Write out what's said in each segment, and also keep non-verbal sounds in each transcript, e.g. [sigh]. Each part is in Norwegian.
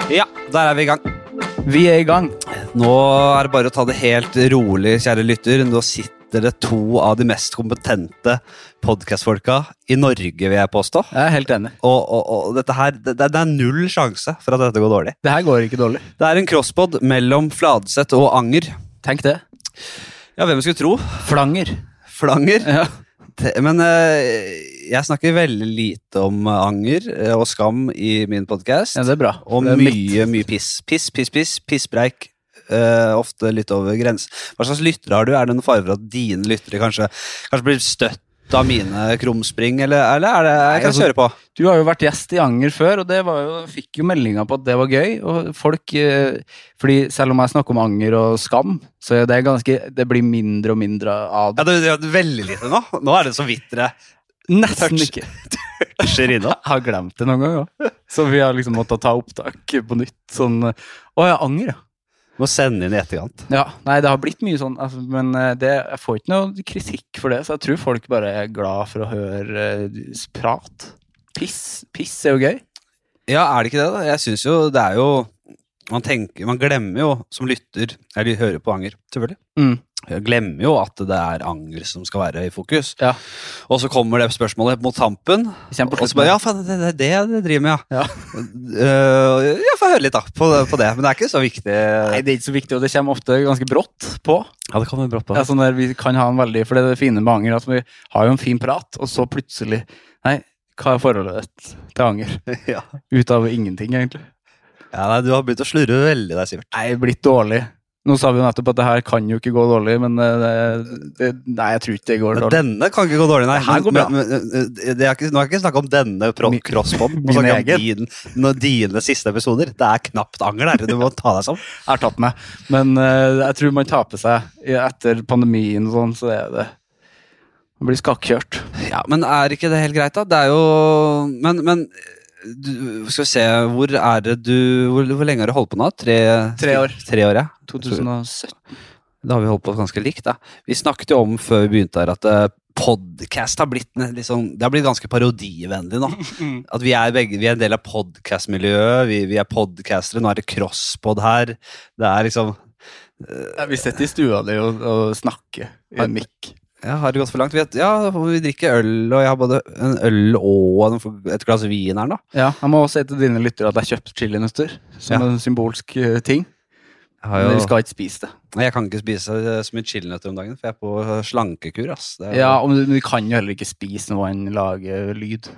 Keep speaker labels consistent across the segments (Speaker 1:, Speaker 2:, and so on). Speaker 1: Der er vi i gang.
Speaker 2: Vi er i gang.
Speaker 1: Nå er det bare å ta det helt rolig, kjære lytter. Nå sitter det to av de mest kompetente podkastfolka i Norge, vil jeg påstå.
Speaker 2: Jeg er helt enig.
Speaker 1: Og, og, og dette her, det, det er null sjanse for at dette går dårlig.
Speaker 2: Det her går ikke dårlig.
Speaker 1: Det er en crosspod mellom Fladseth og Anger.
Speaker 2: Tenk det.
Speaker 1: Ja, hvem skulle tro?
Speaker 2: Flanger.
Speaker 1: Flanger.
Speaker 2: Ja.
Speaker 1: Te- Men eh, jeg snakker veldig lite om anger eh, og skam i min podkast.
Speaker 2: det er bra.
Speaker 1: Og
Speaker 2: Det er mitt.
Speaker 1: mye, sånn. mye piss. Piss, piss, piss. Pisspreik. Eh, ofte litt over grensen. Hva slags lyttere har du? Er det noen fare for at dine lyttere kanskje, kanskje blir støtt av mine krumspring, eller, eller er det, kan jeg
Speaker 2: altså-
Speaker 1: kjøre på?
Speaker 2: Du har jo vært gjest i Anger før, og det var jo, fikk jo meldinga på at det var gøy. Og folk eh, Fordi selv om jeg snakker om anger og skam, så er det ganske Det blir mindre og mindre av
Speaker 1: Ja,
Speaker 2: det.
Speaker 1: det, det er veldig lite nå. Nå er det så vidt det
Speaker 2: Nesten
Speaker 1: touch.
Speaker 2: ikke.
Speaker 1: skjer innom.
Speaker 2: Jeg har glemt det noen ganger, [laughs] ja. så vi har liksom måttet ta opptak på nytt. Sånn eh, Å ja, anger, ja.
Speaker 1: [laughs] Må sende inn i etterkant.
Speaker 2: Ja, nei, det har blitt mye sånn, altså, men eh, det, jeg får ikke noe kritikk for det, så jeg tror folk bare er glad for å høre eh, s- prat. Piss, piss er jo gøy.
Speaker 1: Ja, er det ikke det, da? Jeg syns jo det er jo man, tenker, man glemmer jo som lytter Eller hører på anger, selvfølgelig.
Speaker 2: Mm.
Speaker 1: Jeg glemmer jo at det er anger som skal være i fokus.
Speaker 2: Ja.
Speaker 1: Og så kommer det spørsmålet mot tampen.
Speaker 2: Det kommer på
Speaker 1: Og så
Speaker 2: slutten.
Speaker 1: bare, ja, faen, det er det, det jeg driver med, ja.
Speaker 2: Ja.
Speaker 1: [laughs] Eh, ja, får jeg høre litt da, på, på det. Men det er ikke så viktig.
Speaker 2: Nei, det er ikke så viktig, og det kommer ofte ganske brått på.
Speaker 1: Ja, det kommer brått
Speaker 2: Det er sånn der vi kan ha en veldig, for det er det fine med anger, at vi har jo en fin prat, og så plutselig, nei, hva er forholdet ditt til [laughs] anger?
Speaker 1: Ja.
Speaker 2: Ut av ingenting, egentlig.
Speaker 1: Ja, nei, du har begynt å slurve veldig der, Sivert.
Speaker 2: Nei, blitt dårlig. Nå sa vi jo nettopp at det her kan jo ikke gå dårlig, men eh, det, nei, jeg tror ikke det går
Speaker 1: Men
Speaker 2: dårlig.
Speaker 1: Denne kan ikke gå dårlig, nei.
Speaker 2: Det her går
Speaker 1: Men- men- men, eh, det er ikke, nå har jeg ikke snakket om denne pro-
Speaker 2: Min-
Speaker 1: crosspoden. Nå
Speaker 2: min
Speaker 1: snakker jeg om
Speaker 2: egen.
Speaker 1: din, nå, dine siste episoder. Det er knapt anger der. Du må ta deg sammen.
Speaker 2: Jeg har tatt meg. Men eh, jeg tror man taper seg i- etter pandemien og sånn, så det er det. Man blir skakkjørt.
Speaker 1: [laughs] Ja, men er ikke det helt greit, da? Det er jo Men, men du, skal vi se, hvor er det du Hvor, hvor lenge har du holdt på nå? Tre,
Speaker 2: Tre år.
Speaker 1: Tre år, ja.
Speaker 2: 2017.
Speaker 1: Da har vi holdt på ganske likt. da. Vi snakket jo om før vi begynte her at eh, podcast har blitt en- litt sånn, det har blitt ganske parodivennlig nå.
Speaker 2: Mm.
Speaker 1: At vi er, begge, vi er en del av podcastmiljøet, vi, vi er podcastere, nå er det crosspod her. Det er liksom
Speaker 2: Ja, Vi sitter i stua di og, og snakker i en mikk.
Speaker 1: ja, Har det gått for langt? Vi, vet- ja, vi drikker øl, og jeg har både en øl og en- et glass vin her nå.
Speaker 2: Ja, Jeg må også si til dine lyttere at jeg kjøpte chilinøtter som
Speaker 1: Ja.
Speaker 2: en symbolsk eh, ting.
Speaker 1: Jeg,
Speaker 2: Men
Speaker 1: har
Speaker 2: dere
Speaker 1: jo,
Speaker 2: skal ikke spise det.
Speaker 1: Nei, jeg kan ikke spise eh, så mye chilinøtter om dagen, for jeg er på eh, slankekur. ass. Det er-
Speaker 2: Ja, og Du kan jo heller ikke spise noe enn lage lyd.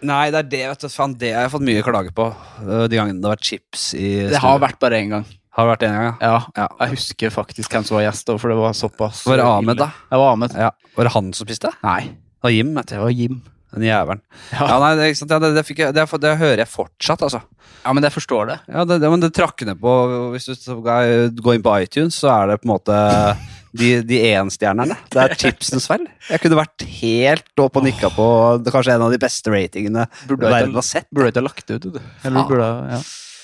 Speaker 1: Nei, det er det, vet du. Faen, det har jeg fått mye klager på eh, de gangene det har vært chips i
Speaker 2: Det har vært bare én gang.
Speaker 1: Har det vært en gang, ja.
Speaker 2: Ja,
Speaker 1: Ja.
Speaker 2: Jeg husker faktisk hvem som var gjest, da, for det var såpass
Speaker 1: Var det Ahmed, da?
Speaker 2: ille. Det var Ahmed.
Speaker 1: Ja. Var det han som spiste?
Speaker 2: Nei,
Speaker 1: Det var Jim, vet du.
Speaker 2: det var Jim.
Speaker 1: Den jævelen. Ja.
Speaker 2: Ja.
Speaker 1: nei, det, ikke sant? Ja, det, det, fikk jeg, det, får- det hører jeg fortsatt, altså.
Speaker 2: Ja, men jeg forstår det.
Speaker 1: Ja, det, det, men det trakk ned på Hvis du så- går inn på iTunes, så er det på en måte de, de enstjernerne. Det er chipsens feil. Jeg kunne vært helt opp og nikka på det er kanskje en av de beste ratingene
Speaker 2: Burde jeg
Speaker 1: verden
Speaker 2: ikke-
Speaker 1: har sett.
Speaker 2: Burde ikke ha lagt det ut, du. Eller
Speaker 1: Faen.
Speaker 2: burde, ja.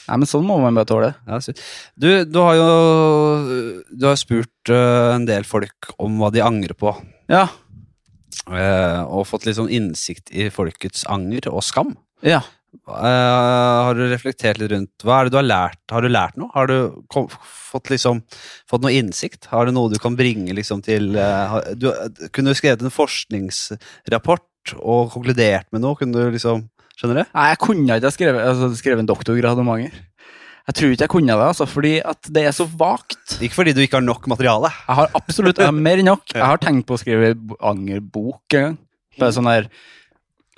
Speaker 2: Nei, men sånn må man bare tåle.
Speaker 1: Ja, det er sykt. du, du har jo du har spurt eh, en del folk om hva de angrer på,
Speaker 2: Ja.
Speaker 1: eh, og fått litt sånn innsikt i folkets anger og skam.
Speaker 2: ja.
Speaker 1: Eh, har du reflektert litt rundt Hva er det du har lært? Har du lært noe? Har du kom, fått, liksom, fått noe innsikt? Har du noe du kan bringe liksom, til eh, har- Du eh, kunne jo skrevet en forskningsrapport og konkludert med noe. Kunne du liksom Skjønner du?
Speaker 2: Nei, jeg kunne ikke ha skrevet, altså, skrevet en doktorgrad om anger. Jeg tror ikke jeg kunne det, altså, fordi at det er så vagt.
Speaker 1: Ikke fordi du ikke har nok materiale.
Speaker 2: Jeg har absolutt jeg har mer enn [laughs] nok. Jeg har tenkt på å skrive b- angerbok en gang. Bare sånn der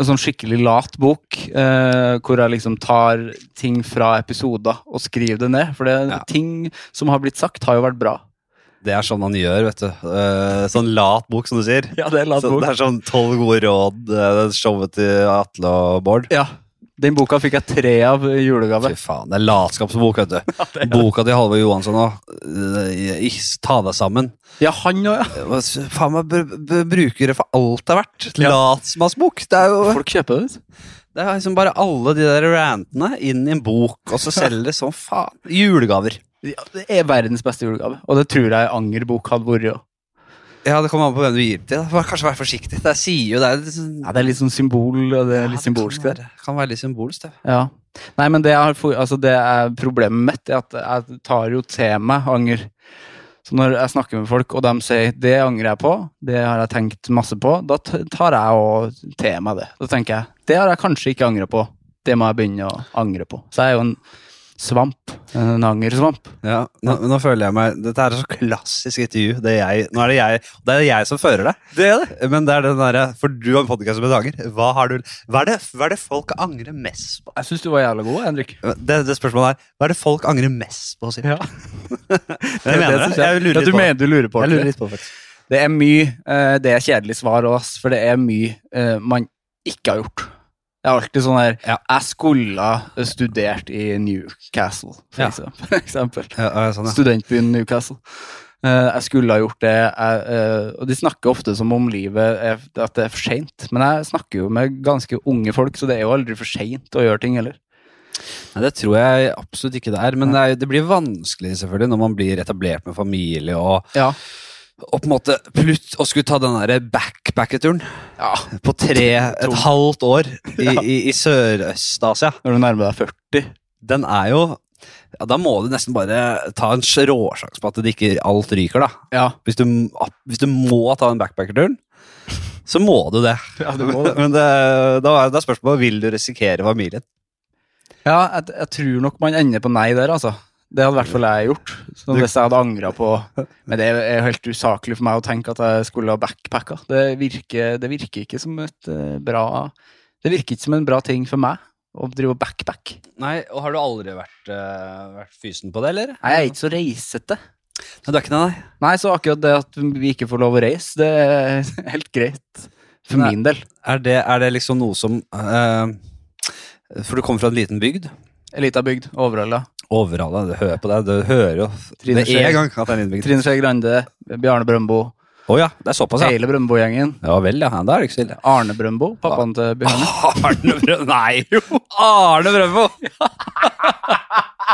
Speaker 2: en sånn skikkelig lat bok, eh, hvor jeg liksom tar ting fra episoder og skriver det ned. For det,
Speaker 1: Ja.
Speaker 2: ting som har blitt sagt, har jo vært bra.
Speaker 1: Det er sånn han gjør, vet du. Eh, sånn lat bok, som du sier.
Speaker 2: Ja, det er
Speaker 1: Så det er sånn tolv gode råd, eh, det showet til Atle og Bård.
Speaker 2: Ja. Den boka fikk jeg tre av i julegave.
Speaker 1: Fy faen, det er latskapsbok,
Speaker 2: [laughs]
Speaker 1: vet du.
Speaker 2: det er det.
Speaker 1: Boka til Halvor Johansson òg. Ta deg sammen.
Speaker 2: Ja, han òg, ja.
Speaker 1: Hva s- Faen meg br br bruker det for alt det er verdt.
Speaker 2: Ja.
Speaker 1: Latsmannsbok. Det er jo
Speaker 2: Folk kjøper det.
Speaker 1: det er liksom bare alle de der rantene inn i en bok, og så selger det som faen. [laughs] Julegaver.
Speaker 2: Ja, det er verdens beste julegave, og det tror jeg angerbok hadde vært òg.
Speaker 1: Ja, det kommer an på hvem du gir det til. da. Bare Kanskje vær forsiktig. Det er- sier jo det er litt sånn-
Speaker 2: Ja, det er litt sånn symbol, og det
Speaker 1: Ja,
Speaker 2: er litt
Speaker 1: det kan
Speaker 2: symbolsk der.
Speaker 1: være- Kan være litt symbolsk, det.
Speaker 2: Ja. Nei, men det, jeg har, for- altså det er problemet mitt er at jeg tar jo til meg anger. Så når jeg snakker med folk, og de sier 'det angrer jeg på', 'det har jeg tenkt masse på', da t- tar jeg og til meg det. Da tenker jeg 'det har jeg kanskje ikke angra på', det må jeg begynne å angre på. Så jeg er jo en svamp. En angersvamp.
Speaker 1: Ja, nå, nå føler jeg meg Dette er så klassisk intervju. Det er jeg, nå er det jeg, det er jeg som fører det.
Speaker 2: Det er det.
Speaker 1: Men det er den derre For du har en podkast om dager. Hva, har du, hva, er det, hva er det folk angrer mest på?
Speaker 2: Jeg syns du var jævla god, Henrik.
Speaker 1: Det, det spørsmålet er Hva er det folk angrer mest på? Sier.
Speaker 2: Ja.
Speaker 1: Jeg mener [laughs] det.
Speaker 2: synes
Speaker 1: Jeg lurer litt
Speaker 2: ja, du
Speaker 1: på det.
Speaker 2: mener, du lurer på
Speaker 1: Jeg
Speaker 2: det.
Speaker 1: lurer litt på det. faktisk.
Speaker 2: Det er mye eh, Det er kjedelig svar òg, for det er mye eh, man ikke har gjort. Det er alltid sånn her Jeg skulle ha studert i Newcastle, for
Speaker 1: Ja.
Speaker 2: eksempel. [laughs] For eksempel.
Speaker 1: Ja, ja, sånn, ja.
Speaker 2: Studentbyen Newcastle. Eh, jeg skulle ha gjort det. Jeg, eh, og de snakker ofte som om livet er, at det er for seint. Men jeg snakker jo med ganske unge folk, så det er jo aldri for seint å gjøre ting heller.
Speaker 1: Nei, det tror jeg absolutt ikke det er. Men det, er, det blir vanskelig selvfølgelig når man blir etablert med familie og,
Speaker 2: Ja.
Speaker 1: og på en måte plutt og skulle ta den der backpacketuren
Speaker 2: ja.
Speaker 1: på tre, et halvt år [laughs] i, i, i Sørøst-Asia.
Speaker 2: Når du nærmer deg 40.
Speaker 1: Den er jo ja, Da må du nesten bare ta en råsjanse på at det ikke alt ryker, da.
Speaker 2: Ja.
Speaker 1: Hvis du, hvis du må ta den backpackerturen, så må du [laughs] det.
Speaker 2: Ja, du må det.
Speaker 1: Men det, da er det spørsmålet vil du risikere familien.
Speaker 2: Ja, jeg, jeg tror nok man ender på nei der, altså. Det hadde i hvert fall jeg gjort. Så hvis jeg hadde angra på Men det er jo helt usaklig for meg å tenke at jeg skulle ha backpacka. Det virker, det virker ikke som et eh, bra Det virker ikke som en bra ting for meg å drive og backpack.
Speaker 1: Nei, og Har du aldri vært, eh, vært fysen på det, eller?
Speaker 2: Nei, Jeg er ikke så reisete.
Speaker 1: Nei, du er ikke det, nei.
Speaker 2: Nei, så akkurat det at vi ikke får lov å reise, det er helt greit. For
Speaker 1: Nei.
Speaker 2: min del.
Speaker 1: Er det, er det liksom noe som eh, For du kommer fra en liten bygd.
Speaker 2: Ei lita bygd. Overhalla.
Speaker 1: Overhalla, du hører på deg. Du hører jo
Speaker 2: Trine
Speaker 1: med
Speaker 2: Skei.
Speaker 1: en gang at det er en liten bygd.
Speaker 2: Trine Skei Grande, Bjarne Brøndbo,
Speaker 1: Å ja, det er såpass, ja.
Speaker 2: hele Brøndbo-gjengen.
Speaker 1: Ja vel, ja. Da er det ikke så ille.
Speaker 2: Arne Brøndbo, pappaen til Bjarne.
Speaker 1: Arne Brøndbo Nei, jo! Arne Brøndbo!
Speaker 2: [laughs]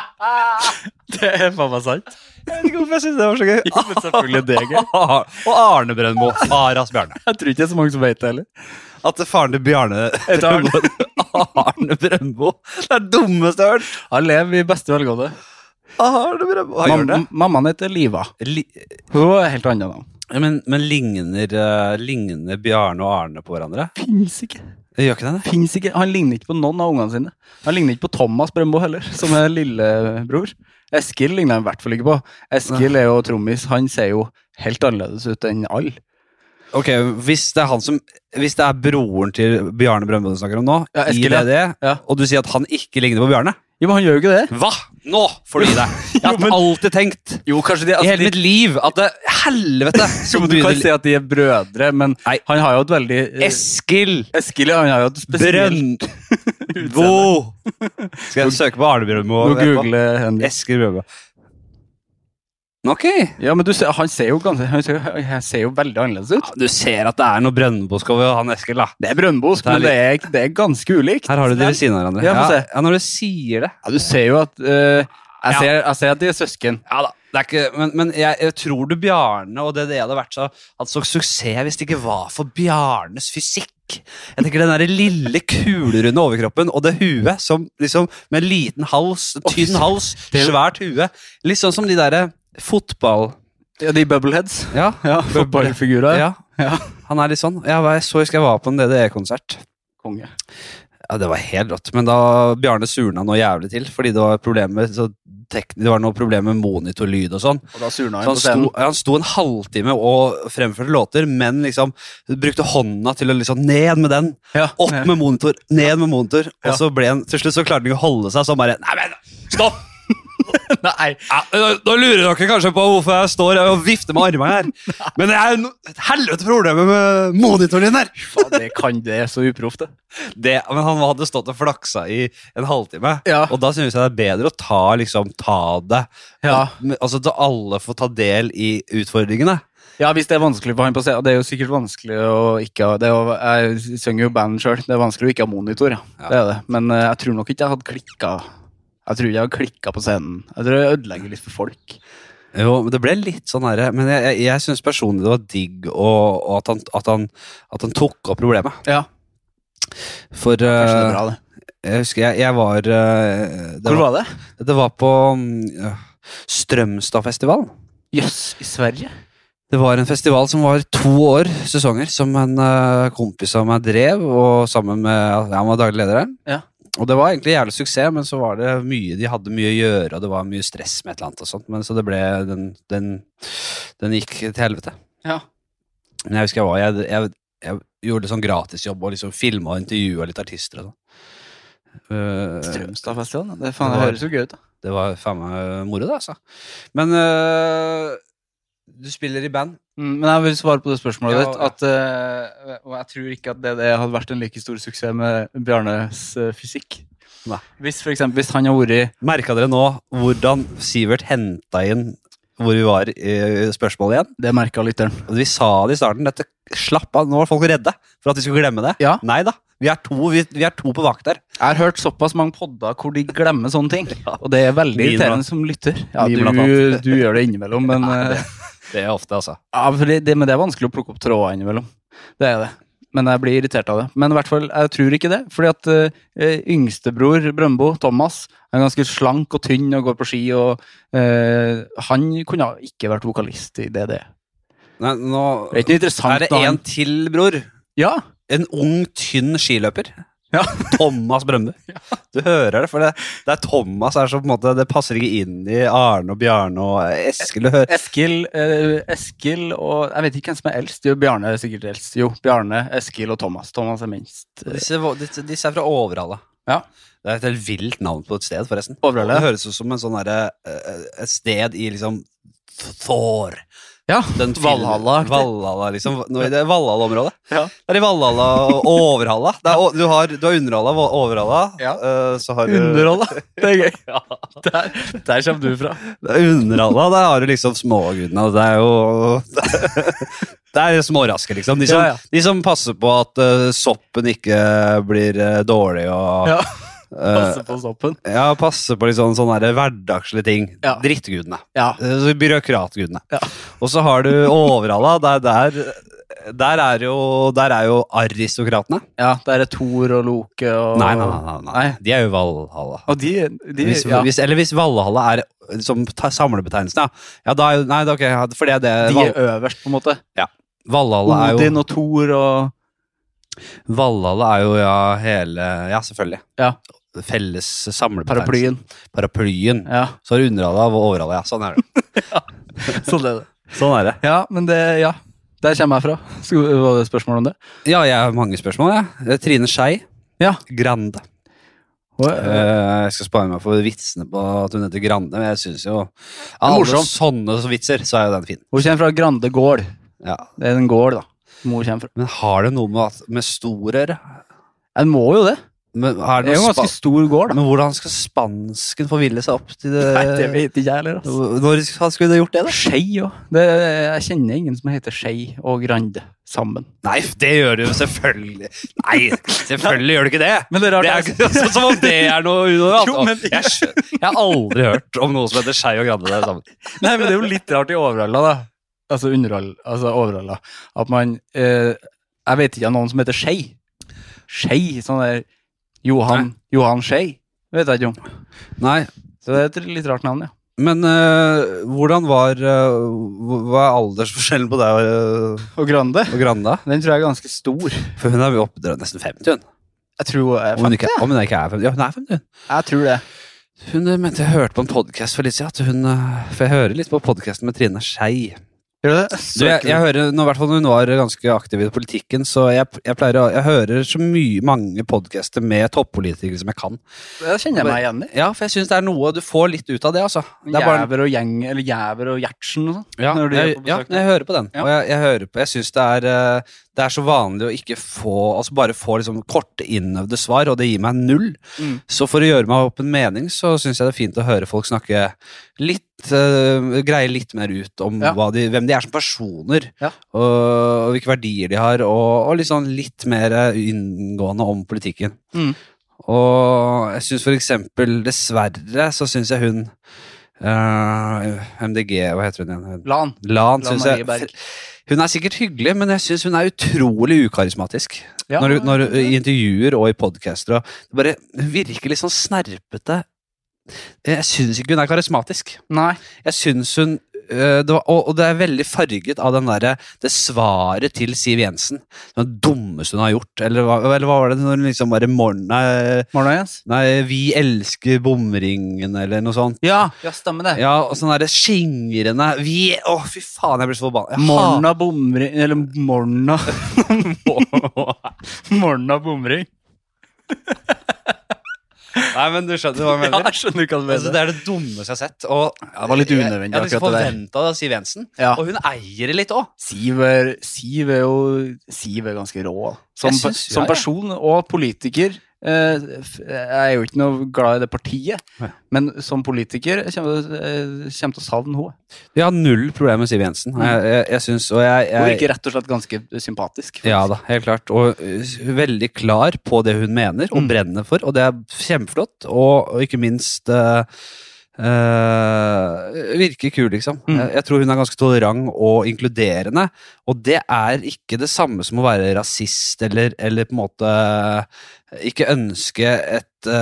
Speaker 2: Det er faen meg sant.
Speaker 1: Jeg vet ikke hvorfor jeg synes det var så gøy.
Speaker 2: Men selvfølgelig det er gøy.
Speaker 1: Ar- Og Arne Brøndbo. Faras Bjarne.
Speaker 2: [laughs] Jeg tror ikke det er så mange som vet det heller.
Speaker 1: At faren til Bjarne
Speaker 2: Arne.
Speaker 1: Arne Brøndbo. Det er det dummeste jeg har hørt.
Speaker 2: Han lever i beste velgående.
Speaker 1: Arne Brøndbo. Han gjør det.
Speaker 2: Mam mammaen heter Liva.
Speaker 1: Li-
Speaker 2: Hun har et helt annet navn.
Speaker 1: Men, men ligner, eh, ligner Bjarne og Arne på hverandre?
Speaker 2: Fins ikke.
Speaker 1: Gjør ikke det det?
Speaker 2: Finnes ikke. Han ligner ikke på noen av ungene sine. Han ligner ikke på Thomas Brøndbo heller, som er lillebror. Eskil ligner han i hvert fall ikke på. Eskil er jo trommis. Han ser jo helt annerledes ut enn alle.
Speaker 1: Ok, Hvis det er han som Hvis det er broren til Bjarne Brøndbo du snakker om nå,
Speaker 2: Ja,
Speaker 1: i
Speaker 2: Eskil, ja.
Speaker 1: DDE,
Speaker 2: Ja.
Speaker 1: og du sier at han ikke ligner på Bjarne
Speaker 2: Jo, men han gjør jo ikke det.
Speaker 1: Hva?! Nå får du gi [laughs] deg! Jeg har
Speaker 2: Jo, men-
Speaker 1: alltid tenkt
Speaker 2: Jo, kanskje de,
Speaker 1: i hele mitt liv at det, [laughs] Helvete! Så
Speaker 2: Du kan
Speaker 1: begynner-
Speaker 2: si at de er brødre, men
Speaker 1: Nei.
Speaker 2: han har jo et veldig eh,
Speaker 1: Eskil
Speaker 2: Eskil han har jo et spesielt
Speaker 1: Brøndbo! Skal jeg søke på Arne Brøndbo?
Speaker 2: Nå
Speaker 1: etterpå?
Speaker 2: googler Henrik.
Speaker 1: Eskil Brøndbo. Ok.
Speaker 2: Ja, men du ser, han, ser jo ganske, han, ser, han ser jo veldig annerledes ut.
Speaker 1: Du ser at det er noe Brøndbosk over han Eskil, da.
Speaker 2: Det er brønnbosk,
Speaker 1: Det er
Speaker 2: men det er, det er ganske ulikt.
Speaker 1: Her har du de ved siden av hverandre.
Speaker 2: Ja, få se.
Speaker 1: ja, når du sier det
Speaker 2: Ja, du ser jo at eh, jeg,
Speaker 1: Ja.
Speaker 2: ser, jeg ser at de er søsken.
Speaker 1: Ja da, det er ikke, men, men jeg, jeg tror du Bjarne og det det hadde vært så, hadde så suksess hvis det ikke var for Bjarnes fysikk. Jeg tenker den der lille kulerunde overkroppen og det huet som liksom med en liten hals, tynn hals,
Speaker 2: Det er-
Speaker 1: svært hue. Litt sånn som de derre fotball...
Speaker 2: Ja, de bubbleheads.
Speaker 1: Ja,
Speaker 2: Ja, Fotballfigurer.
Speaker 1: ja.
Speaker 2: Ja.
Speaker 1: Han er litt sånn. Jeg, var, jeg så husker jeg var på en DDE-konsert.
Speaker 2: Konge.
Speaker 1: Ja, Det var helt rått, men da Bjarne surna noe jævlig til fordi det var problemer så tek, Det var noe problem med monitorlyd og sånn.
Speaker 2: Og da
Speaker 1: Så
Speaker 2: surna han
Speaker 1: han sto,
Speaker 2: på scenen.
Speaker 1: han sto en halvtime og fremførte låter, men liksom brukte hånda til å liksom ned med den,
Speaker 2: Ja.
Speaker 1: opp med monitor, ned med monitor.
Speaker 2: Ja.
Speaker 1: Og så ble han, til slutt så klarte han ikke å holde seg, så han bare Nei, men stopp!
Speaker 2: [laughs] Nei.
Speaker 1: Ja, nå, nå lurer dere kanskje på hvorfor jeg står og vifter med armene
Speaker 2: [laughs]
Speaker 1: her, men det er jo no, et helvete problemet med monitoren din her!
Speaker 2: Faen, det kan det er så uproft, det.
Speaker 1: Det, men han hadde stått og flaksa i en halvtime,
Speaker 2: Ja.
Speaker 1: og da synes jeg det er bedre å ta, liksom, ta det.
Speaker 2: Ja.
Speaker 1: Men- Altså, så alle får ta del i utfordringene.
Speaker 2: ja, hvis det er vanskelig for han på scenen. og Det er jo sikkert vanskelig å ikke ha det er jo, Jeg synger jo band sjøl. Det er vanskelig å ikke ha monitor, ja.
Speaker 1: Ja.
Speaker 2: Det er det. Men eh, jeg tror nok ikke jeg hadde klikka. Jeg tror ikke jeg hadde klikka på scenen. Jeg tror jeg ødelegger litt for folk.
Speaker 1: Jo, men det ble litt sånn herre Men jeg, jeg, jeg syns personlig det var digg og, og at, han, at, han, at han tok opp problemet.
Speaker 2: Ja,
Speaker 1: For
Speaker 2: kanskje det
Speaker 1: eh,
Speaker 2: er bra, det.
Speaker 1: Jeg husker jeg, jeg var eh, det
Speaker 2: Hvor
Speaker 1: var,
Speaker 2: var det?
Speaker 1: det var på mm, ja, Strømstadfestivalen.
Speaker 2: Jøss, i Sverige?
Speaker 1: Det var en festival som var to år, sesonger, som en eh, kompis av meg drev, og sammen med ja, Han var daglig leder der.
Speaker 2: Ja.
Speaker 1: Og det var egentlig jævlig suksess, men så var det mye de hadde mye å gjøre, og det var mye stress med et eller annet og sånt, men så det ble Den, den, den gikk til helvete.
Speaker 2: Ja.
Speaker 1: Men jeg husker jeg var Jeg, jeg, jeg gjorde sånn gratisjobb og liksom filma og intervjua litt artister og sånn. Eh,
Speaker 2: Strømstadfestivalen? Det,
Speaker 1: faen, det høres
Speaker 2: jo gøy ut, da.
Speaker 1: det var faen meg moro, det, altså. Men eh, du spiller i band.
Speaker 2: Mm, Men jeg vil svare på det spørsmålet
Speaker 1: Ja,
Speaker 2: ditt. At, eh, og jeg tror ikke at det, det hadde vært en like stor suksess med Bjarnes eh, fysikk.
Speaker 1: Nei.
Speaker 2: Hvis, for eksempel, hvis han har vært
Speaker 1: Merka dere nå hvordan Sivert henta inn hvor vi var i spørsmålet igjen?
Speaker 2: Det merka lytteren.
Speaker 1: Og Vi sa det i starten. Dette, slapp av, nå var folk redde for at vi skulle glemme det.
Speaker 2: Ja.
Speaker 1: Nei da. Vi er to, vi, vi er to på vakt der.
Speaker 2: Jeg har hørt såpass mange podder hvor de glemmer sånne
Speaker 1: [laughs]
Speaker 2: ting. Og det er veldig
Speaker 1: Min
Speaker 2: irriterende som lytter. Ja,
Speaker 1: Min
Speaker 2: du,
Speaker 1: blant
Speaker 2: du gjør det innimellom,
Speaker 1: [laughs]
Speaker 2: men
Speaker 1: Ja,
Speaker 2: eh,
Speaker 1: Det er ofte, altså.
Speaker 2: ja, for det, det, men det er vanskelig å plukke opp tråder innimellom. Det er det. Men jeg blir irritert av det. Men i hvert fall, jeg tror ikke det. Fordi at eh, yngstebror Brøndbo, Thomas, er ganske slank og tynn og går på ski. og eh, Han kunne ha ikke vært vokalist i DDE.
Speaker 1: Nei, nå
Speaker 2: Det er ikke noe interessant.
Speaker 1: er det
Speaker 2: da, han-
Speaker 1: en til, bror.
Speaker 2: Ja,
Speaker 1: En ung, tynn skiløper.
Speaker 2: Ja.
Speaker 1: [laughs] Thomas Brømme. Du hører det, for det, det er Thomas her som på en måte Det passer ikke inn i Arne og Bjarne og Eskil. Du hører.
Speaker 2: Eskil, eh, Eskil og Jeg vet ikke hvem som er eldst. Jo, Bjarne er sikkert eldst. Jo, Bjarne, Eskil og Thomas. Thomas er minst. Eh,
Speaker 1: Disse, disse, disse er fra Overhalla.
Speaker 2: Ja.
Speaker 1: Det er et helt vilt navn på et sted, forresten.
Speaker 2: Overhalla, ja.
Speaker 1: Det høres ut som en sånn derre, eh, et sted i liksom Thor.
Speaker 2: Ja,
Speaker 1: Den film-
Speaker 2: Valhalla-aktig.
Speaker 1: Valhalla, liksom. Nå i Det Valhalla-området.
Speaker 2: Ja.
Speaker 1: Det er i Valhalla og Overhalla. Det er, å- du, har, du har Underhalla, Val- Overhalla.
Speaker 2: Ja.
Speaker 1: eh, så har du
Speaker 2: Underhalla. Det [laughs] er gøy. Der, der kommer du fra.
Speaker 1: Det er Underhalla, der har du liksom smågudene. Det er jo [laughs] Det er småraske, liksom. De som,
Speaker 2: Ja, ja.
Speaker 1: De som passer på at eh, soppen ikke blir eh, dårlig og
Speaker 2: Ja.
Speaker 1: eh,
Speaker 2: Passe på soppen.
Speaker 1: Ja, passe på litt sånn, sånne der hverdagslige ting.
Speaker 2: Ja.
Speaker 1: Drittgudene.
Speaker 2: Ja.
Speaker 1: Eh, så Byråkratgudene.
Speaker 2: Ja.
Speaker 1: Og så har du Overhalla. Der, der, der, er jo, der er jo aristokratene.
Speaker 2: ja, der er Thor og Loke og
Speaker 1: Nei, nei, nei. nei, nei.
Speaker 2: Nei.
Speaker 1: De er jo Valhalla.
Speaker 2: Og de, de
Speaker 1: Hvis,
Speaker 2: ja.
Speaker 1: hvis, eller hvis Valhalla er eh, som ta- samlebetegnelsen, ja. ja da er jo, nei, det er ok, ja, for det er det
Speaker 2: De
Speaker 1: Val,
Speaker 2: er øverst, på en måte.
Speaker 1: Valhalla er jo
Speaker 2: Odin og Thor og
Speaker 1: Valhalla er jo ja, hele Ja, selvfølgelig.
Speaker 2: Ja.
Speaker 1: Felles samlebetegnelse.
Speaker 2: paraplyen.
Speaker 1: Paraplyen.
Speaker 2: Ja,
Speaker 1: Så har du underhalla og overhalla, ja. Sånn er det.
Speaker 2: sånn er det.
Speaker 1: Sånn er det.
Speaker 2: Ja, men det Ja. Der kommer jeg fra. Skulle- Var det spørsmål om det?
Speaker 1: Ja, jeg har mange spørsmål. Jeg. Eh, Trine Skei.
Speaker 2: Ja.
Speaker 1: Grande.
Speaker 2: Eh,
Speaker 1: Eh, jeg skal spare meg for vitsene på at hun heter Grande, men jeg syns jo Alle
Speaker 2: morsom.
Speaker 1: sånne vitser, så er jo den fin.
Speaker 2: Hun kommer fra Grande gård.
Speaker 1: Ja.
Speaker 2: Det er en gård, da. Mor kommer fra.
Speaker 1: Men har det noe med, at- med storere
Speaker 2: Den må jo det.
Speaker 1: men, er
Speaker 2: Det er
Speaker 1: det
Speaker 2: jo en
Speaker 1: noe
Speaker 2: ganske
Speaker 1: spa
Speaker 2: stor gård, da.
Speaker 1: men hvordan skal spansken forville seg opp til det?
Speaker 2: vet ikke jeg heller. altså.
Speaker 1: Når skulle du gjort det, da?
Speaker 2: Skei òg. Jeg kjenner ingen som heter Skei og Grande sammen.
Speaker 1: Nei, det gjør du jo selvfølgelig. Nei, selvfølgelig gjør du ikke det!
Speaker 2: Men det er
Speaker 1: Det er ikke sånn som om det er noe unormalt.
Speaker 2: Jo, men-
Speaker 1: jeg, skjø- jeg har aldri hørt om noe som heter Skei og Grande der sammen.
Speaker 2: Nei, men det er jo litt rart i overhalla, da. Altså underhold, altså overhalla. At man eh, Jeg vet ikke av noen som heter Skei. Skei, sånn der Johan, Johan Skei. Det vet jeg ikke om.
Speaker 1: Nei,
Speaker 2: Så det er et litt rart navn, ja.
Speaker 1: Men eh, hvordan var eh, hv- Hva er aldersforskjellen på deg og, eh,
Speaker 2: Og Grande,
Speaker 1: og Granda?
Speaker 2: den tror jeg er ganske stor.
Speaker 1: For hun er jo oppe, det er nesten 50, hun.
Speaker 2: Jeg tror hun er
Speaker 1: Om hun,
Speaker 2: fem.
Speaker 1: ikke, om hun ikke er 50. Ja, hun er 50. hun.
Speaker 2: Jeg tror det.
Speaker 1: Hun eh, mente jeg hørte på en podkast for litt siden at hun eh, For jeg hører litt på podkasten med Trine Skei.
Speaker 2: Gjør du det?
Speaker 1: Du, jeg, jeg hører, nå, i hvert fall når hun var ganske aktiv i politikken, så jeg, jeg pleier å Jeg hører så mye, mange podkaster med toppolitikere som jeg kan.
Speaker 2: det kjenner jeg meg igjen i.
Speaker 1: Ja, for jeg syns det er noe Du får litt ut av det, altså. Det er bare
Speaker 2: Jæver og gjeng, eller Jæver og Gjertsen og sånn.
Speaker 1: Ja,
Speaker 2: når du er
Speaker 1: jeg,
Speaker 2: på besøk
Speaker 1: ja,
Speaker 2: der.
Speaker 1: jeg hører på den.
Speaker 2: Ja.
Speaker 1: Og jeg, jeg hører på Jeg syns det er eh, Det er så vanlig å ikke få Altså bare få liksom korte, innøvde svar, og det gir meg null.
Speaker 2: Mm.
Speaker 1: Så for å gjøre meg opp en mening, så syns jeg det er fint å høre folk snakke litt eh, Greie litt mer ut om
Speaker 2: Ja.
Speaker 1: hva de, hvem de er som personer,
Speaker 2: Ja.
Speaker 1: og, og hvilke verdier de har, og, og litt sånn litt mer eh, inngående om politikken.
Speaker 2: Mm.
Speaker 1: Og jeg syns for eksempel, dessverre, så syns jeg hun eh, MDG, hva heter hun igjen? Hun-
Speaker 2: Lan.
Speaker 1: Lan,
Speaker 2: Lan
Speaker 1: syns
Speaker 2: Marie
Speaker 1: jeg
Speaker 2: Berg.
Speaker 1: Hun er sikkert hyggelig, men jeg syns hun er utrolig ukarismatisk.
Speaker 2: Ja.
Speaker 1: Når, du- når, du- I intervjuer og i podcaster. Og det bare hun virker litt sånn snerpete. Jeg syns ikke hun er karismatisk.
Speaker 2: Nei.
Speaker 1: Jeg synes hun øh, det var, og, og det er veldig farget av den derre- det svaret til Siv Jensen. Det dummeste hun har gjort. Eller, hva- eller hva var det når hun liksom bare morgen, nei,
Speaker 2: Morna, Jens.
Speaker 1: nei, 'Vi elsker bomringen', eller noe sånt.
Speaker 2: Ja, ja stemmer det.
Speaker 1: Ja, og sånn derre skingrende vi, Å, fy faen, jeg blir så forbanna. Jeg
Speaker 2: Morna bomring Eller morna [laughs] Morna bomring.
Speaker 1: hater- Nei, men du skjønner hva jeg
Speaker 2: Ja,
Speaker 1: mener.
Speaker 2: [laughs]
Speaker 1: [laughs]
Speaker 2: jeg skjønner hva du
Speaker 1: Altså,
Speaker 2: mener.
Speaker 1: det er det dummeste jeg har sett. Og
Speaker 2: Ja, det var litt
Speaker 1: Jeg,
Speaker 2: unødvendig,
Speaker 1: jeg, jeg
Speaker 2: akkurat det der.
Speaker 1: forventa det av Siv Jensen,
Speaker 2: Ja.
Speaker 1: og hun eier det litt òg.
Speaker 2: Siv er, Siv er jo Siv er ganske rå. Som,
Speaker 1: Jeg
Speaker 2: pe-
Speaker 1: syns- ja,
Speaker 2: som
Speaker 1: ja.
Speaker 2: person og politiker eh, f- Jeg er jo ikke noe glad i det partiet,
Speaker 1: Nei.
Speaker 2: men som politiker jeg kommer jeg kommer til å savne henne.
Speaker 1: Vi har null problem med Siv Jensen. Jeg, jeg, jeg syns, Mm. og jeg,
Speaker 2: Hun
Speaker 1: jeg
Speaker 2: virker rett og slett ganske sympatisk.
Speaker 1: Ja da, helt klart. Og ø, veldig klar på det hun mener og
Speaker 2: Mm.
Speaker 1: brenner for, og det er kjempeflott. Og, og ikke minst ø, ø, virker kul, liksom.
Speaker 2: Mm.
Speaker 1: Jeg, jeg tror hun er ganske tolerant og inkluderende. Og det er ikke det samme som å være rasist eller, eller på en måte eh, ikke ønske et, ø,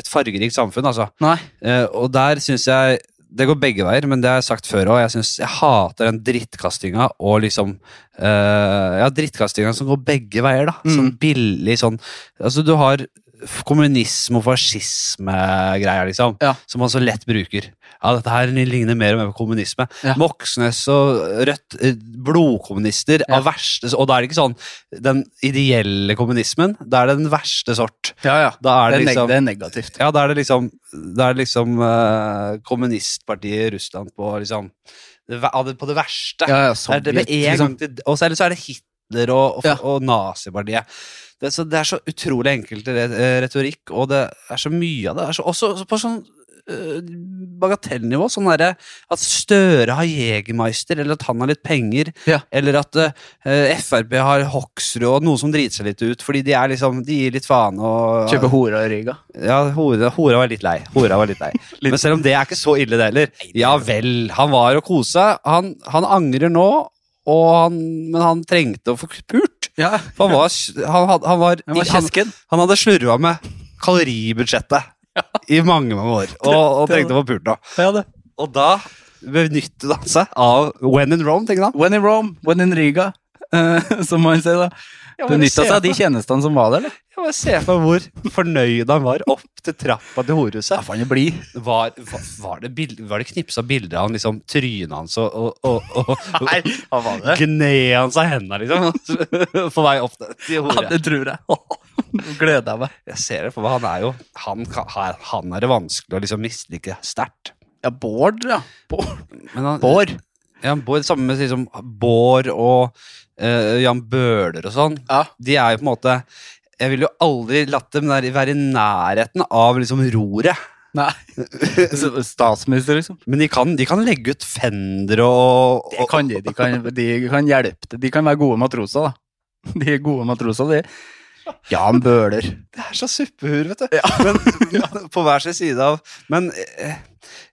Speaker 1: et fargerikt samfunn, altså.
Speaker 2: Nei.
Speaker 1: Eh, og der syns jeg det går begge veier, men det har jeg sagt før òg. Jeg, synes- jeg hater den drittkastinga og liksom eh, Ja, drittkastinga som går begge veier, da.
Speaker 2: Mm.
Speaker 1: Sånn billig sånn Altså, du har f- kommunisme og fascisme-greier, liksom.
Speaker 2: Ja.
Speaker 1: Som man så lett bruker. Ja, dette her ligner mer og mer på kommunisme.
Speaker 2: Ja.
Speaker 1: Moxnes og Rødt, eh, blodkommunister av verste Og da er det ikke sånn den ideelle kommunismen. Da er det den verste sort.
Speaker 2: Ja, ja.
Speaker 1: Da er det
Speaker 2: Det er, neg
Speaker 1: liksom
Speaker 2: det er negativt.
Speaker 1: ja, da er det liksom, da er det liksom eh, kommunistpartiet i Russland på, liksom, det, ver- av det- på det verste.
Speaker 2: Ja, ja,
Speaker 1: det er det med
Speaker 2: Sovjet,
Speaker 1: en
Speaker 2: liksom.
Speaker 1: gang til, og så, eller så er det Hitler og, og,
Speaker 2: Ja.
Speaker 1: og nazipartiet. Det, er så, det er så utrolig enkelt re- eh, retorikk, og det er så mye av det. det er så, også så på sånn eh, bagatellnivå, sånn derre at Støre har Jegermeister, eller at han har litt penger,
Speaker 2: Ja.
Speaker 1: eller at eh, Frp har Hoksrud og noen som driter seg litt ut, fordi de er liksom, de gir litt faen og
Speaker 2: Liksom, Kjøpe hora i Riga.
Speaker 1: ja, hora, hora var litt lei. Hora var litt lei. Men selv om det er ikke så ille, det heller. Ja vel, han var og kosa. Han, han angrer nå, og han, men han trengte å få pult.
Speaker 2: Ja,
Speaker 1: For han var Han, had, han, var,
Speaker 2: han var
Speaker 1: han,
Speaker 2: kjesken.
Speaker 1: han hadde slurva med kaloribudsjettet i mange, mange år, og, og
Speaker 2: Det- det-
Speaker 1: trengte å få pult nå.
Speaker 2: Ja, det.
Speaker 1: Og da benyttet han seg av when in Rome, tenkte han.
Speaker 2: When in Rome, when in Riga, [laughs] eh, som man sier da. Benytta seg av de tjenestene som var der. eller?
Speaker 1: Jeg bare ser for meg hvor fornøyd han var opp til trappa til horehuset.
Speaker 2: Ja, faen, jeg blir.
Speaker 1: Var, var- var det, bild- var det knipsa bilder av han, liksom, trynet hans og, og, og, og, og
Speaker 2: [laughs] Nei, hva var det?
Speaker 1: Gned han seg i hendene,
Speaker 2: [laughs]
Speaker 1: liksom? På vei opp til
Speaker 2: Ja,
Speaker 1: hodet.
Speaker 2: det tror jeg. [laughs] Nå gleder jeg meg.
Speaker 1: Jeg ser det for meg. Han er jo Han, kan- han- han er det vanskelig å liksom mislike sterkt.
Speaker 2: Ja, Bård, ja. Bård.
Speaker 1: Men han-
Speaker 2: Bård.
Speaker 1: Ja, Bård sammen med liksom Bård og eh, Jan Bøhler og sånn.
Speaker 2: Ja.
Speaker 1: De er jo på en måte Jeg ville jo aldri latt dem der, være i nærheten av liksom roret.
Speaker 2: Nei. Så Statsminister, [laughs] liksom.
Speaker 1: Men de kan, de kan legge ut Fender og,
Speaker 2: Det kan de. De kan, de kan hjelpe til. De kan være gode matroser, da. [laughs] De er gode matroser, de. Jan Bøhler.
Speaker 1: [laughs] Det er så suppehuer, vet du.
Speaker 2: [laughs]
Speaker 1: Men, men på hver sin side av Men eh,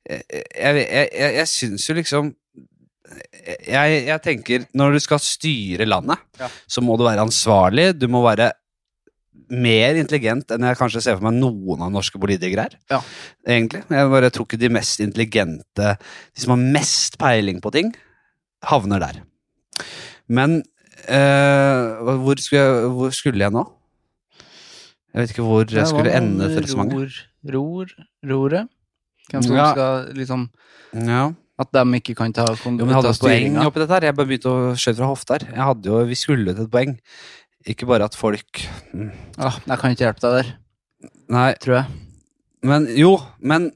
Speaker 1: eh, jeg, jeg, jeg, jeg syns jo liksom jeg, jeg tenker når du skal styre landet,
Speaker 2: Ja.
Speaker 1: så må du være ansvarlig. Du må være mer intelligent enn jeg kanskje ser for meg noen av norske politikere er.
Speaker 2: Ja.
Speaker 1: Egentlig. Jeg bare tror ikke de mest intelligente, de som har mest peiling på ting, havner der. Men eh, hvor, skulle jeg, hvor skulle jeg nå? Jeg vet ikke hvor jeg skulle ende dette resonnementet.
Speaker 2: Ror, ror, roret. Hvem som
Speaker 1: Ja.
Speaker 2: skal liksom
Speaker 1: Ja.
Speaker 2: At de ikke kan ta, kom,
Speaker 1: Jo, men jeg hadde
Speaker 2: ta
Speaker 1: et poeng
Speaker 2: styringa.
Speaker 1: oppi dette her. Jeg bare begynte å skjøte fra hofta her. Jeg hadde jo, Vi skulle til et poeng. Ikke bare at folk Mm.
Speaker 2: Ah, jeg kan ikke hjelpe deg der,
Speaker 1: Nei,
Speaker 2: tror jeg.
Speaker 1: men jo. Men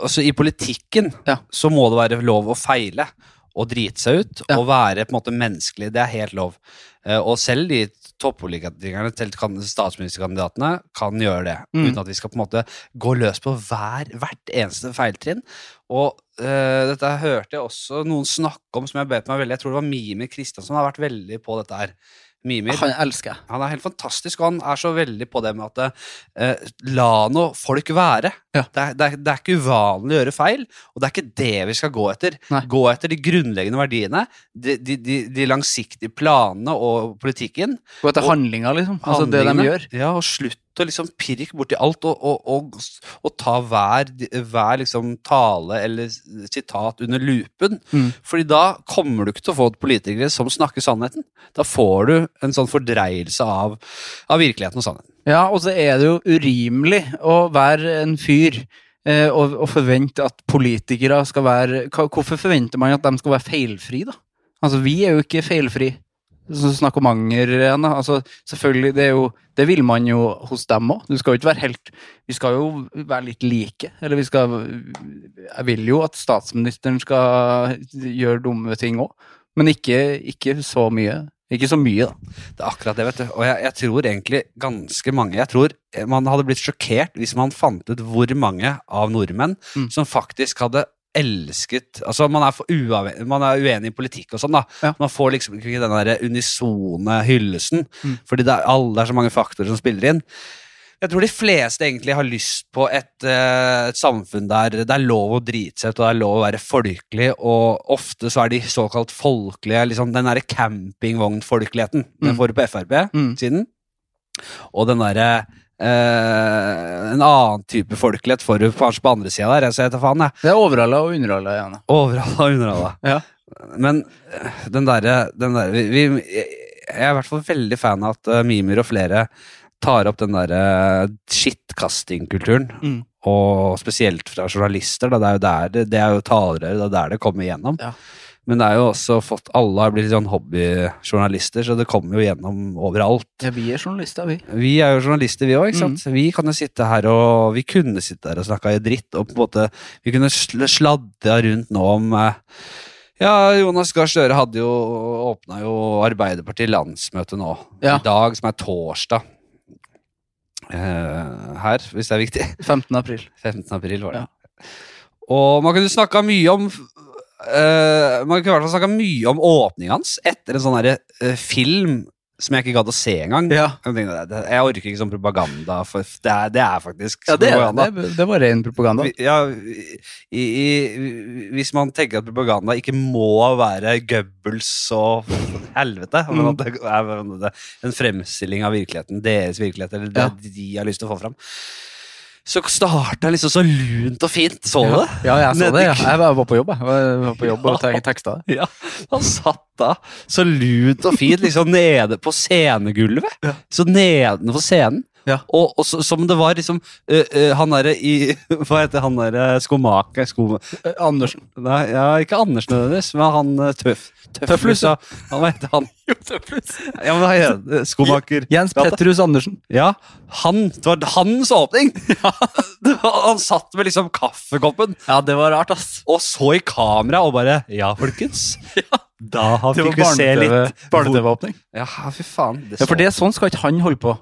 Speaker 1: altså, i politikken
Speaker 2: Ja.
Speaker 1: så må det være lov å feile og drite seg ut
Speaker 2: Ja.
Speaker 1: og være på en måte menneskelig. Det er helt lov. Eh, og selv de toppolitikerne, selv kan- statsministerkandidatene, kan gjøre det.
Speaker 2: Mm.
Speaker 1: Uten at vi skal på en måte gå løs på hver, hvert eneste feiltrinn. Og eh, dette her hørte jeg også noen snakke om, som jeg bet meg veldig Jeg tror det var Mime Kristiansen som har vært veldig på dette her Mimir.
Speaker 2: Han elsker jeg.
Speaker 1: Han er helt fantastisk, og han er så veldig på det med at eh, la nå folk være.
Speaker 2: Ja.
Speaker 1: Det, er, det, er, det er ikke uvanlig å gjøre feil, og det er ikke det vi skal gå etter.
Speaker 2: Nei.
Speaker 1: Gå etter de grunnleggende verdiene, de, de, de, de langsiktige planene og politikken.
Speaker 2: Gå etter
Speaker 1: Og-
Speaker 2: handlinga, liksom. Altså det de
Speaker 1: Handlingene.
Speaker 2: gjør.
Speaker 1: Ja, og slutt å liksom pirke borti alt og, og, og, og ta hver, hver liksom tale eller sitat under lupen.
Speaker 2: Mm.
Speaker 1: Fordi da kommer du ikke til å få politikere som snakker sannheten. Da får du en sånn fordreielse av, av virkeligheten og sannheten.
Speaker 2: Ja, og så er det jo urimelig å være en fyr eh, og, og forvente at politikere skal være hva- Hvorfor forventer man at de skal være feilfrie, da? Altså, vi er jo ikke feilfrie. Så snakk om anger igjen, da. Altså, selvfølgelig, det er jo Det vil man jo hos dem òg. Du skal jo ikke være helt Vi skal jo være litt like. Eller vi skal Jeg vil jo at statsministeren skal gjøre dumme ting òg, men ikke, ikke så mye. Ikke så mye, da.
Speaker 1: Det er akkurat det, vet du. Og jeg, jeg tror egentlig ganske mange Jeg tror man hadde blitt sjokkert hvis man fant ut hvor mange av nordmenn
Speaker 2: Mm.
Speaker 1: som faktisk hadde elsket Altså, man er, for uavhengig, man er uenig i politikk og sånn, da.
Speaker 2: Ja.
Speaker 1: Man får liksom ikke den der unisone hyllesten,
Speaker 2: Mm.
Speaker 1: fordi det er, alle, det er så mange faktorer som spiller inn. Jeg tror de fleste egentlig har lyst på et, eh, et samfunn der det er lov å drite seg ut, og det er lov å være folkelig, og ofte så er de såkalt folkelige, liksom den derre campingvognfolkeligheten. Den
Speaker 2: Mm.
Speaker 1: får du på Frp
Speaker 2: Mm.
Speaker 1: siden. Og den derre eh, En annen type folkelighet får du kanskje på andre sida der. Jeg ser etter faen, jeg.
Speaker 2: Det er overhalla og underhalla, Janne.
Speaker 1: Overhalla og underhalla.
Speaker 2: Ja.
Speaker 1: Men eh, den derre den der, vi, vi, Jeg er i hvert fall veldig fan av at eh, Mimir og flere tar opp den derre skittkastingkulturen.
Speaker 2: Mm.
Speaker 1: Og spesielt fra journalister. Da, det er jo der det, det er jo talerør, det er der det kommer igjennom.
Speaker 2: Ja.
Speaker 1: Men det er jo også fått, alle har blitt sånn hobbyjournalister, så det kommer jo gjennom overalt.
Speaker 2: Ja, vi er journalister, vi.
Speaker 1: Vi er jo journalister, vi òg. ikke sant? Vi kan jo sitte her og vi kunne sitte her og snakka i dritt. og på en måte, Vi kunne sl sladda rundt nå om eh, Ja, Jonas Gahr Støre hadde jo åpna jo Arbeiderpartiet landsmøte nå. I
Speaker 2: Ja.
Speaker 1: dag, som er torsdag. Eh, her, hvis det er viktig. [laughs]
Speaker 2: 15. april.
Speaker 1: 15. april var det. Og man kunne snakka mye om eh, Man kunne i hvert fall snakka mye om åpninga hans etter en sånn derre, eh, film som jeg ikke gadd å se engang.
Speaker 2: Ja,
Speaker 1: Jeg, tenkte, det- det- jeg orker ikke sånn propaganda, for det er, det er faktisk
Speaker 2: det, er-
Speaker 1: propaganda.
Speaker 2: det, det var ren propaganda.
Speaker 1: Vi- Ja, i, i, hvis man tenker at propaganda ikke må være Goebbels og helvete, men
Speaker 2: Mm.
Speaker 1: at det er det er en fremstilling av virkeligheten, deres virkelighet, eller det
Speaker 2: Ja.
Speaker 1: de har lyst til å få fram, så starta liksom så lunt og fint. Så du det?
Speaker 2: Ja, jeg så
Speaker 1: Nedi-
Speaker 2: det. Ja. Jeg var- var på jobb, jeg. jeg. Var på jobb [laughs] og tek- teksta. det.
Speaker 1: Ja, han satt da så lunt og fint liksom nede på scenegulvet.
Speaker 2: Ja.
Speaker 1: Så nedenfor scenen.
Speaker 2: Ja.
Speaker 1: Og, og så, som det var liksom ø, ø, Han derre i [laughs] Hva heter han derre skomaker sko,
Speaker 2: Eh, Andersen.
Speaker 1: Nei, ja, ikke Andersen nødvendigvis, men han ø, tøff...
Speaker 2: Tøfflus,
Speaker 1: ja. Han, hva heter
Speaker 2: [laughs]
Speaker 1: han? Ja, men hva heter det? Skomaker
Speaker 2: Jens
Speaker 1: Gata.
Speaker 2: Petrus Andersen.
Speaker 1: Ja, han, det var hans åpning! [laughs] Det var, han satt med liksom kaffekoppen
Speaker 2: Ja, det var rart, ass.
Speaker 1: og så i kamera og bare Ja, [laughs] folkens. Da har
Speaker 2: Det var
Speaker 1: fikk vi se litt
Speaker 2: barne-TV barne-TV-åpning.
Speaker 1: Ja, fy faen. Det
Speaker 2: Ja, for det, sånn skal ikke han holde på.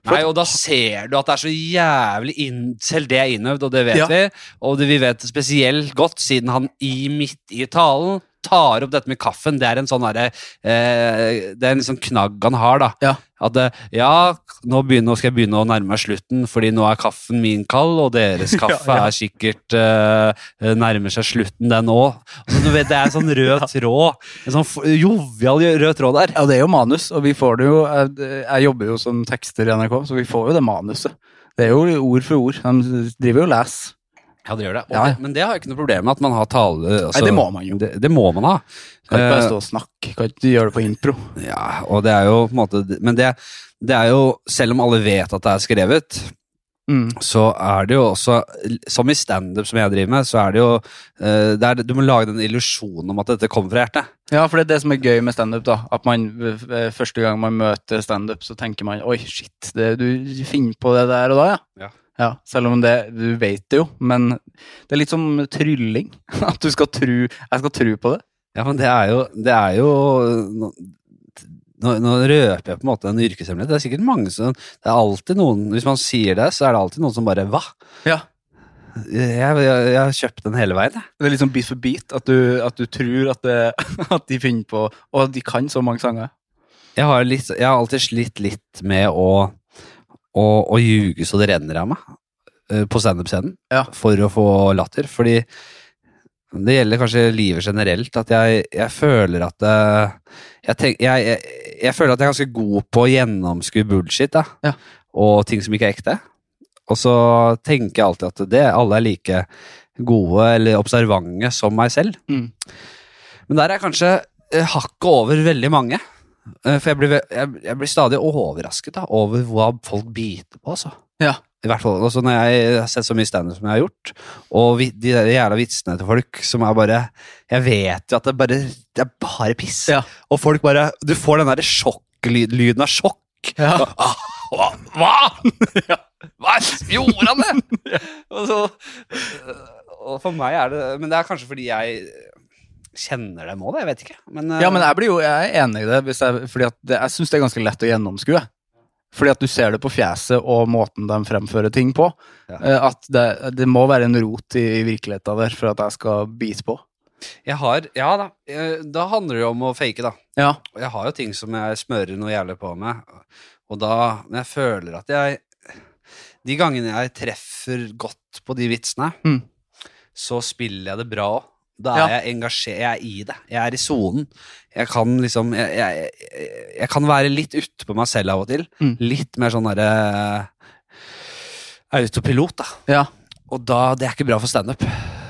Speaker 2: for-
Speaker 1: Nei, og da ser du at det er så jævlig inn... Selv det er innøvd, og det vet
Speaker 2: Ja.
Speaker 1: vi. Og det vi vet spesielt godt, siden han i midt i talen tar opp dette med kaffen. Det er en sånn derre eh, Det er en sånn knagg han har, da.
Speaker 2: Ja.
Speaker 1: At eh, ja, nå, begynner, nå skal jeg begynne å nærme meg slutten, fordi nå er kaffen min kald, og [laughs] deres kaffe
Speaker 2: Ja, ja.
Speaker 1: er sikkert eh, nærmer seg slutten, den òg. Altså, du vet, det er en [laughs] sånn rød tråd. En sånn f- jovial rød tråd der.
Speaker 2: Ja, det er jo manus, og vi får det jo Jeg, jeg jobber jo som tekster i NRK, så vi får jo det manuset. Det er jo ord for ord. De driver jo og leser.
Speaker 1: Ja, det gjør det. Og
Speaker 2: Ja, ja.
Speaker 1: det. Men det har jeg ikke noe problem med at man har tale. altså-
Speaker 2: Nei, det må man jo.
Speaker 1: Det, det må man ha.
Speaker 2: Kan ikke bare
Speaker 1: Eh,
Speaker 2: stå og snakke. Kan ikke gjøre det på impro.
Speaker 1: ja, og det er jo på en måte Men det, det er jo Selv om alle vet at det er skrevet,
Speaker 2: Mm.
Speaker 1: så er det jo også Som i standup som jeg driver med, så er det jo eh, det er, Du må lage den illusjonen om at dette kommer fra hjertet.
Speaker 2: Ja, for det er det som er gøy med standup. da, At man eh, første gang man møter standup, så tenker man oi, shit, det, du finner på det der og da, ja.
Speaker 1: Ja.
Speaker 2: Selv om det, du vet det jo, men det er litt som trylling. [laughs] At du skal tru Jeg skal tru på det.
Speaker 1: Ja, men det er jo, det er jo nå, nå, nå røper jeg på en måte en yrkeshemmelighet. Det er sikkert mange som Det er alltid noen Hvis man sier det, så er det alltid noen som bare Hva?
Speaker 2: Ja.
Speaker 1: Jeg, jeg, jeg har kjøpt den hele veien, jeg.
Speaker 2: Det er liksom bit [laughs] for bit. At du, at du tror at, det, at de finner på Og at de kan så mange sanger.
Speaker 1: Jeg har, litt, jeg har alltid slitt litt med å, å, å ljuge så det renner av meg eh, på standup-scenen
Speaker 2: Ja.
Speaker 1: for å få latter. Fordi det gjelder kanskje livet generelt, at jeg, jeg føler at eh, jeg, tenk, jeg, jeg, jeg føler at jeg er ganske god på å gjennomskue bullshit da,
Speaker 2: Ja.
Speaker 1: og ting som ikke er ekte. Og så tenker jeg alltid at det, alle er like gode eller observante som meg selv.
Speaker 2: Mm.
Speaker 1: Men der er jeg kanskje eh, hakket over veldig mange. Eh, For jeg blir, ve- jeg, jeg blir stadig overrasket da, over hva folk biter på. Altså.
Speaker 2: Ja.
Speaker 1: I hvert fall altså, når jeg har sett så mye standup som jeg har gjort, og vi, de der jævla vitsene til folk som er bare Jeg vet jo at det er bare, det er bare piss.
Speaker 2: Ja.
Speaker 1: Og folk bare Du får den derre sjokklyden av sjokk.
Speaker 2: Ja.
Speaker 1: Ah, Hva?
Speaker 2: [laughs]
Speaker 1: Hva? Hva gjorde han det? Og så, Eh, og for meg er det Men det er kanskje fordi jeg kjenner dem òg, jeg vet ikke. Men, eh,
Speaker 2: Ja, men jeg blir jo jeg er enig i det, hvis jeg, fordi at det, jeg syns det er ganske lett å gjennomskue. Fordi at du ser det på fjeset og måten de fremfører ting på.
Speaker 1: Ja.
Speaker 2: eh, At det, det må være en rot i, i virkeligheten der for at jeg skal bite på.
Speaker 1: jeg har Ja da. eh, Da handler det jo om å fake, da.
Speaker 2: Ja.
Speaker 1: Og jeg har jo ting som jeg smører noe jævlig på med. Og da Men jeg føler at jeg De gangene jeg treffer godt på de vitsene,
Speaker 2: Mm.
Speaker 1: så spiller jeg det bra òg. Da er
Speaker 2: Ja.
Speaker 1: jeg engasjert, jeg er i det. Jeg er i sonen. Jeg kan liksom Jeg, jeg, jeg, jeg kan være litt ute på meg selv av og til.
Speaker 2: Mm.
Speaker 1: Litt mer sånn derre eh, Autopilot, da.
Speaker 2: Ja.
Speaker 1: Og da, det er ikke bra for standup.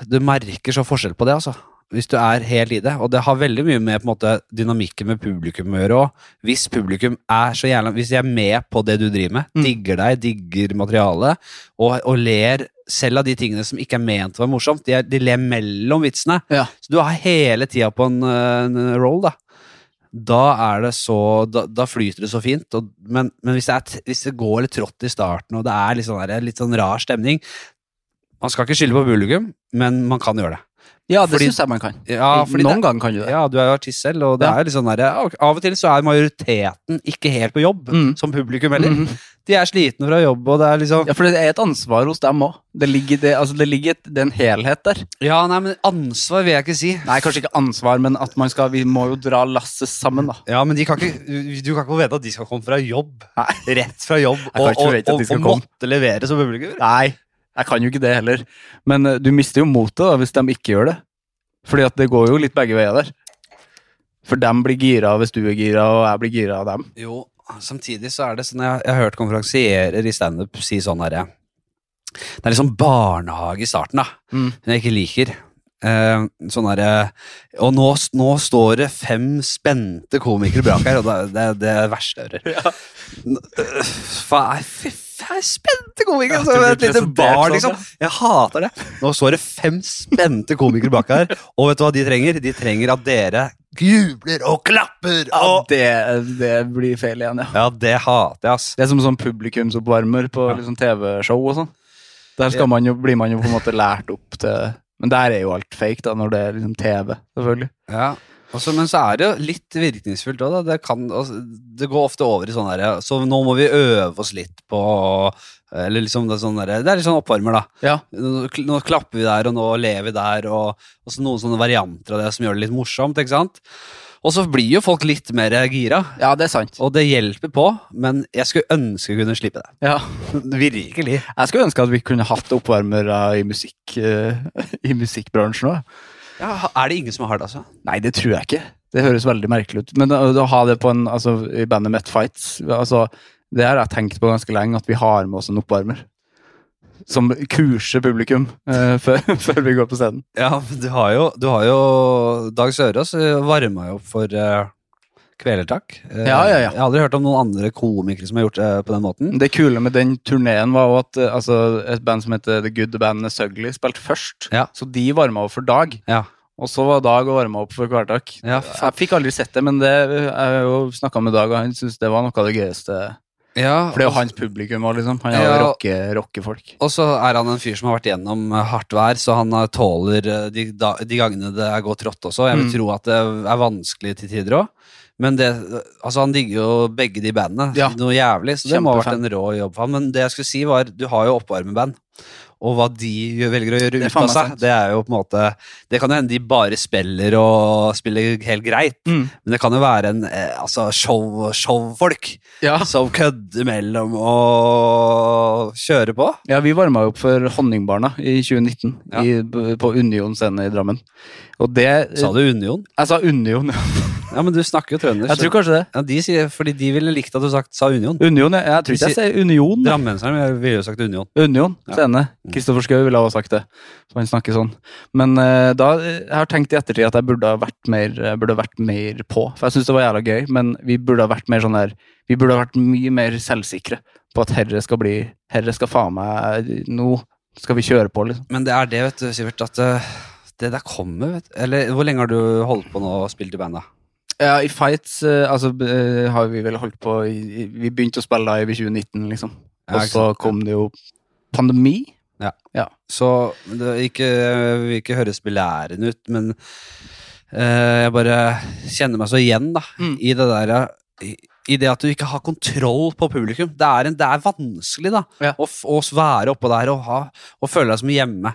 Speaker 1: Du merker så forskjell på det, altså. Hvis du er helt i det. Og det har veldig mye med på en måte, dynamikken med publikum å gjøre òg. Hvis publikum er så jævla Hvis de er med på det du driver med,
Speaker 2: Mm.
Speaker 1: digger deg, digger materialet, og, og ler selv av de tingene som ikke er ment å være morsomt, de, er, de ler mellom vitsene.
Speaker 2: Ja.
Speaker 1: Så du er hele tida på en, øh, en roll, da. Da, er det så, da, da flyter det så fint. Og, men men hvis, det er, t- hvis det går litt trått i starten, og det er litt sånn, der, litt sånn rar stemning Man skal ikke skylde på publikum, men man kan gjøre det.
Speaker 2: Ja, det
Speaker 1: Fordi-
Speaker 2: syns jeg man kan.
Speaker 1: Ja, fordi det,
Speaker 2: Noen ganger kan du det.
Speaker 1: ja, du er jo artist selv, og det
Speaker 2: Ja.
Speaker 1: er litt sånn der, ja, ok, av og til så er majoriteten ikke helt på jobb
Speaker 2: Mm.
Speaker 1: som publikum heller.
Speaker 2: Mhm.
Speaker 1: De er slitne fra jobb, og det er liksom
Speaker 2: Ja, for det er et ansvar hos dem òg. Det ligger, det, altså det ligger et, det er en helhet der.
Speaker 1: Ja, nei, men ansvar vil jeg ikke si.
Speaker 2: Nei, kanskje ikke ansvar, men at man skal, vi må jo dra lasset sammen, da.
Speaker 1: Ja, men de kan ikke, du- du kan ikke forvente at de skal komme fra jobb.
Speaker 2: Nei.
Speaker 1: Rett fra jobb.
Speaker 2: kan
Speaker 1: Og,
Speaker 2: ikke
Speaker 1: og,
Speaker 2: forvente at
Speaker 1: og,
Speaker 2: de skal
Speaker 1: og
Speaker 2: komme.
Speaker 1: måtte levere som publikum.
Speaker 2: Nei, jeg kan jo ikke det heller. Men eh, du mister jo motet da, hvis de ikke gjør det. Fordi at det går jo litt begge veier der. For dem blir gira hvis du er gira, og jeg blir gira av dem.
Speaker 1: Jo, samtidig så er det sånn Jeg, jeg har hørt konferansierer i standup si sånn herre Det er liksom barnehage i starten, da.
Speaker 2: Mm.
Speaker 1: Som jeg ikke liker. Eh, sånn herre Og nå, nå står det fem spente komikere bak her, og det, det, det er det verste jeg hører.
Speaker 2: [laughs] Ja.
Speaker 1: N- øh, faen, Fy faen, spente komikere!
Speaker 2: Ja,
Speaker 1: som
Speaker 2: du blir
Speaker 1: et lite
Speaker 2: presentert
Speaker 1: barn,
Speaker 2: sånn,
Speaker 1: liksom. Jeg hater det. Nå står det fem spente komikere bak her, og vet du hva de trenger? De trenger at dere jubler og klapper!
Speaker 2: Ja,
Speaker 1: Og
Speaker 2: det, det blir feil igjen, ja.
Speaker 1: Ja, det hater jeg, ass.
Speaker 2: Det er som sånn publikumsoppvarmer på
Speaker 1: Ja.
Speaker 2: liksom, TV-show og sånn. Der
Speaker 1: Ja.
Speaker 2: skal man jo, blir man jo på en måte lært opp til Men der er jo alt fake, da, når det er liksom TV, selvfølgelig.
Speaker 1: Ja. Også, men så er det jo litt virkningsfullt òg, da. Det, kan, altså, det går ofte over i sånn derre Så nå må vi øve oss litt på Eller liksom det er sånn derre Det er litt sånn oppvarmer, da.
Speaker 2: Ja.
Speaker 1: Nå, kl- nå klapper vi der, og nå ler vi der, og, og så noen sånne varianter av det som gjør det litt morsomt, ikke sant? Og så blir jo folk litt mer gira,
Speaker 2: ja, det er sant.
Speaker 1: og det hjelper på, men jeg skulle ønske jeg kunne slippe det.
Speaker 2: Ja.
Speaker 1: Virkelig.
Speaker 2: Jeg skulle ønske at vi kunne hatt oppvarmere i, musikk, eh, [laughs] i musikkbransjen òg.
Speaker 1: Ja, er det ingen som har det, altså?
Speaker 2: Nei, det tror jeg ikke. Det høres veldig merkelig ut. Men å, å ha det på en, altså, i bandet Met Fights altså, Det har jeg tenkt på ganske lenge, at vi har med oss en oppvarmer. Som kurser publikum eh, [laughs] før, før vi går på scenen.
Speaker 1: Ja, men du har jo, du har jo Dag Sørås varma jo opp for eh, Kvelertak. Eh,
Speaker 2: Ja, ja, ja.
Speaker 1: Jeg har aldri hørt om noen andre komikere som har gjort det på den måten.
Speaker 2: Det kule med den turneen var jo at eh, altså, et band som heter The Good Band Is Ugly, spilte først.
Speaker 1: Ja.
Speaker 2: Så de varma opp for Dag.
Speaker 1: Ja.
Speaker 2: Og så var Dag og varma opp for Kvartak.
Speaker 1: Ja,
Speaker 2: Jeg fikk aldri sett det, men det, jeg har jo snakka med Dag, og han syntes det var noe av det gøyeste. For det er jo hans publikum òg, liksom. Han er jo
Speaker 1: Ja.
Speaker 2: rocke, rockefolk.
Speaker 1: Og så er han en fyr som har vært gjennom eh, hardt vær, så han eh, tåler eh, de, da- de gangene det er gått trått også. Jeg vil
Speaker 2: Mm.
Speaker 1: tro at det er vanskelig til tider òg. Men det, altså han digger jo begge de bandene
Speaker 2: Ja.
Speaker 1: noe jævlig, så det må ha vært
Speaker 2: Kjempefan.
Speaker 1: en rå jobb for han. Men det jeg skulle si var, du har jo oppvarmeband. og hva de gjør- velger å gjøre
Speaker 2: Det er
Speaker 1: ut av
Speaker 2: faen meg
Speaker 1: seg,
Speaker 2: sant.
Speaker 1: det er jo på en måte Det kan jo hende de bare spiller og spiller helt greit,
Speaker 2: Mm.
Speaker 1: men det kan jo være en eh, altså, show, showfolk
Speaker 2: Ja.
Speaker 1: som kødder mellom og kjører på.
Speaker 2: Ja, vi varma jo opp for Honningbarna i 2019
Speaker 1: Ja.
Speaker 2: i, b- på Union scene i Drammen. Og det
Speaker 1: Sa du Union?
Speaker 2: Jeg sa Union. ja.
Speaker 1: Ja, men du snakker jo trønder.
Speaker 2: Jeg
Speaker 1: så-
Speaker 2: tror kanskje det.
Speaker 1: ja, de sier, fordi de ville likt at du sagt, sa Union.
Speaker 2: Union, jeg, jeg tror ikke jeg sier Union. da.
Speaker 1: Drammenseren ville jo sagt Union.
Speaker 2: Union
Speaker 1: Ja.
Speaker 2: scene. Kristoffer Schou ville ha sagt det. Så han snakker sånn. Men eh, da eh, jeg har tenkt i ettertid at jeg burde ha vært mer, jeg burde ha vært mer på. For jeg syns det var jævla gøy, men vi burde ha vært mer sånn der Vi burde ha vært mye mer selvsikre på at herre skal bli Herre skal faen meg eh, Nå skal vi kjøre på, liksom.
Speaker 1: Men det er det, vet du, Sivert, at eh, det der kommer, vet du. Eller hvor lenge har du holdt på nå og spilt i bandet?
Speaker 2: Ja, i fights eh, altså, eh, har vi vel holdt på i, i, Vi begynte å spille live i 2019, liksom.
Speaker 1: Ja,
Speaker 2: og
Speaker 1: ikke
Speaker 2: så
Speaker 1: sant.
Speaker 2: kom det jo pandemi.
Speaker 1: Så det er ikke, jeg vil ikke høres belærende ut, men eh, jeg bare kjenner meg så igjen da,
Speaker 2: Mm.
Speaker 1: i det der i, i det at du ikke har kontroll på publikum. Det er, en, det er vanskelig da,
Speaker 2: Ja.
Speaker 1: å, f- å være oppå der og, ha, og føle deg som hjemme.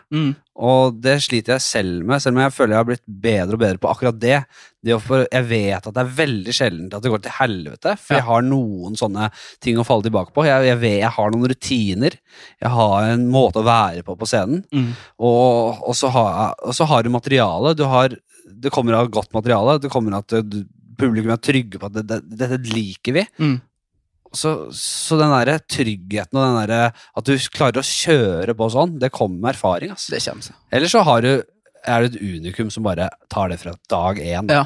Speaker 1: Og det sliter jeg selv med, selv om jeg føler jeg har blitt bedre og bedre på akkurat det. det å få- jeg vet at det er veldig sjelden at det går til helvete, for
Speaker 2: Ja.
Speaker 1: jeg har noen sånne ting å falle tilbake på. Jeg, jeg, vet, jeg har noen rutiner, jeg har en måte å være på på scenen, og, og, så, har, og så har du materiale. Du har, det kommer av godt materiale, det kommer av at du, publikum er trygge på at det- det- dette liker vi.
Speaker 2: Mm.
Speaker 1: Så, så den der tryggheten og den der, at du klarer å kjøre på sånn, det kommer med erfaring. ass.
Speaker 2: Det kommer seg.
Speaker 1: Eller så har du, er du et unikum som bare tar det fra dag én.
Speaker 2: Ja.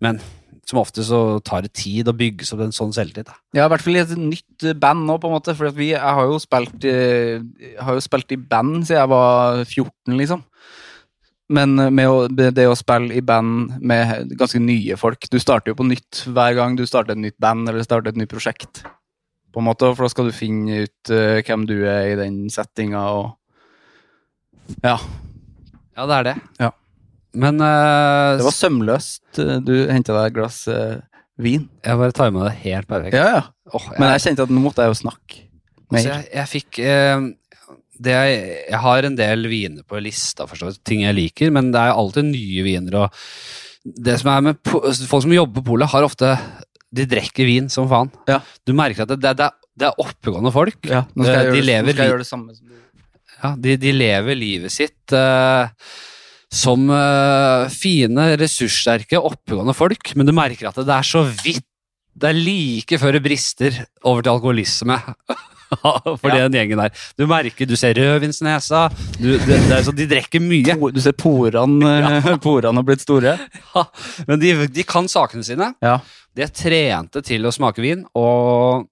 Speaker 1: Men som ofte så tar det tid å bygge seg opp en sånn selvtillit. da.
Speaker 2: Ja, i hvert fall i et nytt eh, band nå, på en måte. For at vi, jeg har jo, spilt, eh, jeg har jo spilt i band siden jeg var 14, liksom. Men eh, med å, det det å spille i band med ganske nye folk Du starter jo på nytt hver gang du starter et nytt band eller starter et nytt prosjekt. På en måte, For da skal du finne ut eh, hvem du er i den settinga og Ja.
Speaker 1: Ja, det er det.
Speaker 2: Ja.
Speaker 1: Men eh,
Speaker 2: Det var sømløst. eh, Du henta deg et glass eh, vin.
Speaker 1: jeg bare tima det helt perfekt.
Speaker 2: Ja, ja.
Speaker 1: Åh, jeg,
Speaker 2: Men jeg kjente at nå måtte jeg jo snakke
Speaker 1: altså,
Speaker 2: mer.
Speaker 1: jeg, jeg fikk eh, det jeg, jeg har en del viner på lista, forstår du, ting jeg liker, men det er alltid nye viner. og det som er med po- altså, Folk som jobber på polet, har ofte De drikker vin som faen.
Speaker 2: Ja.
Speaker 1: Du merker at det, det, det, er- det er oppegående folk.
Speaker 2: Ja, nå skal
Speaker 1: Eh,
Speaker 2: jeg,
Speaker 1: de
Speaker 2: gjøre, det-
Speaker 1: lever
Speaker 2: nå skal
Speaker 1: li-
Speaker 2: jeg gjøre det samme som du.
Speaker 1: Ja, de, de lever livet sitt eh, som eh, fine, ressurssterke, oppegående folk, men du merker at det er så vidt Det er like før det brister over til alkoholisme. [laughs] For den gjengen der. Du merker, du ser rødvinsnesa du, det, det er sånn, De drikker mye,
Speaker 2: Po- Du ser [laughs] porene eh, porene har blitt store.
Speaker 1: men de, de kan sakene sine.
Speaker 2: Ja.
Speaker 1: De er trente til å smake vin, og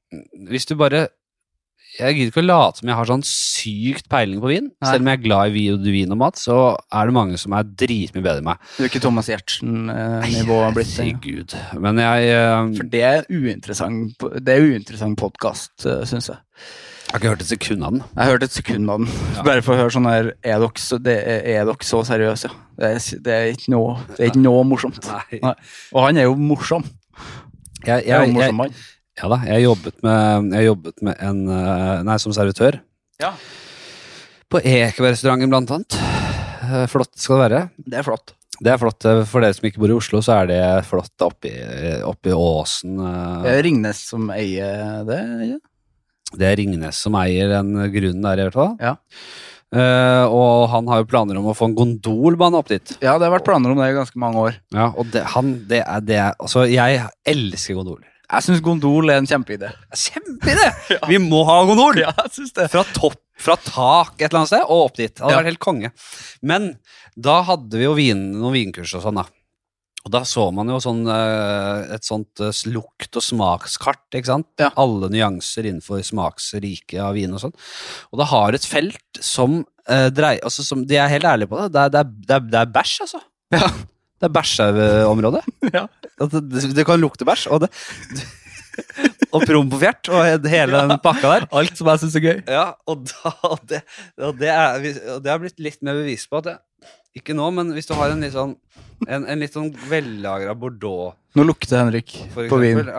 Speaker 1: hvis du bare Jeg gidder ikke å late som jeg har sånn sykt peiling på vin.
Speaker 2: Nei.
Speaker 1: Selv om jeg er glad i vi- vin og mat, så er det mange som er dritmye bedre enn meg.
Speaker 2: Du er ikke Thomas Giertsen-nivået blitt. eh.
Speaker 1: Herregud. Men jeg, eh,
Speaker 2: For det er uinteressant, po- det er uinteressant podkast, syns jeg.
Speaker 1: jeg har ikke hørt et sekund av den.
Speaker 2: Jeg har hørt et sekund av den.
Speaker 1: Ja.
Speaker 2: Bare for å høre sånn her Er dere så, det er, er dere så seriøse? Ja. Det er, s- det er ikke noe Det er ikke noe morsomt.
Speaker 1: Nei.
Speaker 2: Nei. Og han er jo morsom.
Speaker 1: Jeg,
Speaker 2: Jeg er jo
Speaker 1: jeg,
Speaker 2: en morsom
Speaker 1: jeg,
Speaker 2: mann.
Speaker 1: ja da, jeg jobbet med, jeg jobbet med en eh, Nei, som servitør.
Speaker 2: Ja.
Speaker 1: På Ekebergrestauranten, blant annet. Eh, Flott skal det være.
Speaker 2: Det er flott.
Speaker 1: Det er flott. eh, For dere som ikke bor i Oslo, så er det flott oppi, oppi åsen. eh,
Speaker 2: Det er Ringnes som eier det. ikke?
Speaker 1: Det er Ringnes som eier den grunnen der, i hvert fall.
Speaker 2: Ja.
Speaker 1: Eh, og han har jo planer om å få en gondolbane opp dit.
Speaker 2: Ja, det har vært planer om det i ganske mange år.
Speaker 1: Ja, og det, han, det er det er- Altså, jeg elsker gondoler.
Speaker 2: Jeg syns Gondol er en kjempeidé.
Speaker 1: [laughs] Kjempeidé! Vi må ha gondol!
Speaker 2: Ja, jeg synes det.
Speaker 1: Fra topp, fra tak et eller annet sted, og opp dit. Det hadde
Speaker 2: Ja.
Speaker 1: vært helt konge. Men da hadde vi jo vin, noen vinkurs og sånn, da. Og da så man jo sånn, eh, et sånt eh, lukt- og smakskart, ikke sant?
Speaker 2: Ja.
Speaker 1: Alle nyanser innenfor smaksriket av vin og sånn. Og det har et felt som eh, dreier altså, som, De er helt ærlige på det. Det er, det er, det er, det er bæsj, altså.
Speaker 2: Ja.
Speaker 1: Det er bæsjeområdet.
Speaker 2: [laughs] Ja.
Speaker 1: At Det, det kan lukte bæsj, og det [laughs] Og prompefjert og hele den pakka der.
Speaker 2: Alt som jeg syns er gøy.
Speaker 1: Ja, og, da, og, det, og, det er, og det har blitt litt mer bevis på at det, Ikke nå, men hvis du har en litt sånn En, en litt sånn vellagra Bordeaux,
Speaker 2: Nå lukter Henrik
Speaker 1: for
Speaker 2: på vin.
Speaker 1: eksempel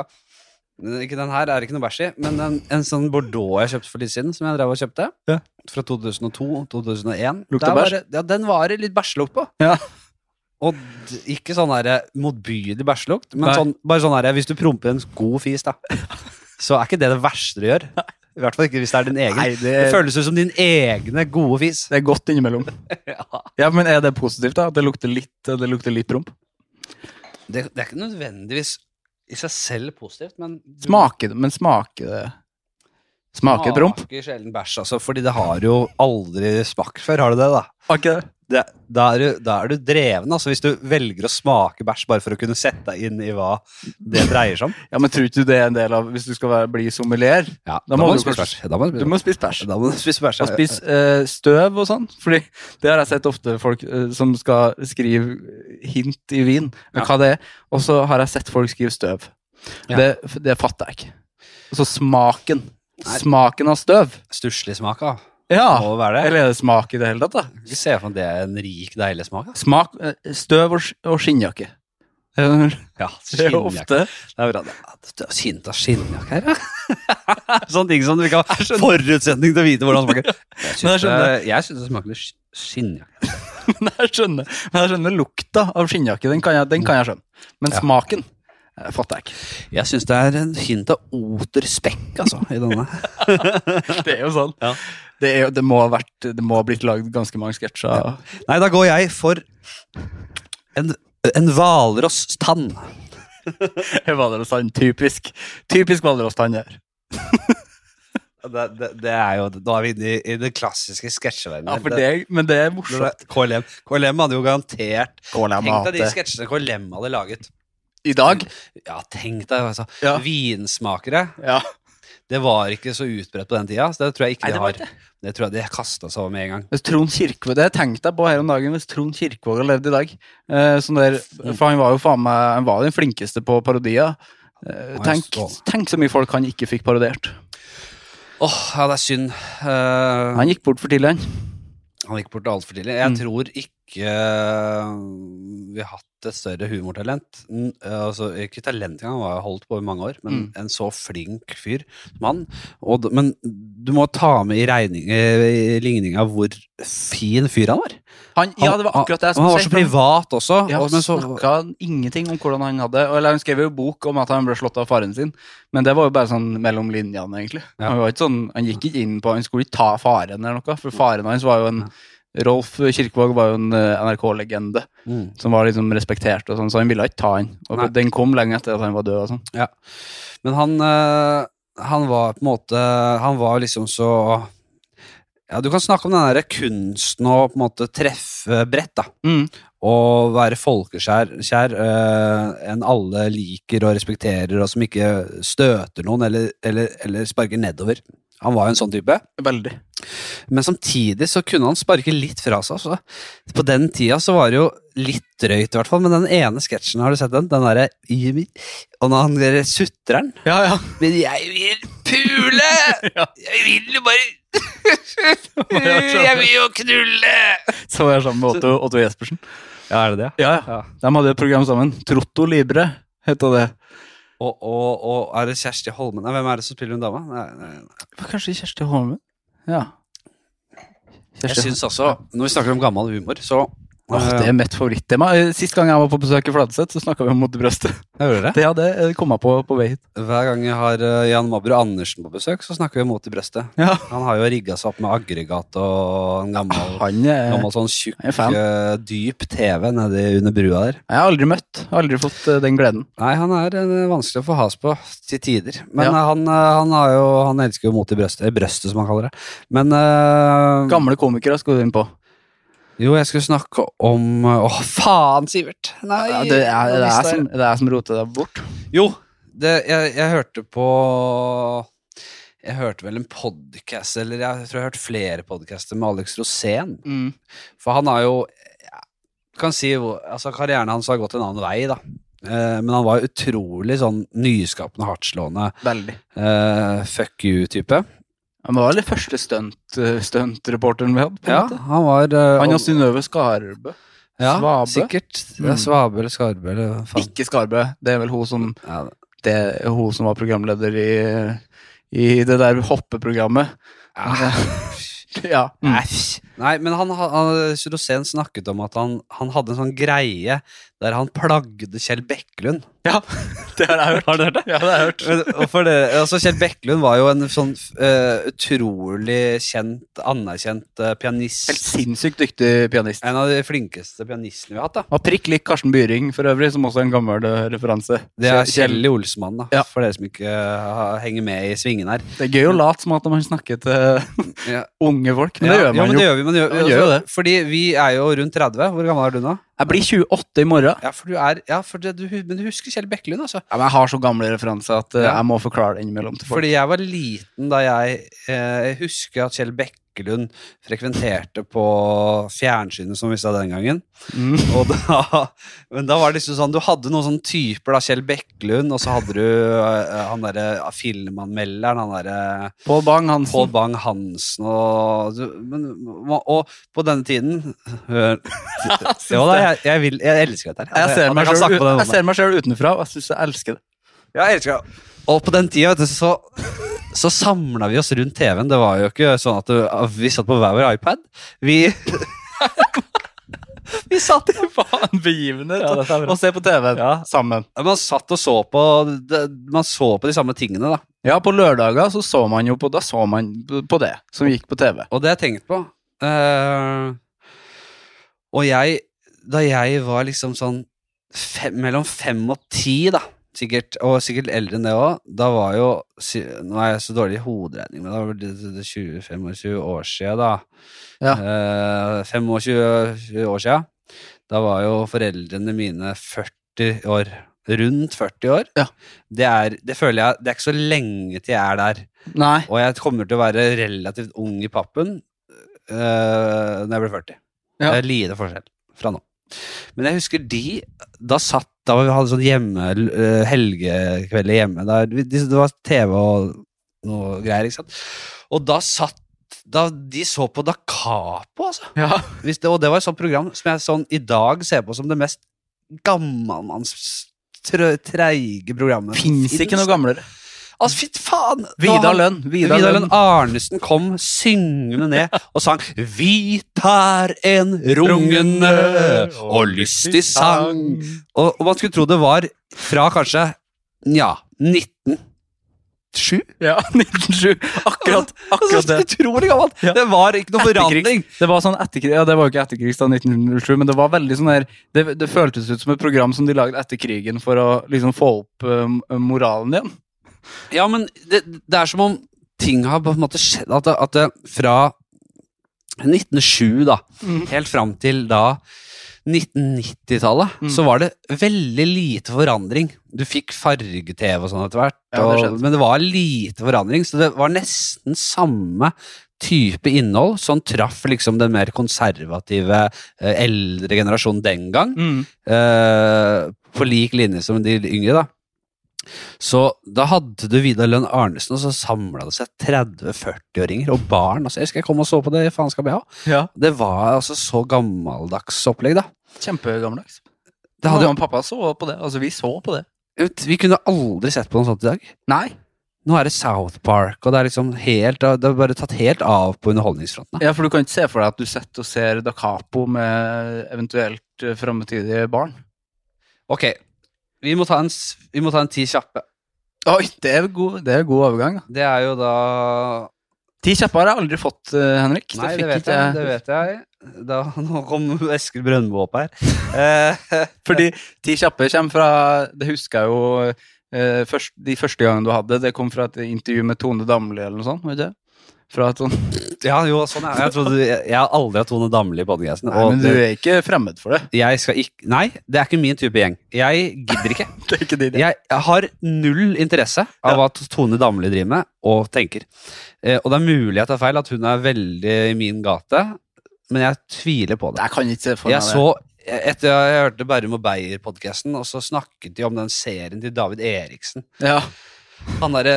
Speaker 1: ja, Ikke den her er ikke noe bæsj i, men en, en sånn Bordeaux jeg kjøpte for litt siden, som jeg drev og kjøpte.
Speaker 2: Ja.
Speaker 1: Fra 2002-2001.
Speaker 2: Lukta bæsj?
Speaker 1: Ja, den var det litt bæsjelukt på.
Speaker 2: Ja.
Speaker 1: Og d- ikke sånn der motbydelig bæsjelukt, men
Speaker 2: Nei.
Speaker 1: sånn, bare sånn der hvis du promper en god fis,
Speaker 2: [laughs]
Speaker 1: da, så er ikke det det verste du gjør. I hvert fall ikke hvis det er din egen.
Speaker 2: Nei,
Speaker 1: det...
Speaker 2: det,
Speaker 1: føles ut som din egne gode fis.
Speaker 2: det er godt
Speaker 1: [laughs]
Speaker 2: innimellom. Ja, Men er det positivt, da? At det lukter litt, det lukter litt promp?
Speaker 1: Det, det er ikke nødvendigvis i seg selv positivt, men du-
Speaker 2: Smaker det, men smaker det Smaker det promp?
Speaker 1: Smaker sjelden bæsj, altså, fordi det har jo aldri smakt før, har du det, da?
Speaker 2: Har ikke det?
Speaker 1: Det, da, er du, da er du dreven, altså, hvis du velger å smake bæsj bare for å kunne sette deg inn i hva det dreier seg om.
Speaker 2: Ja, men tror ikke du det er en del av Hvis du skal være, bli sommelier,
Speaker 1: [laughs] Ja,
Speaker 2: da må du
Speaker 1: spise
Speaker 2: kanskje-
Speaker 1: bæsj. Da må du
Speaker 2: du
Speaker 1: spise bæsj.
Speaker 2: må spise bæsj.
Speaker 1: Da må du spise bæsj.
Speaker 2: Og spise eh, støv og sånn. Fordi det har jeg sett ofte folk eh, som skal skrive hint i vin,
Speaker 1: Ja.
Speaker 2: hva det er. Og så har jeg sett folk skrive støv.
Speaker 1: Ja.
Speaker 2: Det, det fatter jeg ikke. Og så smaken.
Speaker 1: Nei.
Speaker 2: Smaken av støv.
Speaker 1: Stusslig smak, da.
Speaker 2: Ja!
Speaker 1: Må det være det.
Speaker 2: Eller er det smak i det hele tatt, da?
Speaker 1: Ikke se for meg at det er en rik, deilig smak. da.
Speaker 2: Smak, eh, støv og, sk- og skinnjakke. [laughs] Eh,
Speaker 1: Ja,
Speaker 2: Det er jo
Speaker 1: skinnjakke.
Speaker 2: ofte
Speaker 1: Det er bra. det. Ja, det er Sint av skinnjakke her, ja. [laughs] Sånne ting som du ikke har forutsetning til å vite hvordan det [laughs] smaker.
Speaker 2: Men jeg skjønner.
Speaker 1: Jeg syns det smaker litt sk- skinnjakke.
Speaker 2: Men [laughs] jeg skjønner, men jeg skjønner lukta av skinnjakke. Den kan jeg, den kan jeg skjønne. Men
Speaker 1: Ja.
Speaker 2: smaken eh, fatter jeg ikke. [laughs]
Speaker 1: Jeg syns det er en hint av oterspekk, altså, i [laughs] denne.
Speaker 2: Det er jo sånn.
Speaker 1: Ja.
Speaker 2: Det, er, jo- det, må ha vært, det må ha blitt lagd ganske mange sketsjer. [laughs]
Speaker 1: Nei, da går jeg for en, en hvalross-tann.
Speaker 2: Hvalrostand, typisk. Typisk hvalrostand her.
Speaker 1: Det, det, det er jo, da er vi inne i, i den klassiske sketsjeverdenen.
Speaker 2: Ja, for det, men det er morsomt.
Speaker 1: KLM. KLM hadde jo garantert Tenk deg de
Speaker 2: Det-
Speaker 1: sketsjene KLM hadde laget.
Speaker 2: I dag?
Speaker 1: Ja, tenk deg, altså.
Speaker 2: Ja.
Speaker 1: Vinsmakere.
Speaker 2: Ja.
Speaker 1: Det var ikke så utbredt på den tida. Så det tror jeg ikke
Speaker 2: Nei, det
Speaker 1: de
Speaker 2: var
Speaker 1: har. Det tror jeg de kasta seg over med en gang.
Speaker 2: Hvis Trond Kirkevåg, Det tenkte jeg på her om dagen, hvis Trond Kirkevåg hadde levd i dag. Eh, sånn der, for han var jo faen meg han var den flinkeste på parodier. Eh,
Speaker 1: Han er
Speaker 2: tenk,
Speaker 1: strålende.
Speaker 2: tenk så mye folk han ikke fikk parodiert.
Speaker 1: Åh, ja, det er synd. Eh,
Speaker 2: Han gikk bort for tidlig, han.
Speaker 1: Han gikk bort altfor tidlig. Jeg
Speaker 2: Mm.
Speaker 1: tror ikke øh, vi har hatt et større humortalent. N- øh, Altså, ikke talent engang, han har holdt på i mange år, men en så flink fyr som han. Og, d- men du må ta med i, regning, eh, i ligninga hvor fin fyr han var.
Speaker 2: han. Ja, det var akkurat det jeg
Speaker 1: han, han
Speaker 2: skulle
Speaker 1: var
Speaker 2: si.
Speaker 1: så privat også.
Speaker 2: Ja,
Speaker 1: og,
Speaker 2: han
Speaker 1: men så,
Speaker 2: snakka ingenting om hvordan han hadde Eller Han skrev jo bok om at han ble slått av faren sin, men det var jo bare sånn mellom linjene, egentlig.
Speaker 1: Ja.
Speaker 2: Han, var ikke sånn, han gikk ikke inn på Han skulle ikke ta faren eller noe, for faren hans var jo en Rolf Kirkevåg var jo en eh, NRK-legende
Speaker 1: mm,
Speaker 2: som var liksom respektert, og sånn, så han ville ikke ta han. Og
Speaker 1: Nei.
Speaker 2: Den kom lenge etter at han var død. og sånn.
Speaker 1: ja. Men han, øh, han var på en måte Han var liksom så ja, Du kan snakke om den der kunsten å på en måte treffe bredt. da
Speaker 2: Mm.
Speaker 1: å være folkeskjær kjær, eh, en alle liker og respekterer, og som ikke støter noen eller, eller, eller sparker nedover. Han var jo en sånn type.
Speaker 2: Veldig.
Speaker 1: Men samtidig så kunne han sparke litt fra seg. Altså. På den tida så var det jo litt drøyt, i hvert fall. Men den ene sketsjen, har du sett den? Den derre Og når han der sutrer den
Speaker 2: Ja, [laughs] ja.
Speaker 1: Men jeg vil pule! Jeg vil jo
Speaker 2: [laughs]
Speaker 1: bare
Speaker 2: altså.
Speaker 1: Jeg vil jo knulle!
Speaker 2: Så var jeg sammen med Otto, Otto Jespersen.
Speaker 1: Ja, er det det?
Speaker 2: Ja, ja. De hadde et program sammen. Trotto Libre heta det.
Speaker 1: Og, og, og er det Kjersti Holmen? Nei, hvem er det som spiller hun dama? Nei, nei, nei.
Speaker 2: Det var kanskje Kjersti Holmen? Ja.
Speaker 1: Jeg syns også, når vi snakker om gammel humor, så eh,
Speaker 2: Åh, det er mitt favorittema. Eh, Sist gang jeg var på besøk i Fladseth, så snakka vi om mot i brøstet.
Speaker 1: Jeg hører det.
Speaker 2: [laughs] Det hadde eh, kom jeg på på vei hit.
Speaker 1: Hver gang jeg har eh, Jan Mabro Andersen på besøk, så snakker vi mot i brøstet.
Speaker 2: Ja.
Speaker 1: Han har jo rigga seg opp med aggregat og en gammel,
Speaker 2: Han eh,
Speaker 1: gammel sånn tjukk,
Speaker 2: jeg er fan.
Speaker 1: eh, dyp TV nedi under brua der.
Speaker 2: Jeg har aldri møtt. Aldri fått eh, den gleden.
Speaker 1: Nei, han er eh, vanskelig å få has på til tider. Men
Speaker 2: Ja.
Speaker 1: eh, han, eh, han, har jo, han elsker jo mot i brøstet, eh, brøstet som han kaller det. Men eh,
Speaker 2: Gamle komikere skal du inn på.
Speaker 1: Jo, jeg skulle snakke om Å, faen, Sivert! Nei,
Speaker 2: Ja, det, er,
Speaker 1: nå
Speaker 2: det, er
Speaker 1: mistet jeg-
Speaker 2: som, det er som roter deg bort.
Speaker 1: Jo, det, jeg, jeg hørte på Jeg hørte vel en podcast, eller jeg tror jeg har hørt flere podcaster med Alex Rosén.
Speaker 2: Mm.
Speaker 1: For han har jo ja, kan si, hvor- altså Karrieren hans har gått en annen vei, da. Eh, Men han var utrolig sånn nyskapende, hardtslående,
Speaker 2: Veldig.
Speaker 1: eh, fuck you-type.
Speaker 2: Han var vel første stunt, eh, stuntreporteren vi hadde. på en
Speaker 1: Ja,
Speaker 2: måte.
Speaker 1: han var eh,
Speaker 2: Han og
Speaker 1: og-
Speaker 2: Synnøve Skarbø.
Speaker 1: ja,
Speaker 2: Svabø.
Speaker 1: Sikkert. Ja,
Speaker 2: Mm.
Speaker 1: Svabe eller Skarbe eller faen.
Speaker 2: Ikke Skarbø, det er vel hun som
Speaker 1: Ja,
Speaker 2: det er hun som var programleder i, i det der hoppeprogrammet. [laughs] Ah. ja. Mm.
Speaker 1: Æsj. Nei, men han, han, Sudosen snakket om at han, han hadde en sånn greie der han plagde Kjell Bekkelund.
Speaker 2: ja. Det har jeg hørt.
Speaker 1: Har du hørt det?
Speaker 2: Ja, det har jeg hørt.
Speaker 1: Og for det, altså Kjell Bekkelund var jo en sånn eh, utrolig kjent, anerkjent eh,
Speaker 2: Helt
Speaker 1: pianist.
Speaker 2: sinnssykt dyktig pianist.
Speaker 1: En av de flinkeste pianistene vi har hatt. da.
Speaker 2: Og prikk lik Karsten Byring, for øvrig, som også er en gammel eh, referanse.
Speaker 1: Det er
Speaker 2: Kjell-
Speaker 1: Kjell Olsmann, da,
Speaker 2: Ja.
Speaker 1: for dere som ikke eh, henger med i svingen her.
Speaker 2: Det er gøy å late som at man snakker til
Speaker 1: Ja.
Speaker 2: [laughs] unge folk, men
Speaker 1: ja,
Speaker 2: det gjør
Speaker 1: ja,
Speaker 2: man
Speaker 1: men det
Speaker 2: jo.
Speaker 1: gjør vi. Men det gjør, altså,
Speaker 2: Ja, man gjør jo det.
Speaker 1: Fordi vi er jo rundt 30. Hvor gammel er du nå?
Speaker 2: Jeg blir 28 i morgen.
Speaker 1: Ja, for du er, ja, for det, du, men du husker Kjell Bekkelund, altså.
Speaker 2: Ja, men jeg har så gamle referanser at eh,
Speaker 1: Ja.
Speaker 2: jeg må forklare det innimellom til folk.
Speaker 1: Fordi jeg var liten da jeg eh, husker at Kjell Bekkelund frekventerte på fjernsynet, som vi sa den gangen.
Speaker 2: Mm.
Speaker 1: Og da, [laughs] men da var det liksom sånn, du hadde noen sånne typer, da, Kjell Bekkelund, og så hadde du eh, han derre filmanmelderen, han derre
Speaker 2: Pål Bang-Hansen.
Speaker 1: Pål Bang-Hansen og du- men, Og på denne tiden hør, Jo da, jeg, jeg, vil, jeg elsker dette her.
Speaker 2: Jeg ser,
Speaker 1: At
Speaker 2: meg
Speaker 1: kan
Speaker 2: selv,
Speaker 1: snakke på den
Speaker 2: ut- jeg
Speaker 1: måten.
Speaker 2: ser meg selv utenfra, og jeg syns jeg
Speaker 1: [laughs]
Speaker 2: elsker det.
Speaker 1: Ja, jeg elsker det. Og på den tida, vet du, så, så samla vi oss rundt TV-en. Det var jo ikke sånn at du, vi satt på hver vår iPad. Vi Vi satt
Speaker 2: Faen, begivende
Speaker 1: Ja, dette er bra.
Speaker 2: å se på TV
Speaker 1: Ja.
Speaker 2: sammen.
Speaker 1: Man satt og så på det- Man så på de samme tingene, da.
Speaker 2: Ja, på lørdager så så man jo på Da så man på det som gikk på TV.
Speaker 1: Og det har jeg tenkt på. Eh, og jeg Da jeg var liksom sånn fem, mellom fem og ti, da, sikkert, og sikkert eldre enn det òg, da var jo si- Nå er jeg så dårlig i hoderegning, men da var det det- det 20-25 år siden, da.
Speaker 2: Ja.
Speaker 1: Eh, 25 år siden. Da var jo foreldrene mine 40 år. Rundt 40 år.
Speaker 2: Ja.
Speaker 1: Det, er, det føler jeg Det er ikke så lenge til jeg er der.
Speaker 2: Nei.
Speaker 1: Og jeg kommer til å være relativt ung i pappen eh, når jeg blir 40.
Speaker 2: Ja.
Speaker 1: Det er lite forskjell fra nå. Men jeg husker de Da satt Da vi hadde sånn hjemme eh, helgekvelder hjemme. Der, vi- de- det var TV og noe greier, ikke sant. Og da satt da De så på Da Capo, altså.
Speaker 2: Ja.
Speaker 1: Hvis det, og det var et sånt program som jeg sånn i dag ser på som det mest gammelmanns trø- treige programmet. som
Speaker 2: Fins ikke noe
Speaker 1: finnes.
Speaker 2: gamlere.
Speaker 1: Altså, fy faen! Det var
Speaker 2: Vidar
Speaker 1: han-
Speaker 2: Lønn. Vidar
Speaker 1: Vidar Lønn
Speaker 2: Lønn.
Speaker 1: Arnesen kom syngende ned og sang Vi tar en rungende og lystig sang. Og, og man skulle tro det var fra kanskje ja, 1907.
Speaker 2: Ja, 1907. Akkurat,
Speaker 1: [laughs] Altså,
Speaker 2: akkurat det.
Speaker 1: utrolig gammelt!
Speaker 2: Ja.
Speaker 1: Det var ikke noe
Speaker 2: Etterkrigs.
Speaker 1: forandring.
Speaker 2: Det var sånn etterkrig, ja, det var jo ikke etterkrigs da, 1907, men det var veldig sånn der det, det føltes ut som et program som de lagde etter krigen for å liksom få opp eh, moralen igjen.
Speaker 1: Ja, men det, det er som om ting har på en måte skjedd At, det, at det, fra 1907, da,
Speaker 2: Mm.
Speaker 1: helt fram til da 1990-tallet,
Speaker 2: Mm.
Speaker 1: så var det veldig lite forandring. Du fikk farge-TV og sånn etter hvert,
Speaker 2: Ja, det
Speaker 1: og-
Speaker 2: skjønte.
Speaker 1: men det var lite forandring, så det var nesten samme type innhold som traff liksom den mer konservative, eh, eldre generasjonen den gang
Speaker 2: Mm.
Speaker 1: eh, på lik linje som de yngre, da. Så da hadde du Vidar Lønn Arnesen, og så samla det seg 30-40-åringer og barn. Altså, jeg husker jeg kom og så på det i faenskap, jeg òg.
Speaker 2: Ja.
Speaker 1: Det var altså så gammeldags opplegg, da.
Speaker 2: Kjempegammeldags.
Speaker 1: Det hadde,
Speaker 2: Mamma og pappa så på det. Altså, vi så på det.
Speaker 1: vi kunne aldri sett på noe sånt i dag.
Speaker 2: Nei.
Speaker 1: Nå er det South Park, og det er liksom helt Det har bare tatt helt av på underholdningsfronten. da.
Speaker 2: Ja, for du kan ikke se for deg at du sitter og ser Da Capo med eventuelt eh, framtidige barn.
Speaker 1: Ok, vi må ta en, s- vi må ta en ti kjappe.
Speaker 2: Oi, det er god, det er god overgang. da.
Speaker 1: Det er jo da
Speaker 2: Ti kjappe har jeg aldri fått, eh, Henrik.
Speaker 1: Nei,
Speaker 2: fikk
Speaker 1: det vet
Speaker 2: ikke
Speaker 1: jeg. Det vet jeg. Da, [laughs] nå kom Eskil Brøndbo opp her.
Speaker 2: [laughs]
Speaker 1: Eh,
Speaker 2: Fordi Ti kjappe kommer fra Det husker jeg jo eh, først, de første gangene du hadde. Det kom fra et intervju med Tone Damli eller noe sånt. var det ikke det? Fra et sånt
Speaker 1: ja, jo, sånn er det. jeg, trodde, jeg, jeg har aldri hatt Tone Damli i podkasten.
Speaker 2: Nei, men du er ikke fremmed for det.
Speaker 1: Jeg skal ikke Nei, det er ikke min type gjeng. Jeg gidder ikke.
Speaker 2: [laughs] Det er ikke din
Speaker 1: Jeg har null interesse av hva Tone Damli driver med og tenker. Eh, og det er mulig jeg tar feil, at hun er veldig i min gate, men jeg tviler på det.
Speaker 2: Jeg kan ikke se for meg
Speaker 1: Jeg så etter jeg hørte Berrum og Beyer-podkasten, og så snakket de om den serien til David Eriksen.
Speaker 2: det. Ja,
Speaker 1: Han derre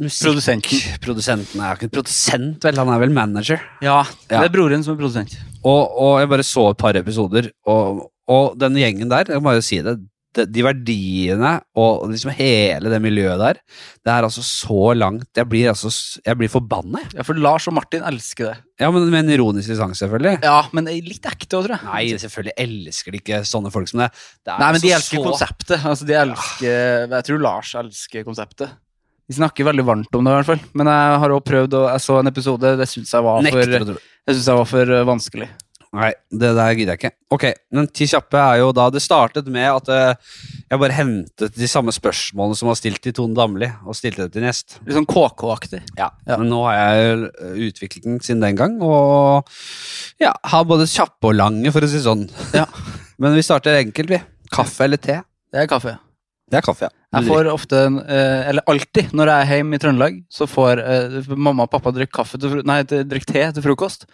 Speaker 1: musikk...
Speaker 2: Produsenten.
Speaker 1: Produsenten er jo ikke en produsent, vel. Han er vel manager.
Speaker 2: Ja, det
Speaker 1: Ja.
Speaker 2: er broren som er produsent.
Speaker 1: Og, og jeg bare så et par episoder, og, og den gjengen der, jeg må jo si det, det, de verdiene og liksom hele det miljøet der, det er altså så langt Jeg blir, altså, s- jeg blir forbanna, jeg.
Speaker 2: Ja, for Lars og Martin elsker det.
Speaker 1: Ja, men med en ironisk distanse, selvfølgelig.
Speaker 2: Ja, men det er litt ekte òg, tror jeg.
Speaker 1: Nei, selvfølgelig elsker de ikke sånne folk som det. det er
Speaker 2: Nei, men de
Speaker 1: altså
Speaker 2: elsker
Speaker 1: så-
Speaker 2: konseptet. Altså, de elsker, jeg tror Lars elsker konseptet. De snakker veldig varmt om det, i hvert fall. Men jeg har også prøvd, og jeg så en episode. Det syns jeg, var for-
Speaker 1: Nekter å
Speaker 2: jeg,
Speaker 1: tro.
Speaker 2: synes jeg var for eh, vanskelig.
Speaker 1: Nei, det der gidder jeg ikke. Ok, men Ti kjappe er jo da Det startet med at eh, jeg bare hentet de samme spørsmålene som var stilt til Tone Damli, og stilte det til Nest.
Speaker 2: Litt sånn KK-aktig.
Speaker 1: Ja.
Speaker 2: Ja.
Speaker 1: Men nå har jeg eh, utviklet den siden den gang, og ja, har både kjappe og lange, for å si det sånn.
Speaker 2: Ja.
Speaker 1: [laughs] Men vi starter enkelt, vi. Kaffe eller te?
Speaker 2: Det er kaffe.
Speaker 1: Det er kaffe, ja.
Speaker 2: Jeg får ofte, en, eh, eller alltid, når jeg er hjemme i Trøndelag, så får eh, mamma og pappa drikke kaffe til, fro- nei, til- drikke te til frokost.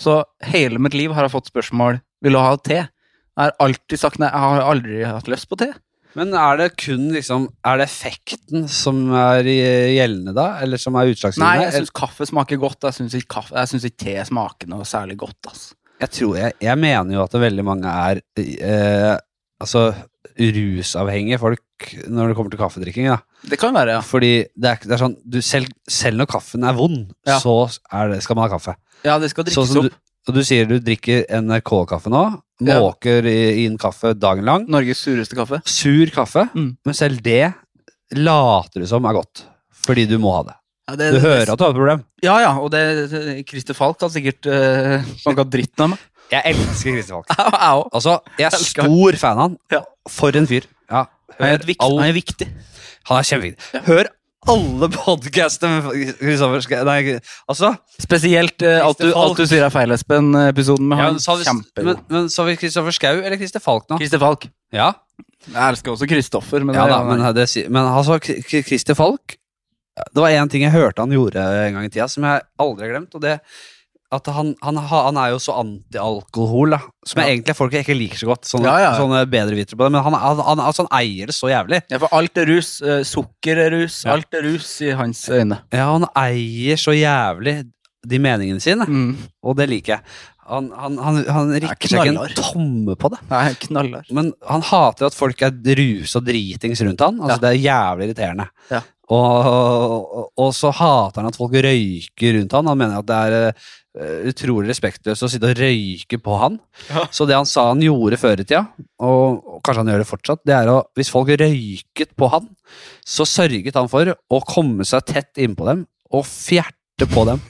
Speaker 2: Så hele mitt liv har jeg fått spørsmål vil du ha te. Jeg har alltid sagt nei, jeg har aldri hatt lyst på te.
Speaker 1: Men er det kun liksom Er det effekten som er i- gjeldende da, eller som er
Speaker 2: Nei,
Speaker 1: utslagsgivende?
Speaker 2: jeg syns kaffe smaker godt. Jeg syns ikke, kaffe- jeg synes ikke te smaker noe særlig godt. ass.
Speaker 1: Jeg, tror, jeg, jeg mener jo at det veldig mange er eh, altså, rusavhengige folk når det kommer til kaffedrikking. Da.
Speaker 2: Det kan være, ja.
Speaker 1: Fordi det er, ikke- det er sånn, du, selv, selv når kaffen er vond,
Speaker 2: Ja.
Speaker 1: så er det, skal man ha kaffe.
Speaker 2: Ja, det skal drikkes
Speaker 1: Sånn som
Speaker 2: opp.
Speaker 1: Og du sier du drikker NRK-kaffe nå,
Speaker 2: Ja.
Speaker 1: måker i- inn kaffe dagen lang.
Speaker 2: Norges sureste kaffe.
Speaker 1: Sur kaffe,
Speaker 2: Mm.
Speaker 1: men selv det later du som er godt. Fordi du må ha det.
Speaker 2: Ja, det,
Speaker 1: Du hører at du har et problem.
Speaker 2: Ja, ja, og det, det- Christer Falk kan sikkert uh, banka dritten av [laughs] meg.
Speaker 1: Jeg elsker Kristin Falk.
Speaker 2: Jeg òg.
Speaker 1: Altså, jeg er
Speaker 2: Elsker.
Speaker 1: stor fan av han.
Speaker 2: Ja.
Speaker 1: For en fyr. Ja.
Speaker 2: Han er et vikt-
Speaker 1: all-
Speaker 2: han er viktig.
Speaker 1: Han er kjempeviktig. Hør alle podkastene med Kristoffer Schou- Nei, ikke- altså
Speaker 2: Spesielt eh, alt, du,
Speaker 1: Christer Falk.
Speaker 2: alt du sier er feil, Espen. eh, Episoden med
Speaker 1: ja,
Speaker 2: han.
Speaker 1: men sa vi, men,
Speaker 2: Kjempegod.
Speaker 1: men sa vi Kristoffer Schou eller Christer Falk nå?
Speaker 2: Christer Falk.
Speaker 1: Ja,
Speaker 2: Jeg elsker også Kristoffer, men,
Speaker 1: ja da,
Speaker 2: men,
Speaker 1: men, det, si- men altså, K- K- Christer Falk Det var én ting jeg hørte han gjorde en gang i tida, som jeg aldri har glemt. og det at han, han, ha- han er jo så antialkohol, da. Som
Speaker 2: Ja.
Speaker 1: jeg egentlig er folk jeg ikke liker så godt. Sånne,
Speaker 2: Ja, ja, ja.
Speaker 1: sånne bedrevitere på det. Men han, han, han, altså, han eier det så jævlig.
Speaker 2: ja, for alt er rus. eh, Sukker er rus.
Speaker 1: Ja.
Speaker 2: Alt er rus i hans øyne.
Speaker 1: Ja, han eier så jævlig de meningene sine.
Speaker 2: [laughs] Mm.
Speaker 1: Og det liker jeg. Han, han, han, han rikker seg ikke
Speaker 2: knallhard.
Speaker 1: en tomme på det.
Speaker 2: Nei, knallhard.
Speaker 1: Men han hater at folk er rusa og dritings rundt han. Altså,
Speaker 2: Ja.
Speaker 1: Det er jævlig irriterende.
Speaker 2: Ja.
Speaker 1: Og, og, og så hater han at folk røyker rundt han. Han mener at det er eh, utrolig respektløst å sitte og røyke på han.
Speaker 2: Ja.
Speaker 1: Så det han sa han gjorde før i tida, og, og kanskje han gjør det fortsatt, det er å Hvis folk røyket på han, så sørget han for å komme seg tett innpå dem og fjerte på
Speaker 2: [laughs]
Speaker 1: dem.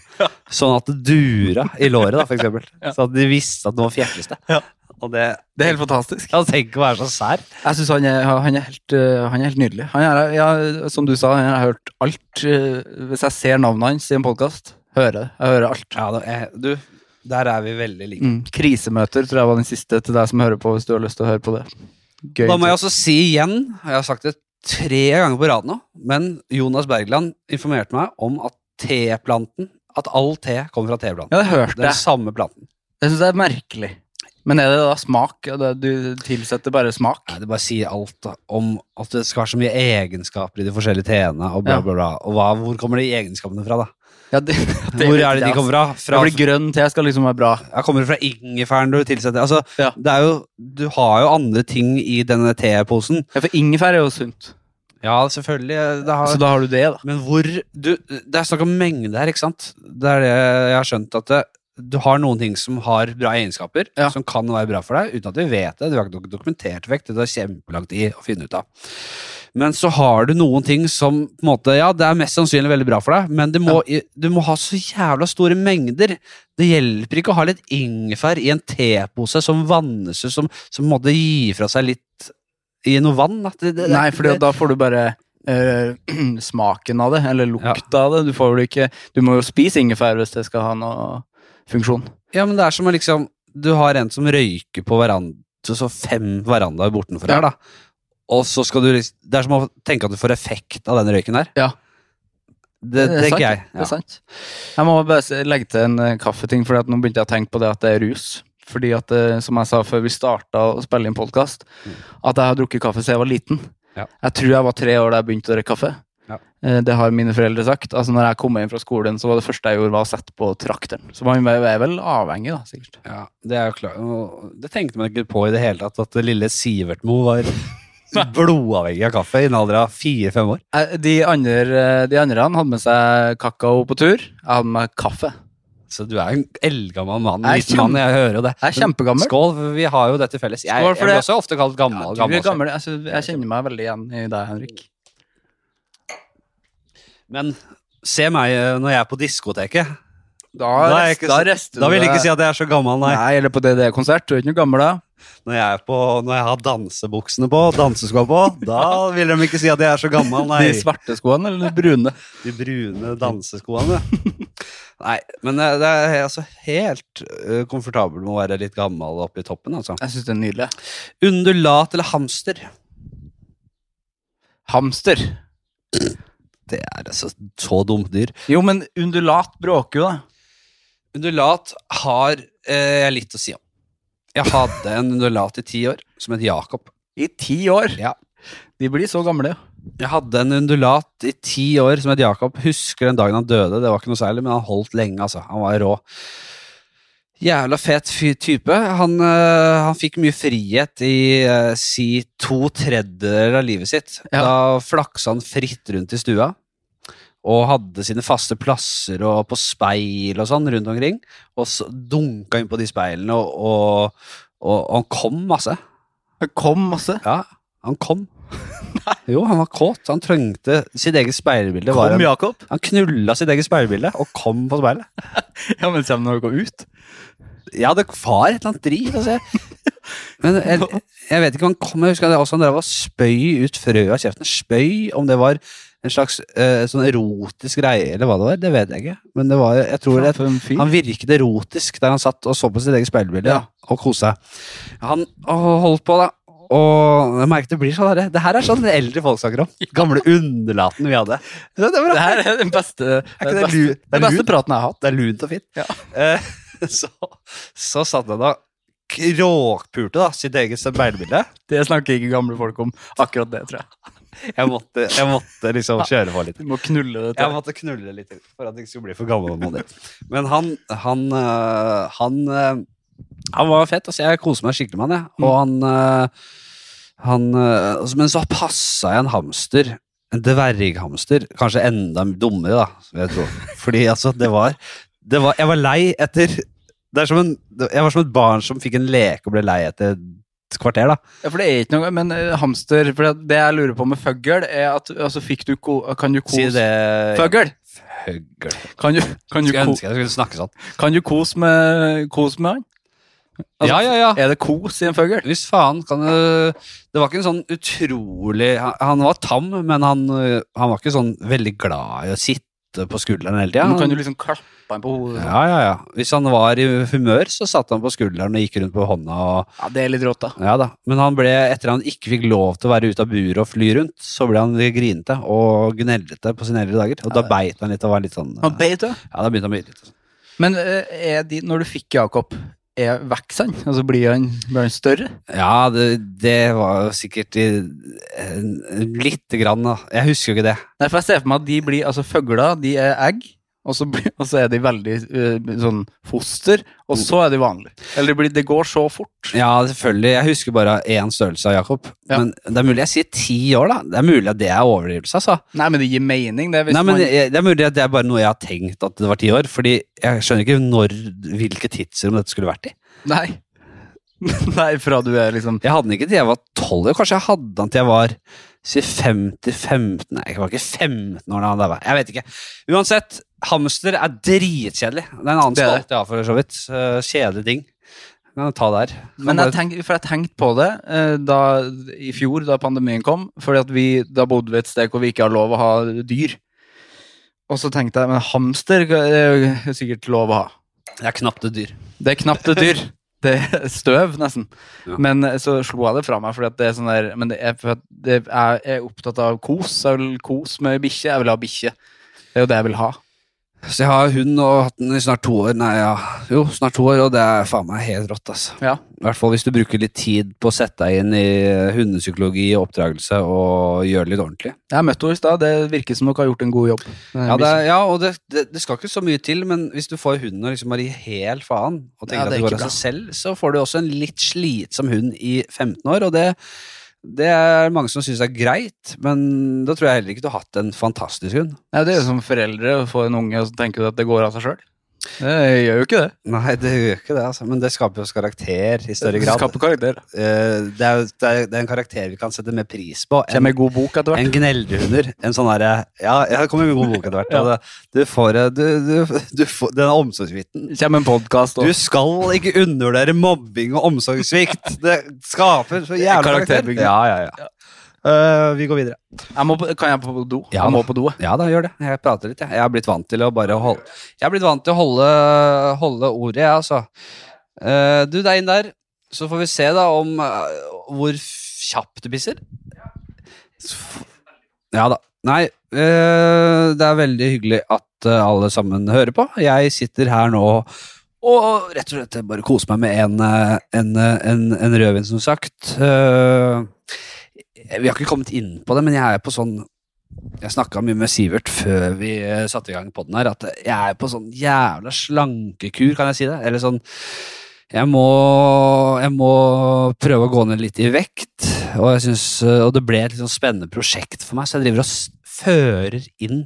Speaker 1: Sånn at det dura i låret, da, for eksempel.
Speaker 2: Ja.
Speaker 1: Så at de visste at det var fjerteste.
Speaker 2: Ja.
Speaker 1: Og det
Speaker 2: Det er helt
Speaker 1: [laughs]
Speaker 2: fantastisk.
Speaker 1: ja, tenk å være så sær.
Speaker 2: Jeg syns han, er- han, er helt, eh, han er helt nydelig. Han er, ja, som du sa, jeg har hørt alt. eh, Hvis jeg ser navnet hans i en podkast, hører jeg det. Jeg hører alt.
Speaker 1: Ja, da, jeg, du, der er vi veldig like.
Speaker 2: Mm. Krisemøter tror jeg var den siste til deg som hører på, hvis du har lyst til å høre på det. Gøy.
Speaker 1: Da må jeg også si igjen, og jeg har sagt det tre ganger på rad nå, men Jonas Bergland informerte meg om at teplanten, at all te kommer fra teplanten.
Speaker 2: Ja, det hørte
Speaker 1: Den
Speaker 2: jeg.
Speaker 1: samme planten.
Speaker 2: Jeg syns det er merkelig. Men er det da smak? Ja, det- Du tilsetter bare smak?
Speaker 1: Nei, det bare sier alt da, om at det skal være så mye egenskaper i de forskjellige teene, og bla,
Speaker 2: Ja.
Speaker 1: bla, bla. Og hva, hvor kommer de egenskapene fra, da?
Speaker 2: Ja, [laughs] det,
Speaker 1: Hvor er det de kommer fra?
Speaker 2: fra?
Speaker 1: fra
Speaker 2: Det blir grønn te skal liksom være bra.
Speaker 1: ja, kommer det fra ingefæren du tilsetter? Altså,
Speaker 2: Ja.
Speaker 1: det er jo, du har jo andre ting i denne teposen.
Speaker 2: Ja, For ingefær er jo sunt.
Speaker 1: Ja, selvfølgelig. Det har,
Speaker 2: Så da har du det, da.
Speaker 1: Men hvor du, Det er snakk om mengde her, ikke sant? Det er det jeg har skjønt at det, du har noen ting som har bra egenskaper,
Speaker 2: Ja.
Speaker 1: som kan være bra for deg, uten at vi vet det. Du har ikke dok- dokumentert vekk, det tar kjempelang tid å finne ut av. Men så har du noen ting som på en måte, ja, det er mest sannsynlig veldig bra for deg, men det må, i- du må ha så jævla store mengder. Det hjelper ikke å ha litt ingefær i en tepose som vannes ut, som, som på en måte gir fra seg litt i noe vann. at Det, det,
Speaker 2: Nei, for det- da får du bare eh, [clears throat] smaken av det, eller lukta av det. Du får vel ikke Du må jo spise ingefær hvis det skal ha noe funksjon.
Speaker 1: Ja, men det er som å liksom Du har en som røyker på veranda, så fem verandaer bortenfor
Speaker 2: Ja.
Speaker 1: her, da. Og så skal du liksom Det er som å tenke at du får effekt av den røyken der.
Speaker 2: Ja.
Speaker 1: Det,
Speaker 2: er sant,
Speaker 1: tenker jeg.
Speaker 2: Det er
Speaker 1: Ja.
Speaker 2: sant. Jeg må bare se- legge til en eh, kaffeting, for nå begynte jeg å tenke på det at det er rus. Fordi at, eh, som jeg sa før vi starta å spille inn podkast, at jeg har drukket kaffe siden jeg var liten.
Speaker 1: Ja.
Speaker 2: Jeg tror jeg var tre år da jeg begynte å drikke kaffe.
Speaker 1: Ja.
Speaker 2: Eh, Det har mine foreldre sagt. Altså når jeg kom hjem fra skolen, så var det første jeg gjorde, var å sette på trakteren. Så man er vel avhengig, da, sikkert. [laughs]
Speaker 1: Ja, det er jo klart. Og Det tenkte man ikke på i det hele tatt, at det lille Sivertmo var blodavhengig av kaffe i en alder av fire-fem år.
Speaker 2: Eh, De andre, eh, de andre han hadde med seg kakao på tur. Jeg hadde med meg kaffe.
Speaker 1: Så du er en eldgammel mann.
Speaker 2: Jeg er
Speaker 1: liten mann, jeg hører jo det.
Speaker 2: Jeg er kjempegammel.
Speaker 1: Skål, vi har jo dette felles. Jeg,
Speaker 2: Skål
Speaker 1: jeg
Speaker 2: for
Speaker 1: blir
Speaker 2: det.
Speaker 1: også ofte kalt gammel.
Speaker 2: Ja, du
Speaker 1: gammel
Speaker 2: er gammel. Altså, jeg kjenner meg veldig igjen i deg, Henrik.
Speaker 1: selv. Men se meg eh, når jeg er på diskoteket. Da
Speaker 2: Da,
Speaker 1: er jeg
Speaker 2: rest,
Speaker 1: ikke
Speaker 2: da
Speaker 1: så-
Speaker 2: rester
Speaker 1: Da
Speaker 2: du
Speaker 1: vil jeg
Speaker 2: deg.
Speaker 1: ikke si at jeg er så gammel, nei.
Speaker 2: Nei, eller på DDE-konsert. Du er ikke noe gammel da.
Speaker 1: Når jeg, er på, når jeg har dansebuksene på, danseskoa på, da
Speaker 2: [laughs]
Speaker 1: vil de ikke si at jeg er så gammel, nei.
Speaker 2: De svarte skoene eller de brune?
Speaker 1: De brune
Speaker 2: [laughs]
Speaker 1: danseskoene. Nei, men eh, det er altså helt eh, komfortabel med å være litt gammel oppe i toppen, altså.
Speaker 2: Jeg syns det er nydelig.
Speaker 1: Undulat eller hamster?
Speaker 2: Hamster.
Speaker 1: Det er altså så dumt dyr.
Speaker 2: Jo, men undulat bråker jo, da.
Speaker 1: Undulat har eh, jeg litt å si om. Jeg hadde en undulat i ti år som het Jakob.
Speaker 2: I ti år.
Speaker 1: Ja.
Speaker 2: De blir så gamle. jo.
Speaker 1: Jeg hadde en undulat i ti år som het Jakob. Husker den dagen han døde. Det var ikke noe særlig, men han holdt lenge, altså. Han var rå. Jævla fet fy- type. Han, øh, han fikk mye frihet i øh, si to tredjedeler av livet sitt.
Speaker 2: Ja.
Speaker 1: Da flaksa han fritt rundt i stua. Og hadde sine faste plasser og på speil og sånn rundt omkring. Og så dunka inn på de speilene, og, og, og, og han kom altså. masse.
Speaker 2: Det kom masse.
Speaker 1: Ja, han kom. Jo, han var kåt. Han trengte sitt eget speilbilde. Var
Speaker 2: Kom,
Speaker 1: en,
Speaker 2: Jakob.
Speaker 1: han knulla sitt eget speilbilde og kom på speilet.
Speaker 2: [laughs] Ja, men se om når du går ut.
Speaker 1: Jeg hadde far et eller annet driv. Altså. jeg- Men jeg, jeg vet ikke om han kom. Jeg husker det også han drev og spøy ut frø av kjeften. Spøy, om det var en slags eh, sånn erotisk greie eller hva det var, det vet jeg ikke. Men det var, jeg tror det,
Speaker 2: For en fyr.
Speaker 1: han virket erotisk der han satt og så på sitt eget speilbilde
Speaker 2: Ja.
Speaker 1: og koste seg. Han å, holdt på, da. Og jeg merket det blir sånn herre. Det her er sånn det eldre folk snakker om. [laughs] Gamle underlaten vi hadde. Så det, var,
Speaker 2: Det her er den beste,
Speaker 1: ikke
Speaker 2: den
Speaker 1: det
Speaker 2: beste,
Speaker 1: lu- det er
Speaker 2: den beste
Speaker 1: lunt?
Speaker 2: praten jeg har hatt.
Speaker 1: det er lunt og fint.
Speaker 2: Ja.
Speaker 1: Eh, [laughs] så, så satt han da kråkpulte da, sitt eget speilbilde.
Speaker 2: Det snakker ikke gamle folk om, akkurat det, tror jeg.
Speaker 1: Jeg måtte, jeg måtte liksom kjøre på litt.
Speaker 2: Du må knulle det
Speaker 1: Jeg
Speaker 2: til.
Speaker 1: måtte knulle det litt for at jeg ikke skulle bli for gammel. Modig. Men han han, øh, han øh, han var fett. altså Jeg koser meg skikkelig med han. Jeg. Og han, øh, han øh, altså, Men så passa jeg en hamster. En dverghamster. Kanskje enda dummere, da. vil Jeg tro. Fordi altså, det var, det var Jeg var lei etter det er som en, Jeg var som et barn som fikk en leke og ble lei etter et kvarter, da.
Speaker 2: Ja, for det er ikke noe, men eh, hamster, for det- det jeg lurer på med føggel, er at altså, fikk du ko, kan du
Speaker 1: Si
Speaker 2: kose
Speaker 1: det
Speaker 2: Føggel!
Speaker 1: Høggel.
Speaker 2: Kan du, kan, du
Speaker 1: Skulle
Speaker 2: ko,
Speaker 1: ønske jeg skulle snakke sånn.
Speaker 2: kan du kose med, kos med han? Altså,
Speaker 1: Ja, ja, ja.
Speaker 2: Er det kos i en føggel?
Speaker 1: Hvis faen kan du Det var ikke en sånn utrolig Han, han var tam, men han, øh, han var ikke sånn veldig glad i å sitte på skulderen hele tida.
Speaker 2: Nå kan du liksom klappe han på hodet. Ja.
Speaker 1: Ja, ja, ja. Hvis han var i humør, så satt han på skulderen og gikk rundt på hånda. Og,
Speaker 2: det er litt rått, da.
Speaker 1: ja da. Men han ble, etter han ikke fikk lov til å være ute av buret og fly rundt, så ble han litt grinete og gnellete på sine eldre dager. Og da beit han litt og var litt sånn
Speaker 2: Han
Speaker 1: Ja,
Speaker 2: beit, ja.
Speaker 1: da begynte han å bite litt. sånn.
Speaker 2: Men eh, er de, når du fikk Jakob, er vokser han? Altså blir han, blir han større?
Speaker 1: Ja, det, det var jo sikkert i, en- lite grann, da. Jeg husker jo ikke det.
Speaker 2: Nei, for jeg ser for meg at de blir, altså føgler, de er egg, og så, blir, og så er de veldig eh, sånn foster, og så er de vanlige. Eller det, blir, det går så fort.
Speaker 1: Ja, selvfølgelig. Jeg husker bare én størrelse av Jakob.
Speaker 2: Ja.
Speaker 1: Men det er mulig jeg sier ti år, da. Det er mulig at det er overdrivelse, altså.
Speaker 2: Nei, men det gir mening, det. Hvis
Speaker 1: Nei, men
Speaker 2: man,
Speaker 1: jeg- Det er mulig at det er bare noe jeg har tenkt at det var ti år. Fordi jeg skjønner ikke når, hvilke tidsrom dette skulle vært i.
Speaker 2: nei. [laughs] nei, fra du er liksom
Speaker 1: Jeg hadde den ikke til jeg var tolv. Kanskje jeg hadde den til jeg var si 5-15 Nei, jeg var ikke 15 år da han daua. Jeg vet ikke. Uansett, hamster er dritkjedelig. Det er en annen
Speaker 2: Det er det.
Speaker 1: spalte jeg har, for så vidt. Eh, Kjedelige ting. Kan jeg ta der. Kan
Speaker 2: Men
Speaker 1: bare-
Speaker 2: jeg tenk, for jeg tenkte på det eh, da, i fjor, da pandemien kom. Fordi at vi, da bodde vi et sted hvor vi ikke har lov å ha dyr. Og så tenkte jeg, men hamster eh, er jo sikkert lov å ha.
Speaker 1: Det er knapt et dyr.
Speaker 2: Det er knapt et dyr. Det er støv, nesten.
Speaker 1: Ja.
Speaker 2: Men eh, så slo jeg det fra meg, fordi at det er sånn der Men det er, for at det er, jeg er opptatt av kos. Jeg vil kose med bikkje. Jeg vil ha bikkje. Det er jo det jeg vil ha.
Speaker 1: Så jeg har hund og hatt den i snart to år. Nei, ja. Jo, snart to år, og det er faen meg helt rått, altså.
Speaker 2: Ja.
Speaker 1: I hvert fall hvis du bruker litt tid på å sette deg inn i hundepsykologi og oppdragelse og gjøre det litt ordentlig.
Speaker 2: Jeg møtte henne i stad. Det virker som dere har gjort en god jobb.
Speaker 1: Ja, det, er- ja og det, det, det skal ikke så mye til, men hvis du får hunden og liksom bare gir helt faen og
Speaker 2: Ja,
Speaker 1: tenker
Speaker 2: det
Speaker 1: at
Speaker 2: er
Speaker 1: det går
Speaker 2: ikke
Speaker 1: av seg selv, så får du også en litt slitsom hund i 15 år, og det Det er mange som syns er greit, men da tror jeg heller ikke du har hatt en fantastisk hund.
Speaker 2: Nei, det er jo som foreldre å få en unge og så tenker du at det går av seg sjøl. Det gjør jo ikke det.
Speaker 1: Nei, det gjør ikke det, altså. men det skaper jo oss karakter i større grad.
Speaker 2: Skaper karakter.
Speaker 1: Eh, det, er, jo- det, er, det er en karakter vi kan sette mer pris på enn
Speaker 2: Kommer ei god bok etter hvert.
Speaker 1: en gneldehunder. En sånn herre Ja, jeg kommer med en god bok etter hvert. og det- Du får, eh, du, du, du får den omsorgshviten.
Speaker 2: Kommer en podkast
Speaker 1: Du skal ikke undervurdere mobbing og omsorgssvikt. Det skaper så jævlig
Speaker 2: Karakterbygging.
Speaker 1: Ja, ja, ja. Eh, vi går videre.
Speaker 2: Jeg må på, kan jeg på do?
Speaker 1: Ja,
Speaker 2: jeg må
Speaker 1: da.
Speaker 2: på do. jeg.
Speaker 1: Ja da, gjør det. Jeg prater litt, jeg. Jeg har blitt vant til å bare holde Jeg har blitt vant til å holde, holde ordet, jeg, altså. Eh, du, det er inn der. Så får vi se, da, om eh, hvor kjapt du pisser. Ja da. Nei, eh, det er veldig hyggelig at eh, alle sammen hører på. Jeg sitter her nå og rett og slett bare koser meg med en, eh, en, eh, en, en rødvin, som sagt. Eh, vi har ikke kommet inn på det, men jeg er på sånn jeg snakka mye med Sivert før vi eh, satte i gang podden her, at jeg er på sånn jævla slankekur, kan jeg si det? Eller sånn Jeg må, jeg må prøve å gå ned litt i vekt, og, jeg synes, eh, og det ble et litt sånn spennende prosjekt for meg, så jeg driver og s- fører inn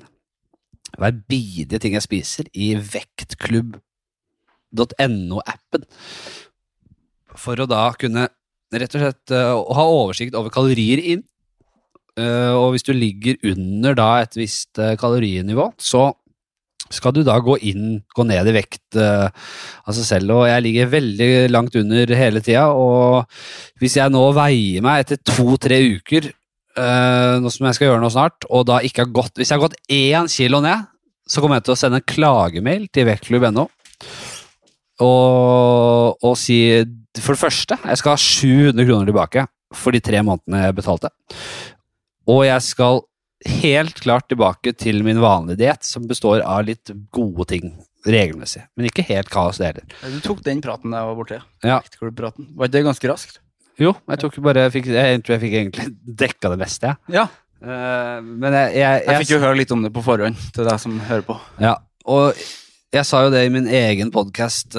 Speaker 1: hver bidige ting jeg spiser, i vektklubb.no-appen. For å da kunne rett og slett eh, ha oversikt over kalorier inn. Eh, og hvis du ligger under da et visst eh, kalorinivå, så skal du da gå inn, gå ned i vekt eh, av seg selv. Og jeg ligger veldig langt under hele tida, og hvis jeg nå veier meg etter to-tre uker, eh, noe som jeg skal gjøre nå snart, og da ikke har gått Hvis jeg har gått én kilo ned, så kommer jeg til å sende en klagemail til vektklubb.no. Og, og si For det første, jeg skal ha 700 kroner tilbake for de tre månedene jeg betalte. Og jeg skal helt klart tilbake til min vanlige diett, som består av litt gode ting regelmessig. Men ikke helt kaos, det heller.
Speaker 2: Du tok den praten da jeg var borte.
Speaker 1: Ja.
Speaker 2: Vektkortpraten. Var ikke det ganske raskt?
Speaker 1: Jo, jeg, tok jo bare, jeg, fikk, jeg tror jeg fikk egentlig [laughs] dekka det meste, jeg.
Speaker 2: Ja.
Speaker 1: Eh, men jeg, jeg,
Speaker 2: Jeg fikk jo høre litt om det på forhånd til deg som hører på.
Speaker 1: Ja, og jeg sa jo det i min egen podkast,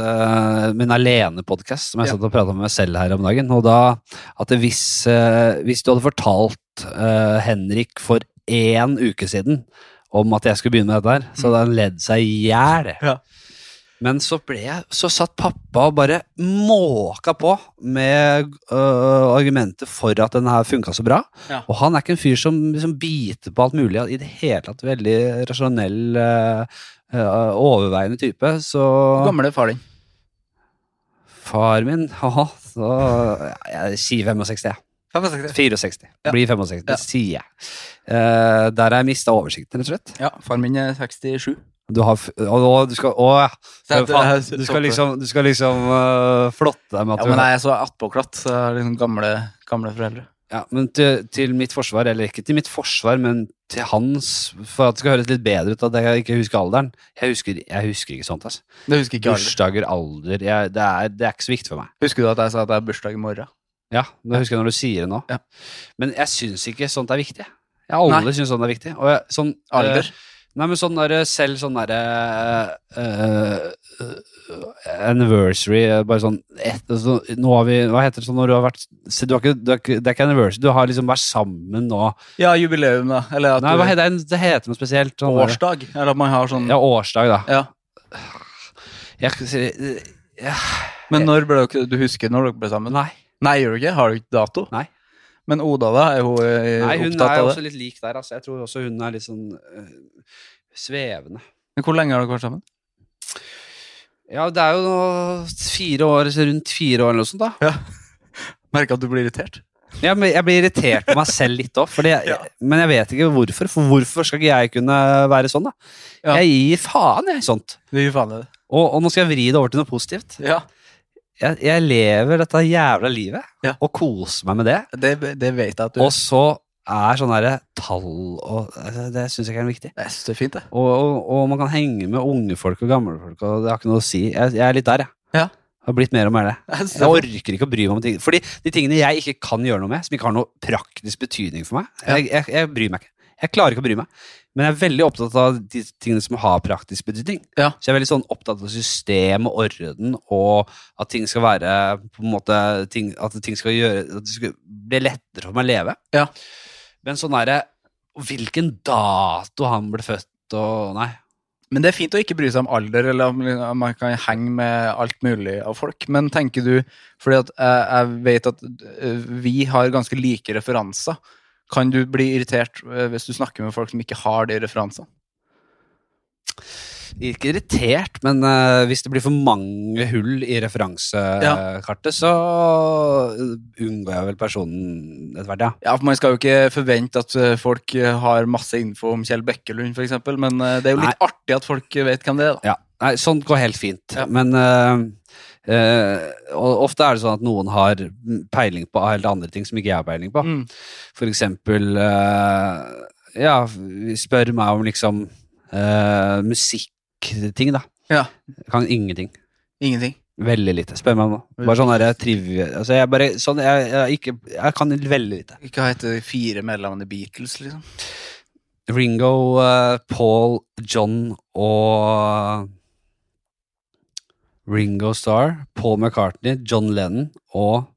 Speaker 1: min alene-podkast, som jeg
Speaker 2: Ja.
Speaker 1: satt og prata med meg selv her om dagen. Og da at det hvis, eh, hvis du hadde fortalt eh, Henrik for én uke siden om at jeg skulle begynne med dette her, så hadde han ledd seg i hjel.
Speaker 2: Mm. Ja.
Speaker 1: Men så, ble jeg, så satt pappa og bare måka på med øh, argumenter for at den her funka så bra.
Speaker 2: Ja.
Speaker 1: Og han er ikke en fyr som liksom biter på alt mulig. I det hele tatt veldig rasjonell, øh, øh, overveiende type. Så
Speaker 2: Hvor gammel er far din?
Speaker 1: far min haha, så, Jeg sier 65, jeg. 64.
Speaker 2: Ja.
Speaker 1: Blir 65, det sier jeg. Eh, der har jeg mista oversikten, rett og slett.
Speaker 2: Ja, far min er 67.
Speaker 1: Du har, f- og, og du skal, å, ja.
Speaker 2: Så jeg-
Speaker 1: Faen,
Speaker 2: jeg-
Speaker 1: du skal liksom, du skal liksom øh, flotte deg med at
Speaker 2: Ja,
Speaker 1: du
Speaker 2: men jeg er så attpåklatt. Så jeg er liksom gamle, gamle foreldre.
Speaker 1: Ja, men til, til mitt forsvar, eller ikke til mitt forsvar, men til hans, for at det skal høres litt bedre ut at jeg ikke husker alderen. Jeg husker, jeg husker ikke sånt, altså.
Speaker 2: Det husker ikke alle.
Speaker 1: Bursdager, alder, jeg, det, er, det er ikke så viktig for meg.
Speaker 2: Husker du at jeg sa at jeg har bursdag i morgen?
Speaker 1: Ja, det husker jeg når du sier det nå.
Speaker 2: Ja.
Speaker 1: Men jeg syns ikke sånt er viktig. Jeg har aldri syntes sånt er viktig. Og jeg, sånn, eh,
Speaker 2: Alder?
Speaker 1: Nei, men sånn der, selv sånn derre eh, eh, Anniversary eh, Bare sånn et, så, Nå har vi Hva heter det sånn når du har vært se, du har ikke, du har ikke, Det er ikke anniversary, du har liksom vært sammen nå
Speaker 2: Ja, jubileum, da. Eller at
Speaker 1: Nei,
Speaker 2: du
Speaker 1: hva heter det? Det heter noe spesielt. Sånn der-
Speaker 2: Årsdag. Eller at man har sånn
Speaker 1: Ja, årsdag, da.
Speaker 2: Ja.
Speaker 1: Jeg, eh, skal si- ja.
Speaker 2: Men når ble dere Du husker når dere ble sammen?
Speaker 1: Nei.
Speaker 2: Nei, gjør du ikke? Har du ikke dato?
Speaker 1: Nei.
Speaker 2: Men Oda, da? Er hun, eh,
Speaker 1: Nei, hun
Speaker 2: opptatt
Speaker 1: er
Speaker 2: av
Speaker 1: også
Speaker 2: det?
Speaker 1: litt lik der. Altså. Jeg tror også hun er litt sånn øh, svevende.
Speaker 2: Men Hvor lenge har dere vært sammen?
Speaker 1: Ja, det er jo nå fire år, så rundt fire år eller noe sånt, da.
Speaker 2: Merker at du blir irritert?
Speaker 1: Ja, men jeg blir irritert på meg selv litt òg,
Speaker 2: Ja.
Speaker 1: men jeg vet ikke hvorfor. For hvorfor skal ikke jeg kunne være sånn, da?
Speaker 2: Ja.
Speaker 1: Jeg gir faen, jeg, i sånt.
Speaker 2: Det gir faen i det.
Speaker 1: Og, og nå skal jeg vri det over til noe positivt.
Speaker 2: Ja,
Speaker 1: Jeg, jeg lever dette jævla livet
Speaker 2: Ja.
Speaker 1: og koser meg med det.
Speaker 2: det, det vet jeg at du
Speaker 1: Og så er sånn derre tall og altså, Det syns jeg ikke er noe viktig.
Speaker 2: Jeg synes det er fint, det.
Speaker 1: Og, og, og man kan henge med unge folk og gamle folk, og det har ikke noe å si. Jeg, jeg er litt der, jeg.
Speaker 2: Ja.
Speaker 1: Har blitt mer og mer det.
Speaker 2: Jeg synes det
Speaker 1: Jeg
Speaker 2: er fint.
Speaker 1: orker ikke å bry meg om ting. Fordi de tingene jeg ikke kan gjøre noe med, som ikke har noe praktisk betydning for meg, jeg, jeg, jeg bryr meg ikke. Jeg klarer ikke å bry meg. Men jeg er veldig opptatt av de tingene som har praktisk betydning.
Speaker 2: Ja.
Speaker 1: Så jeg er veldig sånn opptatt av system og orden, og at ting skal være på en måte, ting, At ting skal gjøre At det skal bli lettere for meg å leve.
Speaker 2: Ja.
Speaker 1: Men sånn derre Hvilken dato han ble født og Nei.
Speaker 2: Men det er fint å ikke bry seg om alder, eller om om man kan henge med alt mulig av folk. Men tenker du Fordi at jeg, jeg vet at eh, vi har ganske like referanser. Kan du bli irritert eh, hvis du snakker med folk som ikke har de referansene?
Speaker 1: Ikke irritert, men eh, hvis det blir for mange hull i referansekartet, så unngår jeg vel personen etter hvert, ja.
Speaker 2: Ja, for Man skal jo ikke forvente at eh, folk eh, har masse info om Kjell Bekkelund, f.eks., men eh, det er jo litt artig at folk eh, vet hvem det er. da.
Speaker 1: Ja, nei, sånt går helt fint.
Speaker 2: Ja.
Speaker 1: Men eh, eh, og ofte er det sånn at noen har peiling på helt andre ting som ikke jeg har peiling på.
Speaker 2: Mm.
Speaker 1: For eksempel eh, ja, spør meg om liksom eh, musikkting, da.
Speaker 2: Ja.
Speaker 1: Jeg kan ingenting.
Speaker 2: Ingenting.
Speaker 1: Veldig lite. Spør meg om noe. Bare sånn derre trivia altså jeg, bare, sånn, jeg, jeg, er ikke, jeg kan veldig lite.
Speaker 2: Ikke hva heter de fire medlemmene i Beatles, liksom?
Speaker 1: Ringo, eh, Paul, John og eh, Ringo Starr, Paul McCartney, John Lennon og
Speaker 2: Å,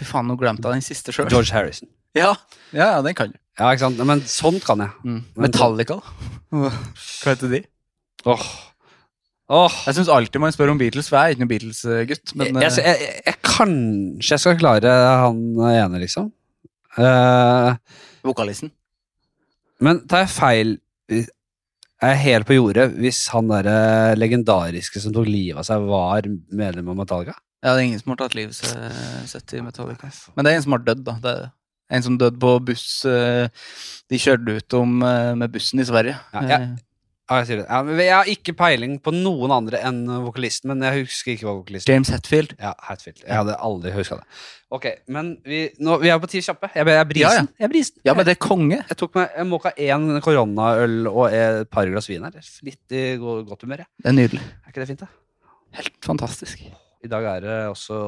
Speaker 2: fy faen, nå glemte jeg den siste sjøl.
Speaker 1: George Harrison.
Speaker 2: Ja. ja, ja, den kan du.
Speaker 1: Ja, ikke sant? Men sånt kan jeg.
Speaker 2: Mm.
Speaker 1: Men-
Speaker 2: Metallica, da? Hva heter de?
Speaker 1: Åh. Åh.
Speaker 2: Jeg syns alltid man spør om Beatles, for jeg er ikke noen Beatles-gutt. Men eh,
Speaker 1: jeg, jeg, jeg, jeg kanskje jeg skal klare han ene, liksom. Eh,
Speaker 2: eh, vokalisten
Speaker 1: men tar jeg feil Jeg er helt på jordet hvis han derre legendariske som tok livet av seg, var medlem av Metallica?
Speaker 2: Ja, det er ingen som har tatt livet se- sitt i Metallica. Men det er en som har dødd, da. Det er det. En som døde på buss eh, De kjørte ut om eh, med bussen i Sverige.
Speaker 1: Ja, ja.
Speaker 2: Eh,
Speaker 1: Ja, jeg sier det. Ja, men jeg har ikke peiling på noen andre enn vokalisten, men jeg husker ikke hva vokalisten
Speaker 2: James Hetfield.
Speaker 1: Ja, Hatfield. Jeg hadde aldri huska det. Ok, men vi, nå, vi er på ti kjappe. Jeg, jeg er brisen.
Speaker 2: Ja, ja.
Speaker 1: Jeg er brisen.
Speaker 2: Ja, men det er konge.
Speaker 1: Jeg tok meg jeg måka én koronaøl og et par glass vin her. Litt i go- godt humør, jeg.
Speaker 2: Det er nydelig.
Speaker 1: Er ikke det fint, da?
Speaker 2: Helt fantastisk.
Speaker 1: I dag er det også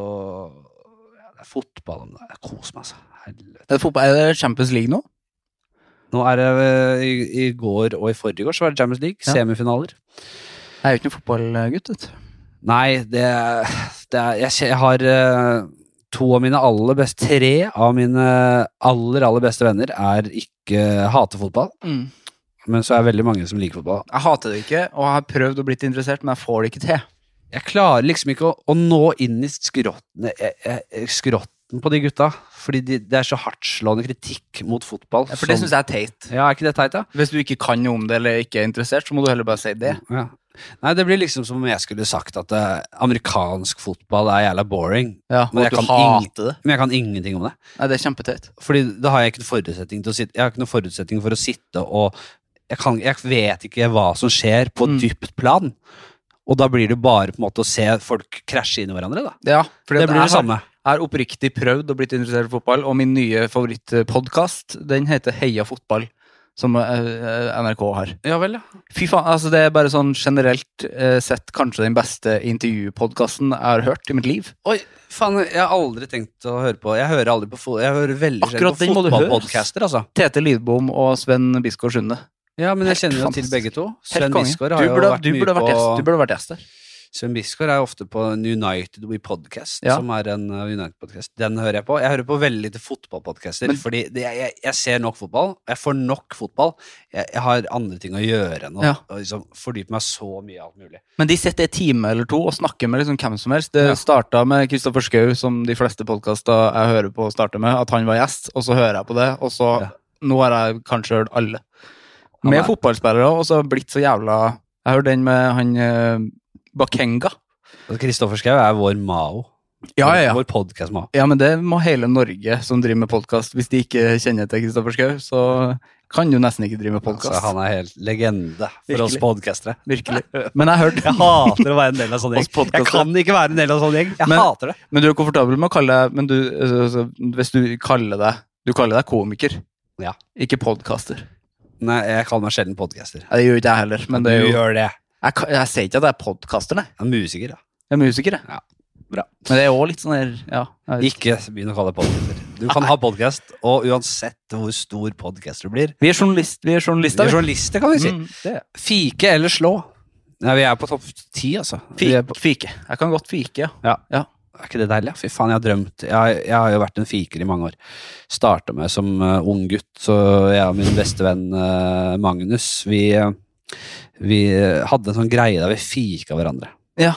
Speaker 1: ja, det er fotball om det. Jeg koser meg, altså. Helvete.
Speaker 2: Er det, fotball, er det Champions League nå?
Speaker 1: Nå er det eh, i, i går og i forrige går så var det Champions League.
Speaker 2: Ja.
Speaker 1: Semifinaler.
Speaker 2: Jeg er jo ikke noen fotballgutt. vet du.
Speaker 1: Nei, det, det er jeg, kje- jeg har eh, to av mine aller beste Tre av mine aller, aller beste venner er ikke hater fotball.
Speaker 2: Mm.
Speaker 1: Men så er det veldig mange som liker fotball.
Speaker 2: Jeg hater det ikke, og jeg har prøvd å bli interessert, men jeg får det ikke til.
Speaker 1: jeg klarer liksom ikke å, å nå inn i skrotten, jeg, jeg, jeg- skrotten på de gutta. Fordi de, det er så hardtslående kritikk mot fotball.
Speaker 2: For det
Speaker 1: som-
Speaker 2: syns jeg er teit.
Speaker 1: ja, er ikke det teit, da?
Speaker 2: Hvis du ikke kan noe om det eller ikke er interessert, så må du heller bare si det.
Speaker 1: Ja. Nei, det blir liksom som om jeg skulle sagt at eh, amerikansk fotball er jævla boring.
Speaker 2: Ja,
Speaker 1: Men
Speaker 2: og
Speaker 1: jeg
Speaker 2: at du
Speaker 1: kan
Speaker 2: hater det.
Speaker 1: Men jeg kan ingenting om det.
Speaker 2: Nei, det er kjempeteit.
Speaker 1: Fordi da har jeg ikke noen forutsetning, til å sitte, jeg har ikke noen forutsetning for å sitte og jeg, kan, jeg vet ikke hva som skjer på
Speaker 2: Mm.
Speaker 1: dypt plan. Og da blir det bare på en måte å se folk krasje inn i hverandre, da.
Speaker 2: Ja, fordi
Speaker 1: Det
Speaker 2: at
Speaker 1: blir det
Speaker 2: jeg har-
Speaker 1: samme.
Speaker 2: Jeg har oppriktig prøvd og blitt interessert i fotball, og min nye favorittpodkast, den heter Heia fotball, som eh, NRK har.
Speaker 1: Ja vel, ja.
Speaker 2: Fy faen, altså det er bare sånn generelt eh, sett kanskje den beste intervjupodkasten jeg har hørt i mitt liv.
Speaker 1: Oi, faen, jeg har aldri tenkt å høre på Jeg hører aldri på fo- Jeg hører veldig
Speaker 2: Akkurat
Speaker 1: sjelden på
Speaker 2: den må du høre, ass.
Speaker 1: fotballpodcaster, altså.
Speaker 2: Tete Lidbom og Sven Biskår Sunde.
Speaker 1: Ja, men jeg
Speaker 2: Helt
Speaker 1: kjenner jo til
Speaker 2: fantastisk.
Speaker 1: begge to.
Speaker 2: Helt
Speaker 1: Sven
Speaker 2: konge.
Speaker 1: Bisgaard har
Speaker 2: Du
Speaker 1: jo
Speaker 2: burde,
Speaker 1: vært
Speaker 2: du
Speaker 1: mye
Speaker 2: burde vært
Speaker 1: på
Speaker 2: gjest- Du burde vært gjest der.
Speaker 1: Sven Bisgaard er jo ofte på en United We Podcast,
Speaker 2: Ja.
Speaker 1: som er en uh, United-podkast. Den hører jeg på. Jeg hører på veldig lite fotballpodcaster,
Speaker 2: Men-
Speaker 1: fordi det, jeg, jeg- jeg ser nok fotball. Jeg får nok fotball. Jeg, jeg har andre ting å gjøre enn å
Speaker 2: Ja.
Speaker 1: å liksom, fordype meg så mye i alt mulig.
Speaker 2: Men de sitter en time eller to og snakker med liksom hvem som helst. Det
Speaker 1: Ja.
Speaker 2: starta med Kristoffer Schou, som de fleste podkaster jeg hører på, starter med. At han var gjest, og så hører jeg på det, og så
Speaker 1: Ja.
Speaker 2: Nå har jeg kanskje hørt alle.
Speaker 1: Han
Speaker 2: Med
Speaker 1: er-
Speaker 2: fotballspillere, og så har jeg blitt så jævla Jeg hørte den med han eh, Bakenga.
Speaker 1: Og Kristoffer Schou er vår Mao.
Speaker 2: Ja, ja, ja.
Speaker 1: Vår podkast-Mao.
Speaker 2: Ja, men det må hele Norge som driver med podkast. Hvis de ikke kjenner til Kristoffer Schou, så kan du nesten ikke drive med
Speaker 1: Altså,
Speaker 2: podkast.
Speaker 1: han er helt legende for
Speaker 2: Virkelig.
Speaker 1: oss podcastere.
Speaker 2: Virkelig. Men jeg hørte
Speaker 1: Jeg hater å være en del av sånn
Speaker 2: Oss
Speaker 1: gjeng. Jeg
Speaker 2: podcaster.
Speaker 1: kan ikke være en del av sånn gjeng. Jeg
Speaker 2: Men-
Speaker 1: hater det.
Speaker 2: Men du er komfortabel med å kalle deg men du, altså, altså, Hvis du kaller deg Du kaller deg komiker,
Speaker 1: Ja.
Speaker 2: ikke podkaster.
Speaker 1: Nei, jeg kaller meg sjelden podcaster.
Speaker 2: Ja, det gjør ikke jeg heller, men det er jo
Speaker 1: Du
Speaker 2: jeg,
Speaker 1: gjør det.
Speaker 2: ka- jeg sier ikke at jeg er podkaster, nei.
Speaker 1: Jeg er musiker, da.
Speaker 2: Jeg er musiker, jeg.
Speaker 1: Ja, bra.
Speaker 2: Men det er òg litt sånn der ja, jeg vet ikke.
Speaker 1: Ikke begynn å kalle deg podcaster. Du kan ha podkast, og uansett hvor stor podkast du blir
Speaker 2: Vi er, journalist, vi er journalister.
Speaker 1: Vi er
Speaker 2: vi.
Speaker 1: journalister, kan vi si.
Speaker 2: Mm, det er-
Speaker 1: Fike eller slå? Nei, vi er på topp ti, altså. Vi er, på,
Speaker 2: Fik, fike. Jeg kan godt fike, ja.
Speaker 1: er ikke det deilig? ja? Fy faen, jeg har drømt. Jeg, jeg har jo vært en fiker i mange år. Starta med som eh, ung gutt, så jeg og min beste venn eh, Magnus, vi, eh, vi eh, hadde en sånn greie der vi fika hverandre.
Speaker 2: ja.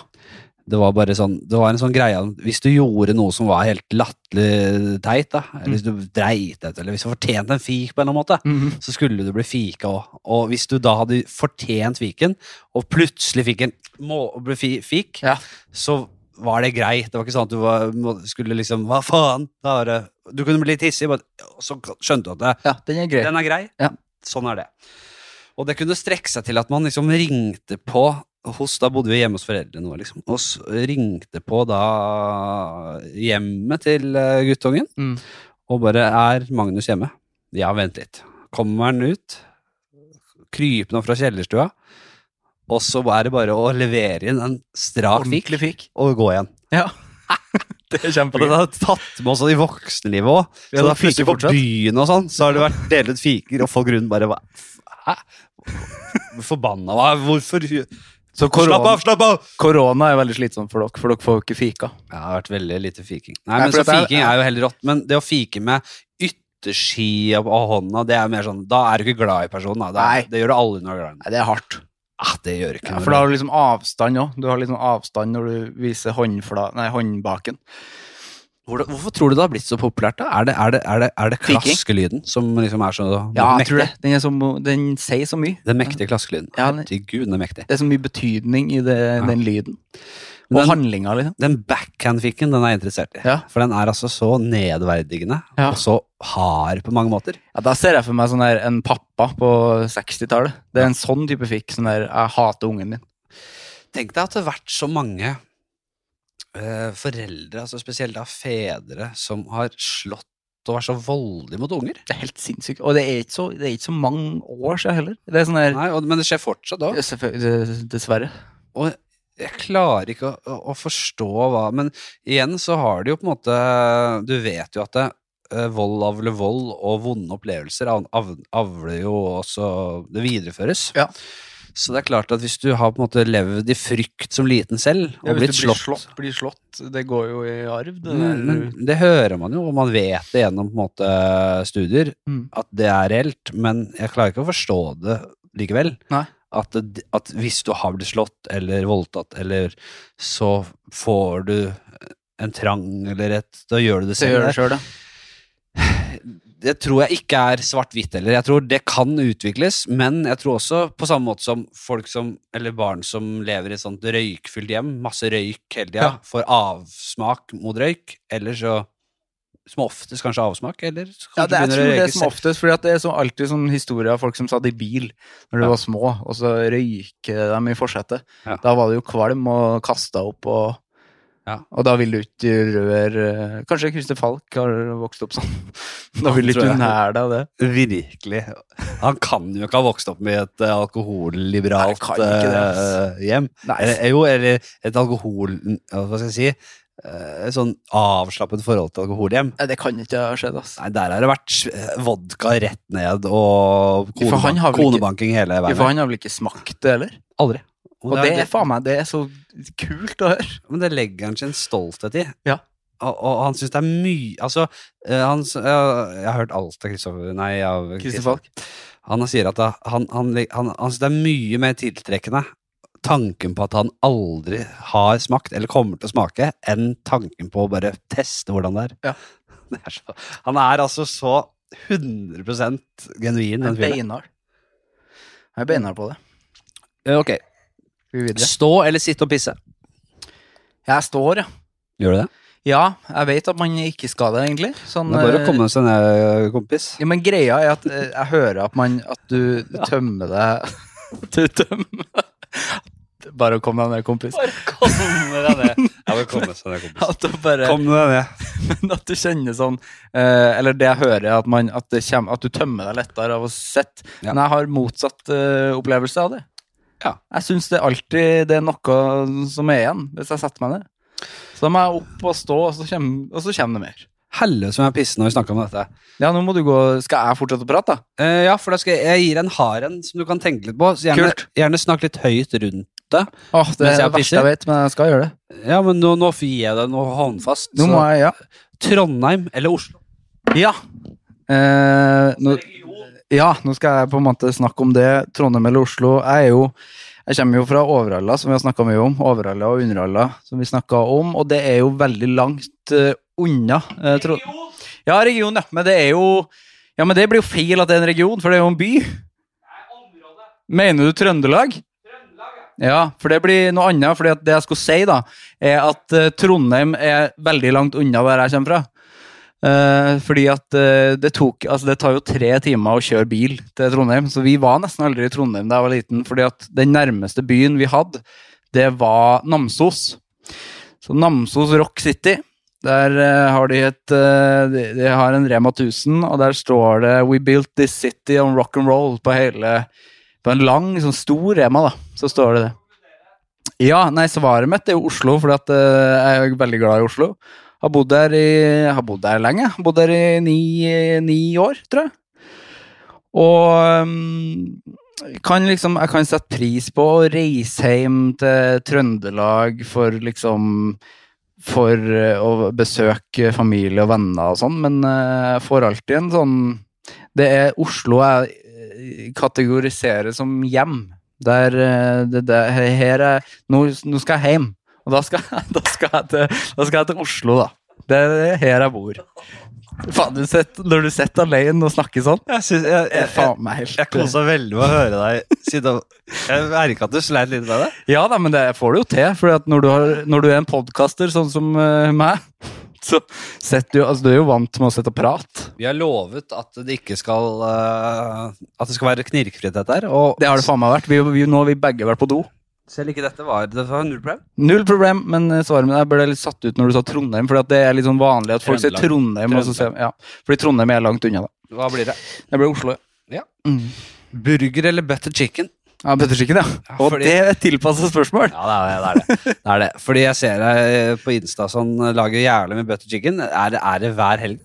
Speaker 1: Det var bare sånn, det var en sånn greie om- Hvis du gjorde noe som var helt latterlig teit, da, eller hvis du dreit deg ut, eller hvis du fortjente en fik på en eller annen måte,
Speaker 2: Mhm.
Speaker 1: så skulle du bli fika òg. Og hvis du da hadde fortjent fiken, og plutselig fikk en må, ble fi, fik,
Speaker 2: Ja.
Speaker 1: så var det greit. Det var ikke sånn at du var, må, skulle liksom Hva faen? Da er det, du kunne bli litt hissig, bare, og så skjønte du at det,
Speaker 2: ja, den er grei.
Speaker 1: den er grei.
Speaker 2: Ja.
Speaker 1: Sånn er det. Og det kunne strekke seg til at man liksom ringte på hos, Da bodde vi hjemme hos foreldrene våre, liksom. Og s- ringte på da hjemmet til eh, guttungen
Speaker 2: Mm.
Speaker 1: og bare Er Magnus hjemme? Ja, vent litt. Kommer han ut, krypende fra kjellerstua, og så er det bare å levere inn en strak fikk
Speaker 2: Ordentlig fik.
Speaker 1: og gå igjen.
Speaker 2: Ja. [laughs] det er
Speaker 1: Og den
Speaker 2: [laughs] kjempegøy.
Speaker 1: har tatt med også i voksenlivet òg. Så da plutselig
Speaker 2: fiker
Speaker 1: på
Speaker 2: fortsatt.
Speaker 1: byen og sånn, så har det vært delt ut fiker, og folk rundt bare hva- Hæ? Forbanna hva? Hvorfor
Speaker 2: Så
Speaker 1: Slapp
Speaker 2: korona,
Speaker 1: av, slapp av!
Speaker 2: korona er veldig slitsomt for dere, for dere får jo ikke fika.
Speaker 1: Jeg har vært veldig lite fiking. Nei,
Speaker 2: Nei,
Speaker 1: men så
Speaker 2: for dette er-
Speaker 1: Fiking er jo heller rått. Men det å fike med ytterskia av hånda, det er mer sånn Da er du ikke glad i personen. Da. Det,
Speaker 2: Nei.
Speaker 1: er, det gjør du aldri når du er glad i den.
Speaker 2: Nei, det er hardt.
Speaker 1: Ah, det gjør ikke
Speaker 2: Ja,
Speaker 1: noe.
Speaker 2: for da har du liksom avstand òg. Du har liksom avstand når du viser håndfla, nei, håndbaken.
Speaker 1: Hvordan- Hvorfor tror du det har blitt så populært? da? Er det, er det, er det, er det
Speaker 2: Fiking?
Speaker 1: klaskelyden som liksom er så
Speaker 2: Ja, jeg
Speaker 1: mektig?
Speaker 2: tror det. Den, er så, mo- den sier så mye.
Speaker 1: Den mektige klaskelyden.
Speaker 2: Ja, den-
Speaker 1: Herregud, den er mektig.
Speaker 2: Det er så mye betydning i det, den lyden.
Speaker 1: Den-
Speaker 2: Og handlinga, liksom.
Speaker 1: Den backhand-fikken den er jeg interessert i.
Speaker 2: Ja.
Speaker 1: For den er altså så nedverdigende
Speaker 2: Ja.
Speaker 1: og så hard på mange måter.
Speaker 2: Ja, da ser jeg for meg sånn der, en pappa på 60-tallet. Det er en sånn type fikk. Sånn der 'jeg hater ungen din'.
Speaker 1: Tenk deg at det har vært så mange eh, foreldre, altså spesielt da fedre, som har slått og vært så voldelige mot unger.
Speaker 2: Det er helt sinnssykt. Og det er ikke så, det er ikke så mange år siden heller. Det er sånn der
Speaker 1: Nei, og, Men det skjer fortsatt òg.
Speaker 2: Selvfølgelig, det- Dessverre.
Speaker 1: Og jeg klarer ikke å, å, å forstå hva Men igjen så har det jo på en måte Du vet jo at det, eh, vold avler vold, og vonde opplevelser av, av, avler jo også Det videreføres.
Speaker 2: Ja.
Speaker 1: Så det er klart at hvis du har på en måte levd i frykt som liten selv, og blitt slått,
Speaker 2: blir slått, det går jo i arv. Det
Speaker 1: Mm, men Det hører man jo, og man vet det gjennom på en måte studier,
Speaker 2: Mm.
Speaker 1: at det er reelt, men jeg klarer ikke å forstå det likevel.
Speaker 2: Nei.
Speaker 1: At, det, at hvis du har blitt slått eller voldtatt, eller så får du en trang eller et Da gjør du det
Speaker 2: Så gjør
Speaker 1: selv.
Speaker 2: det sjøl, da.
Speaker 1: Det tror jeg ikke er svart-hvitt heller. Jeg tror det kan utvikles, men jeg tror også, på samme måte som folk som, eller barn som lever i et sånt røykfylt hjem, masse røyk hele tida,
Speaker 2: Ja.
Speaker 1: får avsmak mot røyk, eller så som oftest kanskje avsmak, eller så
Speaker 2: Ja,
Speaker 1: kanskje
Speaker 2: det, jeg
Speaker 1: begynner å
Speaker 2: tror det
Speaker 1: røyke
Speaker 2: er som oftest, fordi at det er så alltid sånn historier av folk som satt i bil når de
Speaker 1: Ja.
Speaker 2: var små, og så røyker de i forsetet.
Speaker 1: Ja.
Speaker 2: Da var det jo kvalm og kasta opp, og,
Speaker 1: Ja.
Speaker 2: og da vil du ikke røre eh, Kanskje Christer Falk har vokst opp sånn.
Speaker 1: [laughs]
Speaker 2: Da vil du
Speaker 1: tror
Speaker 2: ikke
Speaker 1: jeg.
Speaker 2: nære deg det.
Speaker 1: Virkelig. Han kan jo ikke ha vokst opp med et eh,
Speaker 2: Nei,
Speaker 1: alkoholliberalt
Speaker 2: kan ikke det, ass.
Speaker 1: eh, hjem. Eller, eh, jo, eller et alkohol... Hva skal jeg si? Eh, sånn avslappet forhold til alkoholhjem.
Speaker 2: Nei, det kan ikke ha skjedd, ass.
Speaker 1: Nei, der har det vært eh, vodka rett ned og
Speaker 2: Ja, for han
Speaker 1: konebank,
Speaker 2: har vel ikke-
Speaker 1: konebanking hele veien.
Speaker 2: For han har vel ikke smakt det heller?
Speaker 1: Aldri. Og
Speaker 2: Og
Speaker 1: det,
Speaker 2: det
Speaker 1: er-
Speaker 2: er faen meg det er så kult å høre.
Speaker 1: men det legger han sin stolthet i.
Speaker 2: Ja.
Speaker 1: Og, og han syns det er mye Altså, eh, han, s- ja, jeg har hørt alt av Kristoffer Nei, av
Speaker 2: Christer Falk.
Speaker 1: Han sier at da- han, han, leg- han, han syns det er mye mer tiltrekkende tanken på at han aldri har smakt, eller kommer til å smake, enn tanken på å bare teste hvordan det er.
Speaker 2: Ja.
Speaker 1: [laughs] Det er så, han er altså så 100 genuin, den fyren.
Speaker 2: Beinhard. Jeg er beinhard på det.
Speaker 1: Eh, Ok,
Speaker 2: Skal vi videre?
Speaker 1: Stå eller sitte og pisse.
Speaker 2: Jeg står, ja.
Speaker 1: Gjør du det?
Speaker 2: Ja, jeg vet at man ikke skal det, egentlig. Sånn,
Speaker 1: Det er bare å
Speaker 2: eh,
Speaker 1: komme seg ned, kompis.
Speaker 2: Ja, men greia er at eh, jeg hører at, man, at du tømmer deg [laughs] Du tømmer Bare kom deg ned, kompis.
Speaker 1: Komme deg ned. Ja, bare komme seg ned, [laughs] kompis.
Speaker 2: At du bare
Speaker 1: Kom deg ned.
Speaker 2: Men [laughs] at du kjenner sånn eh, Eller det jeg hører, er at, man, at, det kjem, at du tømmer deg lettere av å sette.
Speaker 1: Ja.
Speaker 2: Men jeg har motsatt eh, opplevelse av det.
Speaker 1: Ja.
Speaker 2: Jeg syns det alltid det er noe som er igjen, hvis jeg setter meg ned. Så da må jeg opp og stå, og så kommer, og så kommer det mer.
Speaker 1: Helle som jeg pisser når vi snakker om dette.
Speaker 2: Ja, nå må du gå. Skal jeg fortsette å prate, da?
Speaker 1: Eh, ja, for da skal jeg, jeg gir deg en hard en som du kan tenke litt på. Så gjerne,
Speaker 2: Kult.
Speaker 1: gjerne snakk litt høyt rundt.
Speaker 2: Åh, det
Speaker 1: Mens jeg
Speaker 2: er det verste
Speaker 1: pisser?
Speaker 2: jeg vet, men jeg skal gjøre det.
Speaker 1: Ja, men nå, nå gir jeg deg noe håndfast.
Speaker 2: Nå
Speaker 1: så-
Speaker 2: må jeg, ja.
Speaker 1: Trondheim eller Oslo?
Speaker 2: Ja. Eh, nå, ja, nå skal jeg på en måte snakke om det. Trondheim eller Oslo. Jeg er jo jeg kommer jo fra Overhalla, som vi har snakka mye om. Overhalla og Underhalla, som vi snakka om. Og det er jo veldig langt eh, unna. eh, Tro- ja, region, ja. Men det er jo Ja, men det blir jo feil at det er en region, for det er jo en by. Mener du Trøndelag? Ja, for det blir noe annet. For det jeg skulle si, da, er at eh, Trondheim er veldig langt unna der jeg kommer fra. Eh, fordi at eh, det tok Altså, det tar jo tre timer å kjøre bil til Trondheim, så vi var nesten aldri i Trondheim da jeg var liten, fordi at den nærmeste byen vi hadde, det var Namsos. Så Namsos Rock City. Der eh, har de et eh, de, de har en Rema 1000, og der står det 'We built this city on rock and roll' på hele På en lang, sånn stor Rema, da. Så står det det. Ja, nei, svaret mitt er jo Oslo, for at eh, jeg er jo veldig glad i Oslo. Har bodd der, i, har bodd der lenge. Har bodd der i ni, ni år, tror jeg. Og um, kan liksom, jeg kan sette pris på å reise hjem til Trøndelag for liksom For eh, å besøke familie og venner og sånn, men eh, jeg får alltid en sånn Det er Oslo jeg eh, kategoriserer som hjem. Der, eh, det, det, her er, nå, nå skal jeg hjem. Og da skal, [laughs] da skal, jeg, til, da skal jeg til Oslo, da. Det er her jeg bor. Faen, du sitter- når du sitter alene og snakker sånn
Speaker 1: Jeg, synes, jeg,
Speaker 2: det er faen meg helt
Speaker 1: veldig med å høre deg Jeg merka at du sleit litt med det.
Speaker 2: eh, Ja da, men det får du jo til. For når, du har- når du er en podkaster sånn som eh, meg, så sitter du Altså, du er jo vant med å sitte og prate.
Speaker 1: Vi har lovet at det ikke skal eh, At det skal være knirkfritt, dette her. Og
Speaker 2: Det har det faen meg vært. Vi, vi, nå har vi begge vært på do.
Speaker 1: selv ikke dette var Det var null problem.
Speaker 2: Null problem, men eh, svaret mitt jeg ble litt satt ut når du sa Trondheim. For det er litt sånn vanlig at folk sier Trondheim. Og så sier, ja, fordi Trondheim er langt unna, da.
Speaker 1: Hva blir det?
Speaker 2: Det blir Oslo.
Speaker 1: Ja.
Speaker 2: Mm.
Speaker 1: Burger eller butter chicken?
Speaker 2: Ja, Bøtterskikken, ja.
Speaker 1: Ja,
Speaker 2: Og
Speaker 1: fordi-
Speaker 2: det er et tilpassa spørsmål.
Speaker 1: Ja, det er det. Det er det. det, er det. Fordi jeg ser deg på Insta sånn lager jævlig med butter chicken. Er det, er det hver helg?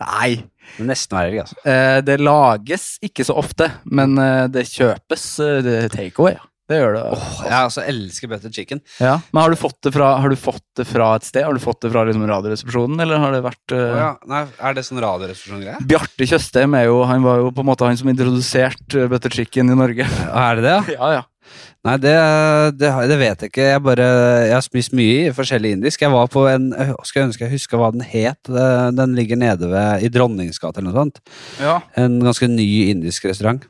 Speaker 2: Nei.
Speaker 1: Det er Nesten hver helg, altså.
Speaker 2: Eh, det lages ikke så ofte, men eh, det kjøpes eh, det er takeaway. Ja. Det gjør det.
Speaker 1: Jeg altså elsker butter chicken.
Speaker 2: ja. Men har du, fått det fra, har du fått det fra et sted? Har du fått det fra liksom, Radioresepsjonen, eller har det vært eh,
Speaker 1: Å ja. Nei, er det sånn radioresepsjon-greie?
Speaker 2: Bjarte Tjøstheim er jo, han var jo på en måte han som introduserte eh, butter chicken i Norge.
Speaker 1: Er det det, ja?
Speaker 2: [laughs] ja, ja.
Speaker 1: Nei, det, det, har- det vet jeg ikke. Jeg, bare, jeg har spist mye i forskjellig indisk. Jeg var på en øh, Skal jeg ønske jeg husker hva den het. Eh, Den ligger nede ved, i Dronningsgata eller noe sånt.
Speaker 2: ja.
Speaker 1: En ganske ny indisk restaurant.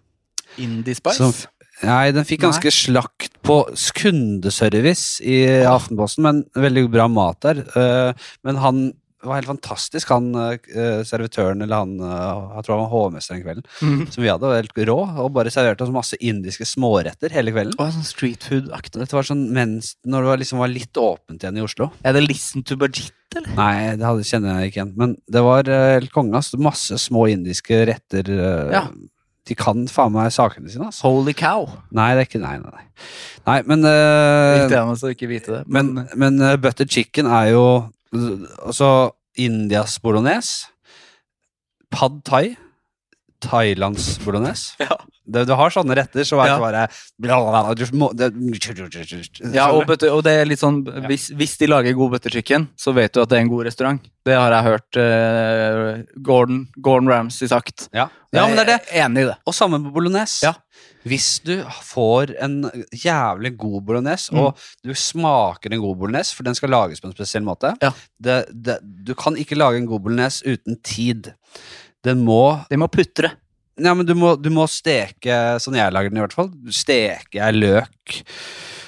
Speaker 2: Indie
Speaker 1: Som f- Nei, den fikk ganske
Speaker 2: Nei.
Speaker 1: slakt på s- kundeservice i Aftenposten, men veldig bra mat der. Eh, Men han var helt fantastisk, han eh, servitøren, eller han eh, Jeg tror han var hovmester den kvelden,
Speaker 2: Mhm.
Speaker 1: som vi hadde, var helt rå, og bare serverte oss masse indiske småretter hele kvelden.
Speaker 2: Å, sånn street food-aktig.
Speaker 1: Dette var sånn mens, når det var, liksom var litt åpent igjen i Oslo.
Speaker 2: Er det Listen to Bajit, eller?
Speaker 1: Nei, det hadde, kjenner jeg ikke igjen. Men det var eh, helt konge. ass. Masse små indiske retter. eh,
Speaker 2: Ja.
Speaker 1: De kan faen meg sakene sine, ass.
Speaker 2: Holy cow.
Speaker 1: Nei, det er ikke Nei, nei, nei. nei men, eh,
Speaker 2: Litt enig å ikke vite det,
Speaker 1: men,
Speaker 2: men
Speaker 1: men eh, butter chicken er jo Altså Indias bolognese, pad thai, Thailands bolognese.
Speaker 2: Ja.
Speaker 1: Det, du har sånne retter, så er
Speaker 2: Ja.
Speaker 1: det bare blablabla, du må- det-
Speaker 2: Ja, og, butter, og det er litt sånn hvis, hvis de lager god butter chicken, så vet du at det er en god restaurant. Det har jeg hørt eh, Gordon, Gordon Ramsay sagt.
Speaker 1: ja. ja, men det er det.
Speaker 2: Jeg Enig i det.
Speaker 1: Og sammen med bolognese.
Speaker 2: Ja.
Speaker 1: Hvis du får en jævlig god bolognese,
Speaker 2: Mm.
Speaker 1: og du smaker en god bolognese, for den skal lages på en spesiell måte
Speaker 2: Ja.
Speaker 1: det, det, Du kan ikke lage en god bolognese uten tid. Den må
Speaker 2: De må putre.
Speaker 1: Ja, men du må, du må steke, sånn jeg lager den i hvert fall, steker jeg løk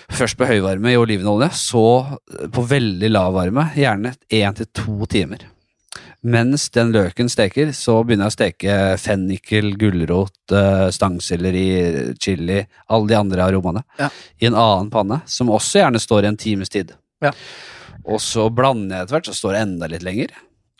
Speaker 1: først på høyvarme i olivenolje, så eh, på veldig lav varme, gjerne én til to timer. Mens den løken steker, så begynner jeg å steke fennikel, gulrot, eh, stangselleri, chili, alle de andre aromaene,
Speaker 2: Ja.
Speaker 1: i en annen panne, som også gjerne står i en times tid.
Speaker 2: Ja.
Speaker 1: Og så blander jeg etter hvert, så står det enda litt lenger.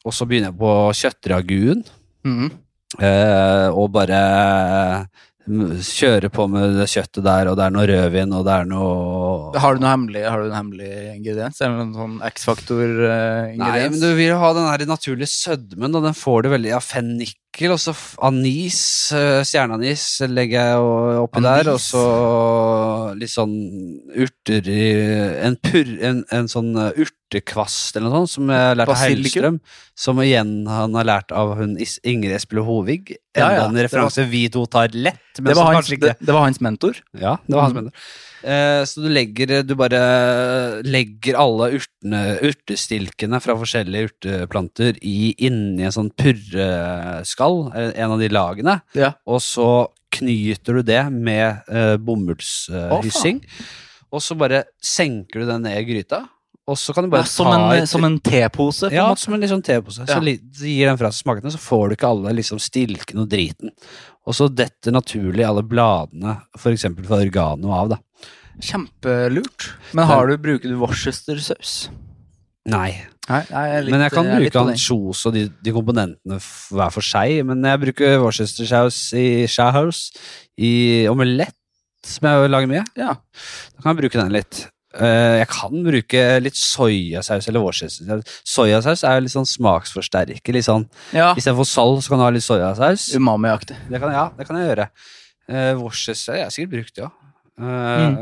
Speaker 1: Og så begynner jeg på kjøttraguen.
Speaker 2: Mhm.
Speaker 1: Eh, og bare kjøre på med det kjøttet der, og det er noe rødvin, og det er noe
Speaker 2: Har du noe hemmelig, har du en hemmelig ingrediens? Eller en sånn eh,
Speaker 1: Nei,
Speaker 2: X-faktor-ingrediens?
Speaker 1: men du vil ha den her naturlige sødmen, og den får du veldig av fennikel, og så f- anis, eh, stjerneanis legger jeg o- oppi
Speaker 2: Anis?
Speaker 1: der, og så litt sånn urter i En, purr- en, en sånn eh, urtekvast eller noe sånt, som jeg lærte av
Speaker 2: Basilikum?
Speaker 1: Hellstrøm, som igjen han har lært av hun Is- Ingrid Espelid Hovig.
Speaker 2: Ja,
Speaker 1: Enda
Speaker 2: ja,
Speaker 1: en
Speaker 2: det var-
Speaker 1: referanse vi to tar lett, men
Speaker 2: det, var
Speaker 1: som
Speaker 2: hans,
Speaker 1: kanskje ikke
Speaker 2: det, det var hans mentor.
Speaker 1: ja, det var hans
Speaker 2: Mm.
Speaker 1: mener. Eh, så du legger Du bare legger alle urtene, urtestilkene fra forskjellige urteplanter i, inni en sånn purreskall, eh, en av de lagene,
Speaker 2: Ja.
Speaker 1: og så knyter du det med eh,
Speaker 2: Å, faen.
Speaker 1: bomullshyssing. og så bare senker du den ned i gryta, og så kan du
Speaker 2: Ja,
Speaker 1: bare
Speaker 2: som,
Speaker 1: ta
Speaker 2: en,
Speaker 1: et-
Speaker 2: som en tepose, på en
Speaker 1: ja,
Speaker 2: måte.
Speaker 1: som en litt sånn tepose.
Speaker 2: Ja.
Speaker 1: Så li- gir den fra seg smakene, så får du ikke alle liksom stilkene og driten. Og så detter naturlig alle bladene, f.eks. fra organo av, da.
Speaker 2: Kjempelurt. Men har du, bruker du Worcester-saus?
Speaker 1: Nei.
Speaker 2: Nei, jeg er litt-
Speaker 1: men jeg kan
Speaker 2: er litt
Speaker 1: bruke
Speaker 2: på den.
Speaker 1: ansjos og de, de komponentene f- hver for seg. Men jeg bruker Worcestersaus i shahouse, i omelett, som jeg lager mye.
Speaker 2: Ja.
Speaker 1: Da kan jeg bruke den litt. Eh, jeg kan bruke litt soyasaus eller worcestersaus. Soyasaus er jo litt sånn smaksforsterker. Litt sånn,
Speaker 2: ja.
Speaker 1: Istedenfor salt, så kan du ha litt soyasaus.
Speaker 2: Umami-aktig.
Speaker 1: Det kan, ja, det kan jeg gjøre. Uh, jeg har sikkert brukt det òg.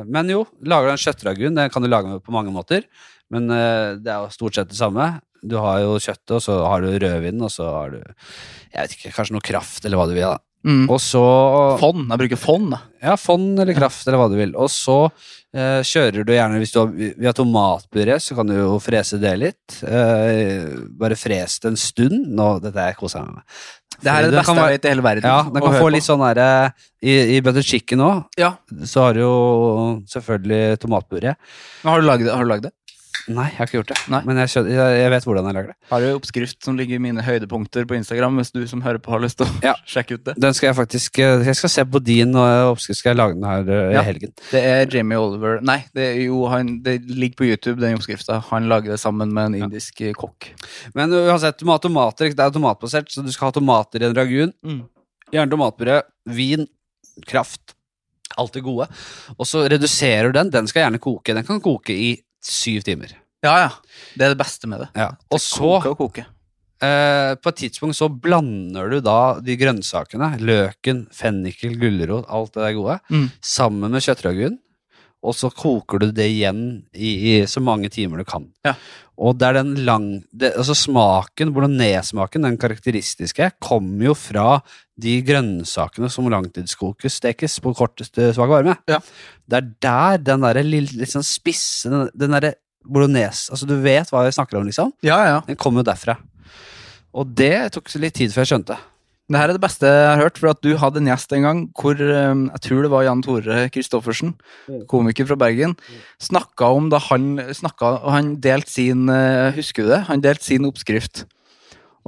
Speaker 1: Men jo, lager du en kjøttragun, den kan du lage med på mange måter. Men eh, det er jo stort sett det samme. Du har jo kjøttet, og så har du rødvinen, og så har du jeg vet ikke, kanskje noe kraft, eller hva du vil. da.
Speaker 2: Mm.
Speaker 1: Og så
Speaker 2: Fond. Jeg bruker fond, da.
Speaker 1: Ja, fond eller kraft, eller hva du vil. Og så eh, kjører du gjerne Hvis du har, vi har tomatpuré, så kan du jo frese det litt. Eh, bare fres det en stund. Nå, dette er koser jeg meg med.
Speaker 2: Det her er det
Speaker 1: Den kan
Speaker 2: beste
Speaker 1: være-
Speaker 2: jeg vet i hele verden.
Speaker 1: ja, den
Speaker 2: å
Speaker 1: kan
Speaker 2: høre
Speaker 1: få
Speaker 2: på.
Speaker 1: litt sånn derre I, i butter chicken òg,
Speaker 2: Ja.
Speaker 1: så har du jo selvfølgelig tomatpuré.
Speaker 2: Men har du lagd det? Har du lagd det?
Speaker 1: Nei, jeg har ikke gjort det.
Speaker 2: Nei.
Speaker 1: Men jeg, skjønner, jeg, jeg vet hvordan jeg lager det.
Speaker 2: Har du oppskrift som ligger i mine høydepunkter på Instagram, hvis du som hører på har lyst til å
Speaker 1: Ja.
Speaker 2: [laughs] sjekke ut det?
Speaker 1: Den skal jeg faktisk eh, Jeg skal se på din eh, oppskrift, skal jeg lage den her eh, i
Speaker 2: Ja.
Speaker 1: helgen.
Speaker 2: Det er Jamie Oliver Nei, det, er jo, han, det ligger på YouTube, den oppskrifta. Han lager det sammen med en indisk eh, kokk.
Speaker 1: Men uansett, du må ha tomater. ikke? Det er tomatbasert, så du skal ha tomater i en ragun.
Speaker 2: Mm.
Speaker 1: Gjerne tomatpuré, vin, kraft. Alt det gode. Og så reduserer du den. Den skal gjerne koke. Den kan koke i syv timer.
Speaker 2: Ja, ja. Det er det beste med det.
Speaker 1: Og så
Speaker 2: Koke og koke.
Speaker 1: Eh, på et tidspunkt så blander du da de grønnsakene, løken, fennikel, gulrot, alt det der gode,
Speaker 2: Mm.
Speaker 1: sammen med kjøttragun, og så koker du det igjen i, i så mange timer du kan.
Speaker 2: Ja.
Speaker 1: Og det er den lang... Det, altså smaken, bolognese-smaken, den karakteristiske, kommer jo fra de grønnsakene som langtidskokes, stekes på kortest eh, svak varme.
Speaker 2: Ja.
Speaker 1: Det er der den derre lille, litt sånn spisse, den, den derre bolognese Altså, du vet hva jeg snakker om, liksom.
Speaker 2: Ja, ja.
Speaker 1: Den kom jo derfra. Og det tok litt tid før jeg skjønte.
Speaker 2: Det her er det beste jeg har hørt, for at du hadde en gjest en gang hvor eh, jeg tror det var Jan Tore Christoffersen,
Speaker 1: Mm.
Speaker 2: komiker fra Bergen, snakka om da han snakka Og han delte sin eh, Husker du det? Han delte sin oppskrift.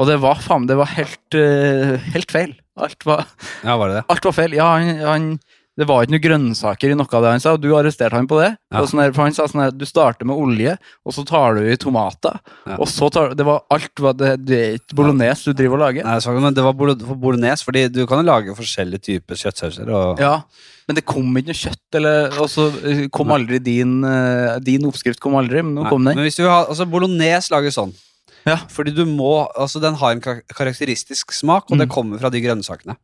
Speaker 2: Og det var faen det var helt, eh, helt feil. Alt var,
Speaker 1: Ja, var det det?
Speaker 2: alt var feil. Ja, han, han det var ikke noen grønnsaker i noe av det han sa, og du arresterte han på det.
Speaker 1: Ja.
Speaker 2: Og sånn her, for han sa sånn her, du starter med olje, og så tar du i tomater,
Speaker 1: Ja.
Speaker 2: og så tar du Det var alt var det, det er ikke bolognese du driver og lager.
Speaker 1: Nei, jeg sa ikke, men det var bolo- for bolognese, fordi du kan jo lage forskjellige typer kjøttsauser. Og...
Speaker 2: Ja, men det kom ikke noe kjøtt, eller, og så eh, kom
Speaker 1: Nei.
Speaker 2: aldri din, eh, din oppskrift kom aldri, men nå
Speaker 1: Nei,
Speaker 2: kom den.
Speaker 1: Men hvis du vil ha, altså Bolognese lages sånn.
Speaker 2: Ja.
Speaker 1: Fordi du må, altså Den har en kar- karakteristisk smak, og det
Speaker 2: Mm.
Speaker 1: kommer fra de grønnsakene.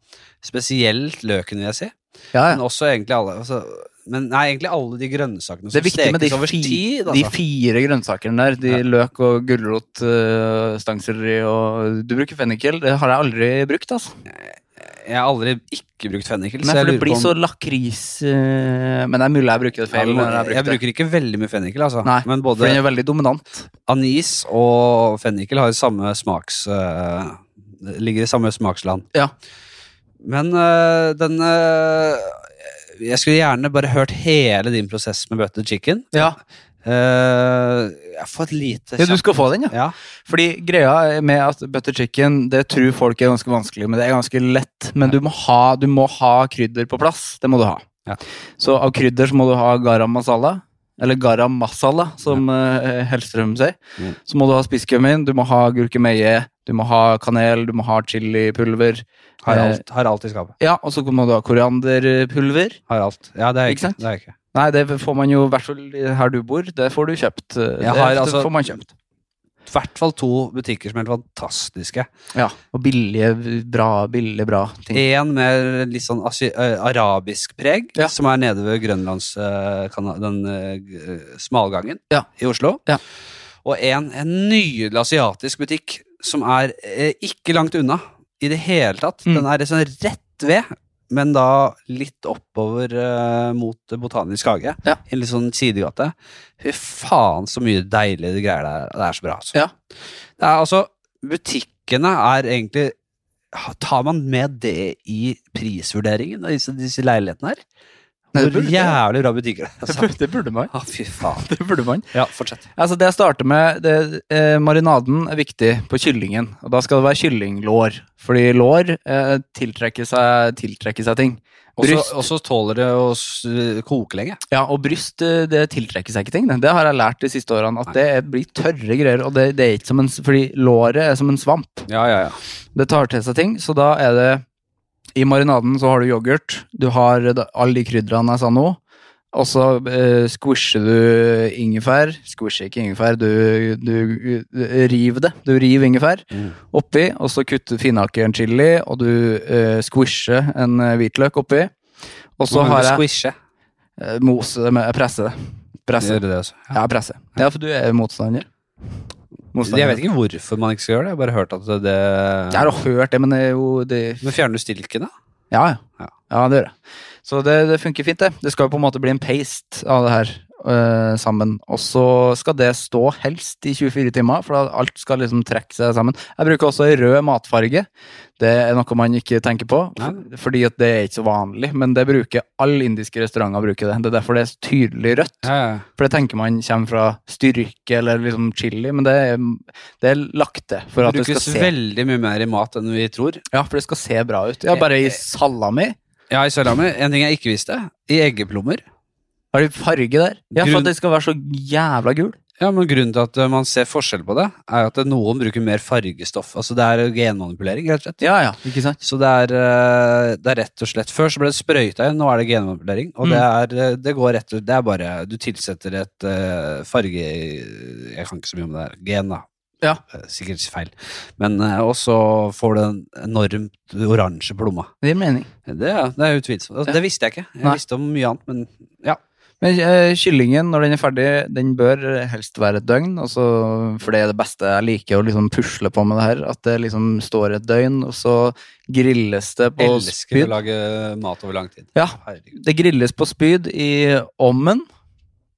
Speaker 1: Spesielt løken, vil jeg si.
Speaker 2: Ja,
Speaker 1: Men også egentlig alle altså, men nei, egentlig alle de grønnsakene
Speaker 2: Det
Speaker 1: som
Speaker 2: er viktig med de,
Speaker 1: stekes over
Speaker 2: fi,
Speaker 1: tid.
Speaker 2: de
Speaker 1: Altså.
Speaker 2: fire grønnsakene der, de
Speaker 1: Ja.
Speaker 2: løk og gulrot, eh, stangselleri og Du bruker fennikel, det har jeg aldri brukt, altså.
Speaker 1: Jeg har aldri ikke brukt fennikel.
Speaker 2: Nei,
Speaker 1: så jeg
Speaker 2: for det
Speaker 1: lurer på
Speaker 2: blir
Speaker 1: om-
Speaker 2: så lakris eh, Men det er mulig jeg bruker det feil.
Speaker 1: Ja,
Speaker 2: når jeg, har
Speaker 1: jeg,
Speaker 2: brukt det.
Speaker 1: bruker ikke veldig mye fennikel, altså.
Speaker 2: Nei,
Speaker 1: men både
Speaker 2: For den er veldig dominant.
Speaker 1: anis og fennikel har jo samme smaks eh, Ligger i samme smaksland.
Speaker 2: Ja.
Speaker 1: Men eh, den eh, Jeg skulle gjerne bare hørt hele din prosess med butter chicken.
Speaker 2: Ja.
Speaker 1: Eh, jeg får et lite
Speaker 2: du skal få den, ja.
Speaker 1: Ja.
Speaker 2: Fordi greia med at butter chicken, det tror folk er ganske vanskelig, men det er ganske lett. Men du, må ha, du må ha krydder på plass. Det må du ha.
Speaker 1: Ja.
Speaker 2: Så av krydder så må du ha garam masala. eller garam masala, som eh, Hellstrøm sier,
Speaker 1: Mm.
Speaker 2: så må du ha spisskummin, du må ha gurkemeie, du må ha kanel, du må ha chilipulver.
Speaker 1: Har
Speaker 2: Eh.
Speaker 1: alt, har alt i skapet.
Speaker 2: Ja, og så må du ha korianderpulver.
Speaker 1: Har alt. Ja, det er jeg
Speaker 2: Ikke
Speaker 1: ikke.
Speaker 2: sant?
Speaker 1: Det er jeg ikke.
Speaker 2: Nei, det får man jo i hvert fall her du bor. Det får du kjøpt. eh,
Speaker 1: Jeg
Speaker 2: det
Speaker 1: har altså-
Speaker 2: får man kjøpt.
Speaker 1: I hvert fall to butikker som er helt fantastiske.
Speaker 2: Ja, og billige, bra, billige, bra ting.
Speaker 1: En med litt sånn asi- eh, arabisk preg,
Speaker 2: Ja.
Speaker 1: som er nede ved Grønlands eh, kana- den eh, g- eh, smalgangen
Speaker 2: Ja.
Speaker 1: i Oslo.
Speaker 2: Ja.
Speaker 1: Og en, en nydelig asiatisk butikk som er eh, ikke langt unna i det hele tatt.
Speaker 2: Mm.
Speaker 1: Den er sånn rett ved, men da litt oppover eh, mot Botanisk hage.
Speaker 2: Ja.
Speaker 1: I en litt sånn sidegate. Fy faen, så mye deilige greier det er. Det er så bra, altså.
Speaker 2: Ja.
Speaker 1: Det er altså Butikkene er egentlig Tar man med det i prisvurderingen av disse, disse leilighetene her?
Speaker 2: Nei, det
Speaker 1: Hvor
Speaker 2: burde-
Speaker 1: jævlig bra butikker det er.
Speaker 2: Det
Speaker 1: Altså.
Speaker 2: burde- det burde man.
Speaker 1: Ah, fy faen.
Speaker 2: [laughs] Det burde man.
Speaker 1: Ja, fortsett.
Speaker 2: Altså Det jeg starter med, det, eh, marinaden er viktig på kyllingen. Og da skal det være kyllinglår. Fordi lår eh, tiltrekker, seg, tiltrekker seg ting. Bryst.
Speaker 1: Og så tåler det å s- koke lenge.
Speaker 2: Ja, Og bryst eh, det tiltrekker seg ikke ting. Det Det har jeg lært de siste årene. At det er- blir tørre greier. Og det, det er ikke som en, s- fordi låret er som en svamp.
Speaker 1: Ja, ja, ja.
Speaker 2: Det tar til seg ting, så da er det I marinaden så har du yoghurt, du har da- alle de krydderne jeg sa nå, og så eh, squisher du ingefær Squisher ikke ingefær, du, du, eh, river det. Du river ingefær
Speaker 1: Mm.
Speaker 2: oppi, og så kutter finhakker en chili, og du eh, squisher en eh, hvitløk oppi. Og så har jeg
Speaker 1: Squishe.
Speaker 2: eh, mose det med presse. Presse.
Speaker 1: Gjør det også. Ja.
Speaker 2: Ja, presse. Ja, for du er jo motstander.
Speaker 1: Jeg vet ikke hvorfor man ikke skal gjøre det. Jeg har bare hørt at det
Speaker 2: Jeg har hørt det, men det er jo det
Speaker 1: Men fjerner du stilken, da?
Speaker 2: Ja, ja.
Speaker 1: Ja.
Speaker 2: ja. det gjør jeg. Så det, det funker fint, det. Det skal jo på en måte bli en paste av det her øh, sammen. Og så skal det stå helst i 24 timer, for da alt skal liksom trekke seg sammen. Jeg bruker også en rød matfarge. Det er noe man ikke tenker på, f- fordi at det er ikke så vanlig. Men det bruker alle indiske restauranter. bruker Det Det er derfor det er så tydelig rødt.
Speaker 1: Ja, ja.
Speaker 2: For det tenker man kommer fra styrke eller liksom chili, men det er, det er lagt til for at det skal
Speaker 1: Brukes
Speaker 2: se
Speaker 1: veldig mye mer i mat enn vi tror.
Speaker 2: Ja, for det skal se bra ut. Ja, bare i salami.
Speaker 1: Ja, i salami. En ting jeg ikke visste. I eggeplommer.
Speaker 2: Har de farge der? Ja, for
Speaker 1: Grunn-
Speaker 2: at det skal være så jævla gul.
Speaker 1: Ja, men Grunnen til at eh, man ser forskjell på det, er jo at noen bruker mer fargestoff. Altså Det er genmanipulering, rett og slett.
Speaker 2: Ja, ja, ikke sant?
Speaker 1: Så det er, eh, det er rett og slett Før så ble det sprøyta inn, nå er det genmanipulering. Og
Speaker 2: Mm.
Speaker 1: det, er, eh, det går rett og Det er bare Du tilsetter et eh, farge Jeg kan ikke så mye om det her. Gen, da.
Speaker 2: Ja.
Speaker 1: Eh, Sikkert feil. Men eh, Og så får du en enormt oransje plomme.
Speaker 2: Det gir mening.
Speaker 1: Det, er- det er utvilsomt. Altså,
Speaker 2: Ja.
Speaker 1: Det visste jeg ikke. Jeg
Speaker 2: Nei.
Speaker 1: visste om mye annet, men
Speaker 2: Men eh, kyllingen, når den er ferdig, den bør helst være et døgn. Og så, for det er det beste jeg liker å liksom pusle på med det her. At det liksom står et døgn, og så grilles det på
Speaker 1: elsker å
Speaker 2: spyd.
Speaker 1: lage mat over lang tid.
Speaker 2: Ja.
Speaker 1: Herregud.
Speaker 2: Det grilles på spyd i ovnen.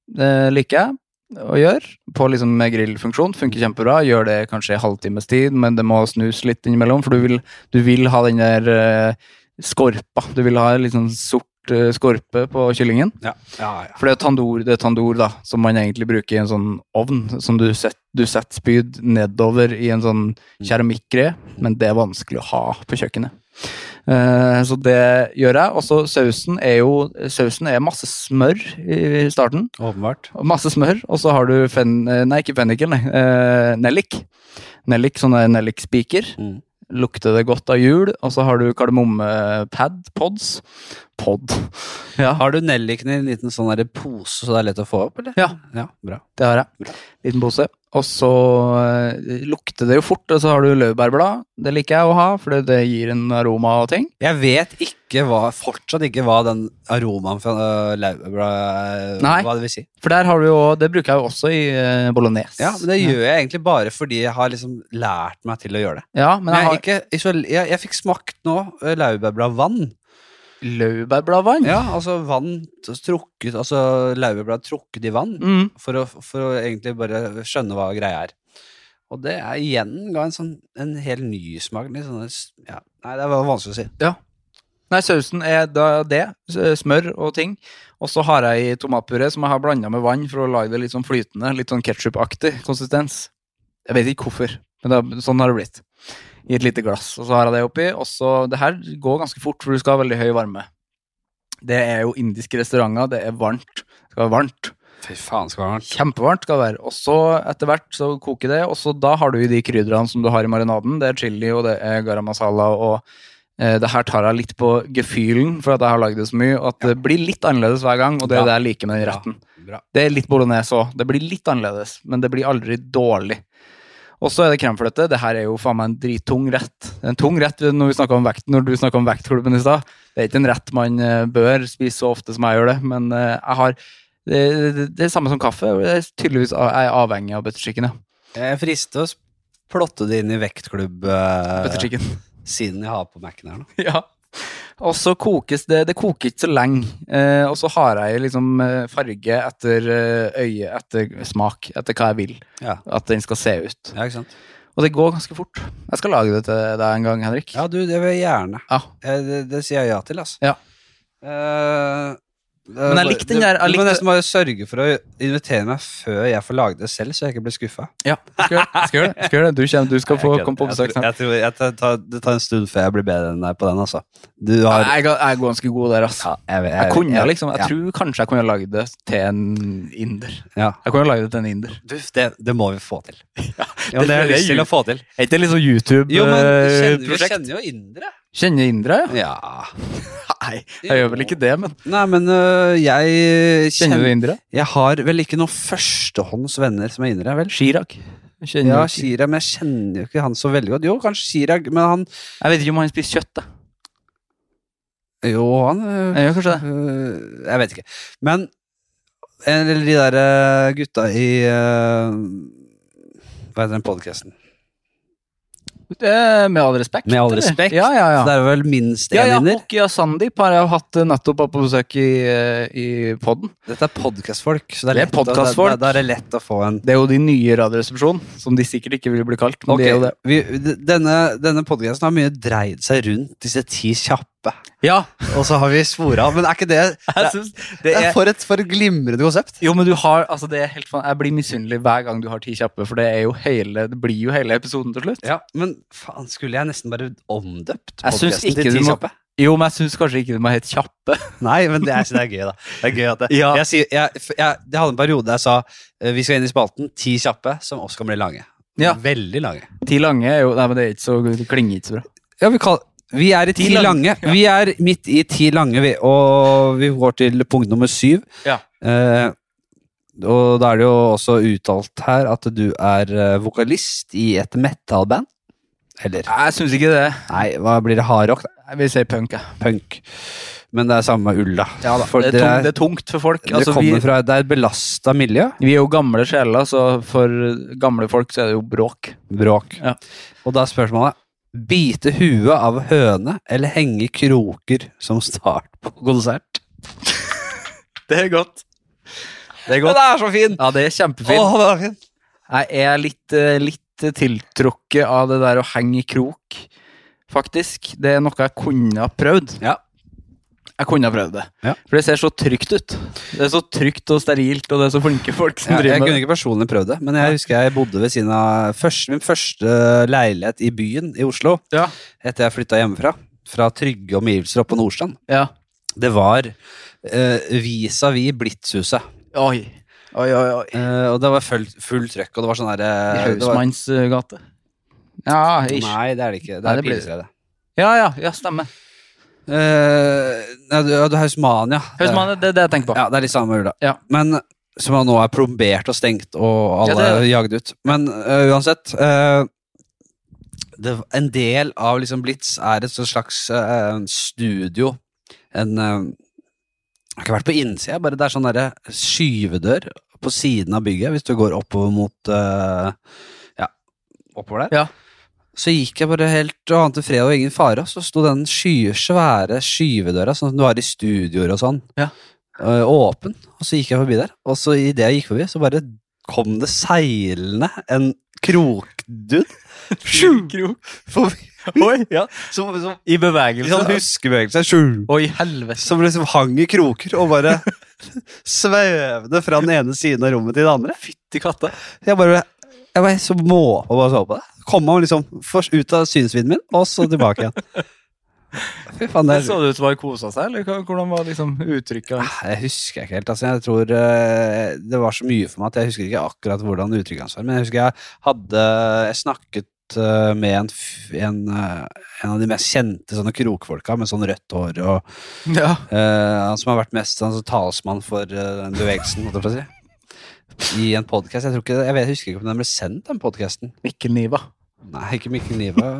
Speaker 2: Det liker jeg å gjøre. På liksom med grillfunksjon. Funker kjempebra. Gjør det kanskje i halvtimes tid, men det må snus litt innimellom, for du vil, du vil ha den der eh, skorpa. Du vil ha litt sånn sort eh, skorpe på kyllingen.
Speaker 1: Ja. Ja, ja.
Speaker 2: For det er tandoor, det er tandoor da, som man egentlig bruker i en sånn ovn. Som du setter, du setter spyd nedover i en sånn keramikkgreie, men det er vanskelig å ha på kjøkkenet. Eh, så det gjør jeg. Og så sausen er jo Sausen er masse smør i i starten.
Speaker 1: Åpenbart.
Speaker 2: og Masse smør, og så har du fen... eh, Nei, ikke fennikel, nei. eh, nellik. Nellik, sånne nellikspiker.
Speaker 1: Mm.
Speaker 2: Lukter det godt av jul. Og så har du kardemommepad, pods. Pod. Ja.
Speaker 1: Har du nelliken i en liten sånn der pose så det er lett å få opp, eller?
Speaker 2: Ja.
Speaker 1: Ja, bra.
Speaker 2: Det har jeg.
Speaker 1: Bra.
Speaker 2: Liten pose. Og så eh, lukter det jo fort, og så har du laurbærblad. Det liker jeg å ha, for det- det gir en aroma og ting.
Speaker 1: Jeg vet ikke hva, fortsatt ikke hva den aromaen fra øh, laurbær
Speaker 2: Nei.
Speaker 1: Hva det vil si.
Speaker 2: For der har du jo, det bruker jeg jo også i eh, bolognese.
Speaker 1: Ja, men Det gjør jeg egentlig bare fordi jeg har liksom lært meg til å gjøre det.
Speaker 2: Ja, men
Speaker 1: Men
Speaker 2: jeg
Speaker 1: jeg,
Speaker 2: har
Speaker 1: er ikke, isol- jeg, jeg fikk smakt nå øh, laurbærbladvann.
Speaker 2: laurbærbladvann.
Speaker 1: Ja, altså vann t- trukket Altså laurbærblad trukket i vann.
Speaker 2: Mm.
Speaker 1: For å, for å egentlig bare skjønne hva greia er. Og det er igjen ga en sånn en helt ny smak. Litt sånn, ja. Nei, det var vanskelig å si.
Speaker 2: Nei, sausen er da det. s- Smør og ting. Og så har jeg i tomatpuré som jeg har blanda med vann for å lage det litt sånn flytende, litt sånn ketsjupaktig konsistens. Jeg vet ikke hvorfor, men det, er- sånn har det blitt. I et lite glass. Og så har jeg det oppi. Og så Det her går ganske fort, for du skal ha veldig høy varme. Det er jo indiske restauranter, det er varmt. Det skal være varmt.
Speaker 1: Fy faen, skal det være varmt.
Speaker 2: Kjempevarmt skal det være. Og så etter hvert så koker det, og så da har du jo de krydderne som du har i marinaden. Det er chili og det er garam masala og eh, det her tar jeg litt på gefühlen, for at jeg har lagd det så mye. At det blir litt annerledes hver gang, og det
Speaker 1: Bra.
Speaker 2: er det jeg liker med den retten.
Speaker 1: Bra.
Speaker 2: Det er litt bolognese òg. Det blir litt annerledes, men det blir aldri dårlig. Og så er det kremfløte. Det her er jo faen meg en drittung rett. Det er En tung rett når, vi snakket om vekt, når du snakka om vektklubben i stad. Det er ikke en rett man eh, bør spise så ofte som jeg gjør det, men eh, jeg har det, det, det er samme som kaffe. og Jeg er tydeligvis av- jeg er avhengig av butter chicken. Ja.
Speaker 1: Jeg frister å plotte det inn i
Speaker 2: Butter
Speaker 1: vektklubb-siden
Speaker 2: chicken.
Speaker 1: jeg har på Mac-en her nå.
Speaker 2: [laughs] ja. Og så kokes det Det koker ikke så lenge. Eh, og så har jeg liksom eh, farge etter eh, øye, etter smak, etter hva jeg vil
Speaker 1: Ja.
Speaker 2: at den skal se ut.
Speaker 1: ja, ikke sant?
Speaker 2: Og det går ganske fort. Jeg skal lage det til deg en gang, Henrik.
Speaker 1: Ja, du, det vil jeg gjerne.
Speaker 2: Ja.
Speaker 1: Eh, Det, det sier jeg ja til, altså.
Speaker 2: Ja.
Speaker 1: Eh,
Speaker 2: Men jeg likte den der-
Speaker 1: Du må
Speaker 2: jeg likte-
Speaker 1: nesten bare sørge for å invitere meg før jeg får lage det selv, så jeg ikke blir skuffa.
Speaker 2: ja. Jeg skal, gjøre det. jeg skal gjøre det. Jeg skal gjøre det. Du, kommer, du skal få komme på besøk. snart.
Speaker 1: Jeg tror, jeg tar- tar- Det tar en stund før jeg blir bedre enn deg på den, altså. Du
Speaker 2: Ja,
Speaker 1: har
Speaker 2: Jeg er jeg er ganske god der, altså.
Speaker 1: Ja, jeg, jeg,
Speaker 2: Jeg kunne
Speaker 1: jeg-
Speaker 2: liksom,
Speaker 1: ja.
Speaker 2: jeg tror kanskje jeg kunne lagd det til en inder.
Speaker 1: Ja.
Speaker 2: Jeg kunne lagd det til en inder.
Speaker 1: Du, det, det må vi
Speaker 2: [laughs]
Speaker 1: få til. Ja,
Speaker 2: det
Speaker 1: det har jeg
Speaker 2: er
Speaker 1: lyst til
Speaker 2: ju-
Speaker 1: å få til.
Speaker 2: Er ikke det litt sånn eh,
Speaker 1: Jo, men kjenner, vi
Speaker 2: YouTube-prosjekt?
Speaker 1: kjenner jo indere.
Speaker 2: Kjenner indere, ja?
Speaker 1: Ja.
Speaker 2: Nei, jeg gjør vel ikke det, men
Speaker 1: Nei, men øh, jeg
Speaker 2: Kjenner du
Speaker 1: kjenner
Speaker 2: indere?
Speaker 1: Jeg har vel ikke noen førstehåndsvenner som er indere, vel?
Speaker 2: Chirag. Kjenner
Speaker 1: Ja,
Speaker 2: du-
Speaker 1: Chirag, men jeg kjenner jo ikke han så veldig godt. Jo, kanskje Chirag, men han
Speaker 2: Jeg vet ikke om han spiser kjøtt, da.
Speaker 1: Jo, han øh,
Speaker 2: Jeg gjør kanskje det.
Speaker 1: øh, Jeg vet ikke. Men Eller de der øh, gutta i øh, Hva heter den podkasten?
Speaker 2: Eh, Med all respekt.
Speaker 1: Med all
Speaker 2: eller?
Speaker 1: respekt,
Speaker 2: Ja, ja, ja.
Speaker 1: Det er vel minst én
Speaker 2: Ja, ja,
Speaker 1: inder.
Speaker 2: Hoki og Sandeep har jeg jo hatt eh, nettopp på besøk i, eh, i podden.
Speaker 1: Dette er podkastfolk, så det er,
Speaker 2: Det er
Speaker 1: lett å-
Speaker 2: podcastfolk.
Speaker 1: Da, da, da er det lett å få en
Speaker 2: Det er jo de nye radioresepsjonen, som de sikkert ikke vil bli kalt. Men de er jo det.
Speaker 1: Ok, vi, d- denne, denne podcasten har mye dreid seg rundt disse ti kjappe.
Speaker 2: Ja,
Speaker 1: Og så har vi svora, men er ikke det
Speaker 2: [laughs] jeg
Speaker 1: Det,
Speaker 2: synes
Speaker 1: det
Speaker 2: det
Speaker 1: er
Speaker 2: er
Speaker 1: for et, for et glimrende konsept.
Speaker 2: jo, men du har, altså det er helt fan, Jeg blir misunnelig hver gang du har ti kjappe, for det, er jo hele, det blir jo hele episoden til slutt.
Speaker 1: Ja, Men faen, skulle jeg nesten bare omdøpt
Speaker 2: Jeg synes
Speaker 1: podcasten
Speaker 2: ikke
Speaker 1: til
Speaker 2: du
Speaker 1: Ti
Speaker 2: må-
Speaker 1: kjappe?
Speaker 2: Jo, men jeg syns kanskje ikke det må hete Kjappe.
Speaker 1: Nei, men det, jeg synes det er gøy, da. Det er gøy at det,
Speaker 2: Ja.
Speaker 1: jeg, sier, jeg, f- jeg, det hadde en periode jeg sa eh, vi skal inn i spalten ti kjappe, som også kan bli lange.
Speaker 2: Ja.
Speaker 1: Veldig lange.
Speaker 2: Ti lange er jo Nei, men det, er ikke så, det klinger ikke så bra.
Speaker 1: Ja, vi, kall- vi er i ti,
Speaker 2: Ti lang-
Speaker 1: lange. Vi er midt i ti lange, vi, og vi går til punkt nummer syv.
Speaker 2: Ja.
Speaker 1: Eh, og da er det jo også uttalt her at du er eh, vokalist i et metal-band. Eller
Speaker 2: Jeg syns ikke det.
Speaker 1: nei, hva blir det? Hardrock? da?
Speaker 2: Jeg vil si punk, jeg.
Speaker 1: Punk. Men det er samme ull, da. For
Speaker 2: det, er
Speaker 1: dere
Speaker 2: tungt,
Speaker 1: er-
Speaker 2: det er tungt for folk.
Speaker 1: dere
Speaker 2: Altså, vi,
Speaker 1: kommer fra, det er et belasta miljø.
Speaker 2: vi er jo gamle sjeler, så for gamle folk så er det jo bråk.
Speaker 1: Bråk.
Speaker 2: Ja.
Speaker 1: Og da er spørsmålet Bite huet av høne eller henge i kroker som start på konsert?
Speaker 2: Det er godt. Det er
Speaker 1: Ja,
Speaker 2: godt.
Speaker 1: er så fin!
Speaker 2: Ja, det er kjempefint.
Speaker 1: Åh, det er fin.
Speaker 2: Jeg er litt, eh, litt tiltrukket av det der å henge i krok, faktisk. Det er noe jeg kunne ha prøvd.
Speaker 1: Ja.
Speaker 2: Jeg kunne ha prøvd det.
Speaker 1: Ja.
Speaker 2: For det ser så trygt ut. Det er så trygt og sterilt, og det er så flinke folk som
Speaker 1: Ja, jeg
Speaker 2: driver med
Speaker 1: kunne ikke personlig prøvd det, men jeg husker jeg bodde ved siden av først- min første leilighet i byen i Oslo
Speaker 2: det. Ja.
Speaker 1: etter jeg flytta hjemmefra. Fra trygge omgivelser oppe på Nordstrand.
Speaker 2: ja.
Speaker 1: Det var eh, vis-à-vis Blitzhuset.
Speaker 2: Oi. Oi, oi, oi.
Speaker 1: Eh, og det var full, full trøkk, og det var sånn derre
Speaker 2: I Hausmanns eh, gate. Ja, ish.
Speaker 1: Nei, det er det ikke. Det
Speaker 2: Nei,
Speaker 1: er
Speaker 2: det blir-
Speaker 1: Pilestredet.
Speaker 2: Ja, ja, ja, stemmer.
Speaker 1: Eh, nei, du, ja, du Hausmania.
Speaker 2: Hausmann, det er det jeg tenker på.
Speaker 1: Ja, det er litt samme ula.
Speaker 2: Ja.
Speaker 1: Men som nå er plombert og stengt, og alle
Speaker 2: Ja, det er
Speaker 1: er jagd ut. Men øh, uansett øh, det, En del av liksom Blitz er et sånt slags øh, studio. En øh, Jeg har ikke vært på innsida, bare det er sånn derre skyvedør på siden av bygget, hvis du går oppover mot øh, Ja, oppover der.
Speaker 2: Ja.
Speaker 1: Så gikk jeg bare helt og ante fred og ingen fare, og så sto den sky, svære skyvedøra, sånn som du har i studioer og sånn,
Speaker 2: Ja.
Speaker 1: øh, åpen. Og så gikk jeg forbi der, og så idet jeg gikk forbi, så bare kom det seilende en krokdude
Speaker 2: Sju krok.
Speaker 1: forbi,
Speaker 2: Oi, ja.
Speaker 1: som, som
Speaker 2: I
Speaker 1: i sånn
Speaker 2: bevegelse.
Speaker 1: huskebevegelse sju,
Speaker 2: Oi, helvete.
Speaker 1: som liksom hang i kroker og bare svevde fra den ene siden av rommet til den andre.
Speaker 2: Fytti katta.
Speaker 1: Jeg bare jeg var så måpa bare så på det. Kom han liksom først ut av synsvidden min, og så tilbake igjen. Fy faen, det
Speaker 2: Det
Speaker 1: er
Speaker 2: så det ut som han kosa seg, eller hva- hvordan var liksom
Speaker 1: [laughs]
Speaker 2: uttrykket? hans?
Speaker 1: Ah, Jeg husker ikke helt. altså Jeg tror eh, Det var så mye for meg at jeg husker ikke akkurat hvordan uttrykket hans var. Men jeg husker jeg hadde Jeg snakket eh, med en, f- en, eh, en av de mest kjente sånne krokfolka med sånn rødt hår. Og,
Speaker 2: Ja.
Speaker 1: eh, han som har vært mest sånn, så talsmann for eh, den bevegelsen, holdt jeg på å si. I en podkast. Jeg, tror ikke- jeg, vet- jeg husker ikke om den ble sendt, den podkasten.
Speaker 2: Mikkel Niva.
Speaker 1: Nei, ikke Mikkel Niva.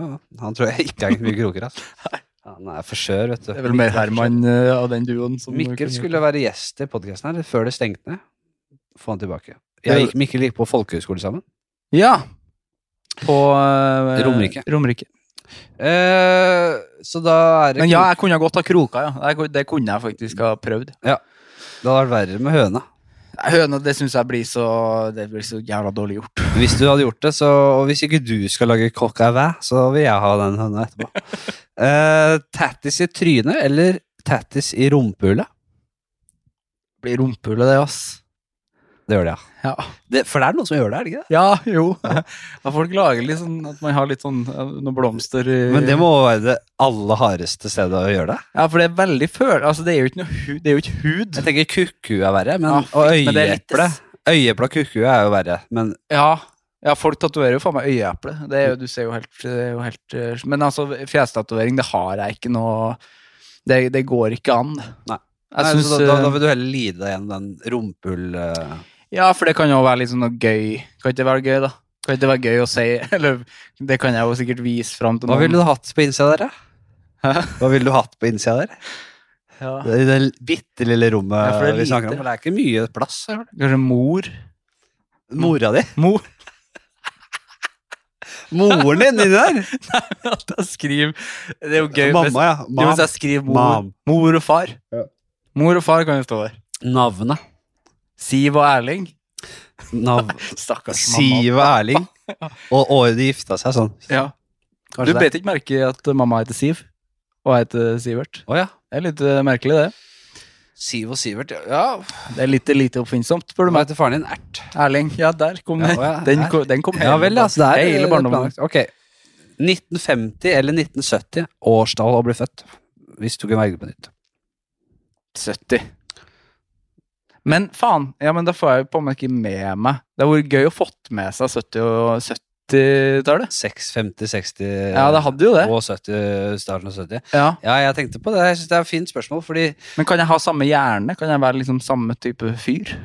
Speaker 1: Han tror jeg ikke er mye kroker. Altså. Han er for skjør, vet du.
Speaker 2: Det er vel mer Herman eh, av den duoen. som
Speaker 1: Mikkel skulle være gjest i podkasten her før det stengte ned. Få han tilbake.
Speaker 2: Ja.
Speaker 1: Jeg gikk, Mikkel gikk på folkehøyskole sammen.
Speaker 2: Ja. På eh,
Speaker 1: Romerike.
Speaker 2: Romerike.
Speaker 1: Eh, så da er det
Speaker 2: Men ja, jeg kunne godt ha kroka, ja. Jeg kunne- Det kunne jeg faktisk ha prøvd.
Speaker 1: Det hadde vært verre med høna.
Speaker 2: Høna, det syns jeg blir så Det blir så jævla dårlig gjort.
Speaker 1: Hvis du hadde gjort det, så Og hvis ikke du skal lage coq au vin, så vil jeg ha den høna etterpå. [laughs] Eh, tattis i trynet eller tattis i rumpehullet?
Speaker 2: Det blir rumpehullet, det, ass.
Speaker 1: Det gjør det, ja.
Speaker 2: Ja.
Speaker 1: Det, for det er noen som gjør det, er det ikke det?
Speaker 2: [laughs] Ja, jo. Ja, folk lager litt sånn at man har litt sånn eh, noen blomster i
Speaker 1: Men det må være det aller hardeste stedet å gjøre det.
Speaker 2: Ja, for det er veldig føl... Altså, det er jo ikke noe hud. Det er jo ikke hud.
Speaker 1: Jeg tenker kuku er verre, Ah, men,
Speaker 2: Ja,
Speaker 1: og
Speaker 2: fint, men det er litt-
Speaker 1: øyeeple. Øyeeple og kuku er jo verre, men
Speaker 2: Ja. ja, folk tatoverer jo faen meg øyeeple. Det er jo, du ser jo helt, det er jo helt eh, Men altså, fjestatovering, det har jeg ikke noe det, det går ikke an.
Speaker 1: Nei.
Speaker 2: Jeg
Speaker 1: Nei,
Speaker 2: synes,
Speaker 1: så da, da, da
Speaker 2: eh,
Speaker 1: vil du heller lide deg gjennom den rumpehull... eh,
Speaker 2: Ja, for det kan jo være litt sånn noe gøy. Kan ikke det være gøy, da? Kan ikke det være gøy å si [laughs] Eller det kan jeg jo sikkert vise fram til
Speaker 1: Hva ville
Speaker 2: noen.
Speaker 1: du hatt på innsida der, da?
Speaker 2: Hæ?
Speaker 1: Hva ville du hatt på innsida der?
Speaker 2: Ja.
Speaker 1: I det bitte lille rommet
Speaker 2: Ja, for det er
Speaker 1: vi snakker om.
Speaker 2: lite.
Speaker 1: for Det er ikke mye plass. er det?
Speaker 2: Kanskje mor?
Speaker 1: Mora di?
Speaker 2: Mor?
Speaker 1: Moren din inni [laughs] der?
Speaker 2: [laughs] At jeg skriver Det er jo gøy. hvis-
Speaker 1: Mamma, ja.
Speaker 2: Jo, hvis
Speaker 1: Mam.
Speaker 2: jeg skriver mor,
Speaker 1: Mam.
Speaker 2: mor og far.
Speaker 1: Ja.
Speaker 2: Mor og far kan jo stå der.
Speaker 1: Navnet.
Speaker 2: Siv og Erling.
Speaker 1: Nav
Speaker 2: Stakkars mamma.
Speaker 1: Siv og Erling. [laughs] Og året de gifta seg, sånn.
Speaker 2: Ja. Du
Speaker 1: Kanskje det.
Speaker 2: bet ikke merke i at mamma heter Siv, og jeg heter Sivert.
Speaker 1: Å ja.
Speaker 2: Det er litt eh, merkelig, det.
Speaker 1: Siv og Sivert, ja. ja.
Speaker 2: Det er litt lite oppfinnsomt, spør du
Speaker 1: Hva
Speaker 2: meg.
Speaker 1: heter faren din? Ert?
Speaker 2: Erling. Ja, der kom
Speaker 1: Ja,
Speaker 2: den.
Speaker 1: å ja,
Speaker 2: Den,
Speaker 1: der.
Speaker 2: ko- den kom
Speaker 1: Ja vel, altså. Det er
Speaker 2: hele barndommen.
Speaker 1: planlagt. Ok. 1950 eller 1970, årstall å bli født. Hvis du kunne velge på nytt.
Speaker 2: 70. Men faen, ja, men da får jeg jo på en måte ikke med meg. Det hadde vært gøy å fått med seg 70- og 70-tallet.
Speaker 1: 6, 50, 60
Speaker 2: Ja, det hadde jo det.
Speaker 1: og 70, starten av 70.
Speaker 2: Ja.
Speaker 1: Ja, jeg tenkte på det. Jeg synes det er et fint spørsmål, fordi
Speaker 2: Men kan jeg ha samme hjerne? Kan jeg være liksom samme type fyr?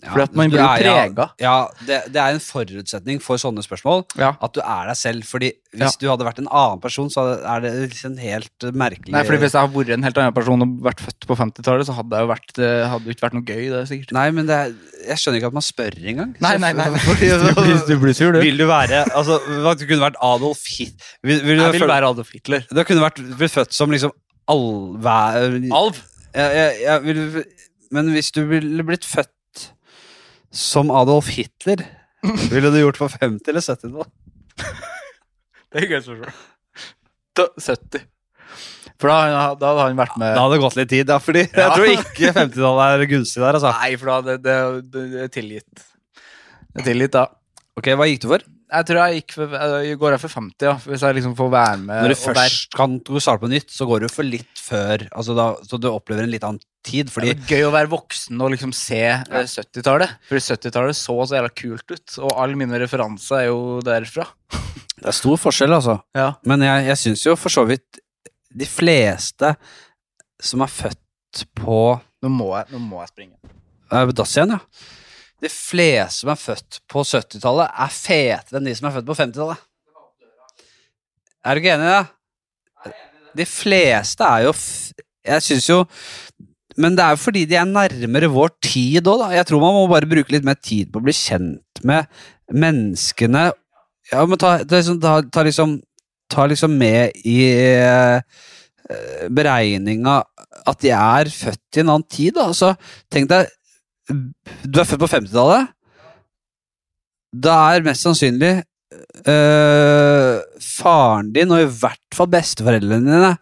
Speaker 1: ja,
Speaker 2: Fordi at man
Speaker 1: du
Speaker 2: blir jo
Speaker 1: er- ja,
Speaker 2: prega.
Speaker 1: Ja, det, det er en forutsetning for sånne spørsmål.
Speaker 2: Ja.
Speaker 1: At du er deg selv. fordi
Speaker 2: Ja.
Speaker 1: hvis du hadde vært en annen person, så hadde- er det liksom helt eh, merkelig
Speaker 2: Nei, fordi Hvis jeg hadde vært en helt annen person og vært født på 50-tallet, så hadde jeg jo vært, det hadde jo ikke vært noe gøy. det er sikkert.
Speaker 1: Nei, men det er, jeg skjønner ikke at man spør engang.
Speaker 2: Nei, nei, nei.
Speaker 1: Fordi-
Speaker 2: sur,
Speaker 1: Vil du være altså, hva- Du kunne vært Adolf Hitler vil, vil du
Speaker 2: Jeg vil
Speaker 1: føle-
Speaker 2: være Adolf Hitler.
Speaker 1: Du kunne vært blitt født som liksom all, hver,
Speaker 2: Alv?
Speaker 1: jeg, jeg, jeg vil, Men hvis du ville blitt født som Adolf
Speaker 2: [laughs]
Speaker 1: Hitler, ville du gjort på 50- eller 70-tallet?
Speaker 2: Det er gøy spørsmål. Da- 70. For da, da hadde han vært med
Speaker 1: Da hadde det gått litt tid, da, fordi jeg
Speaker 2: Ja.
Speaker 1: tror ikke 50-tallet er gunstig der. altså.
Speaker 2: Nei, for da hadde det, det, det er tilgitt. Det er tilgitt, da.
Speaker 1: Ok, Hva gikk du for?
Speaker 2: Jeg tror jeg gikk for, jeg går jeg for 50, ja. Hvis jeg liksom får være med
Speaker 1: Når du
Speaker 2: og være-
Speaker 1: først kan du starte på nytt, så går du for litt før. altså da, Så du opplever en litt annen tid. fordi
Speaker 2: det er gøy å være voksen og liksom se eh, 70-tallet. For 70-tallet så så jævla kult ut, og alle mine referanser er jo derfra.
Speaker 1: det er stor forskjell, altså.
Speaker 2: Ja.
Speaker 1: Men jeg, jeg syns jo for så vidt de fleste som er født på
Speaker 2: Nå må jeg, nå må jeg springe.
Speaker 1: Er på dass igjen, ja. De fleste som er født på 70-tallet, er fetere enn de som er født på 50-tallet. Er du ikke enig i det? De fleste er jo f Jeg syns jo Men det er jo fordi de er nærmere vår tid òg, da. Jeg tror man må bare bruke litt mer tid på å bli kjent med menneskene. Ja, men ta, ta, liksom- ta, ta liksom Ta liksom med i eh, beregninga at de er født i en annen tid, da. Altså, tenk deg du er født på 50-tallet. Da er mest sannsynlig øh, faren din, og i hvert fall besteforeldrene dine,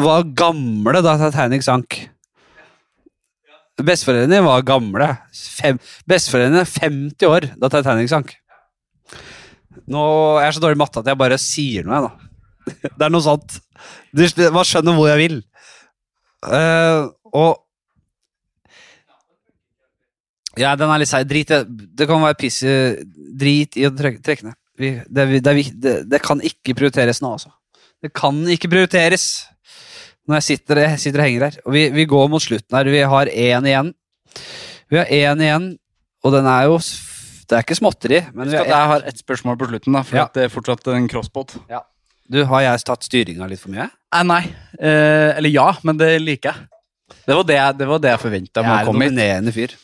Speaker 1: var gamle da Titanic sank. Besteforeldrene dine var gamle. Fem, besteforeldrene er 50 år da Titanic sank. Nå jeg er så dårlig i matte at jeg bare sier noe, jeg, nå. [laughs] Det er noe sånt. Du, skj- man skjønner hvor jeg vil. Eh, og Ja, den er litt seig. Drit i det. Det kan være piss i Drit i å trekke, trekke ned. Vi, det, er vi- det, er vi- det, det kan ikke prioriteres nå, altså. Det kan ikke prioriteres når jeg sitter, jeg sitter og henger her. Og vi, vi går mot slutten her. Vi har én igjen. Vi har én igjen, og den er jo s- Det er ikke småtteri, men vi
Speaker 2: Husk
Speaker 1: har
Speaker 2: at jeg har ett spørsmål på slutten, da, for
Speaker 1: Ja.
Speaker 2: at det er fortsatt en crosspod.
Speaker 1: Du, har jeg tatt styringa litt for mye?
Speaker 2: Eh, nei. Eh, eller ja, men det liker jeg. Det var det jeg, det var det jeg forventa.
Speaker 1: Jeg er en dominerende fyr.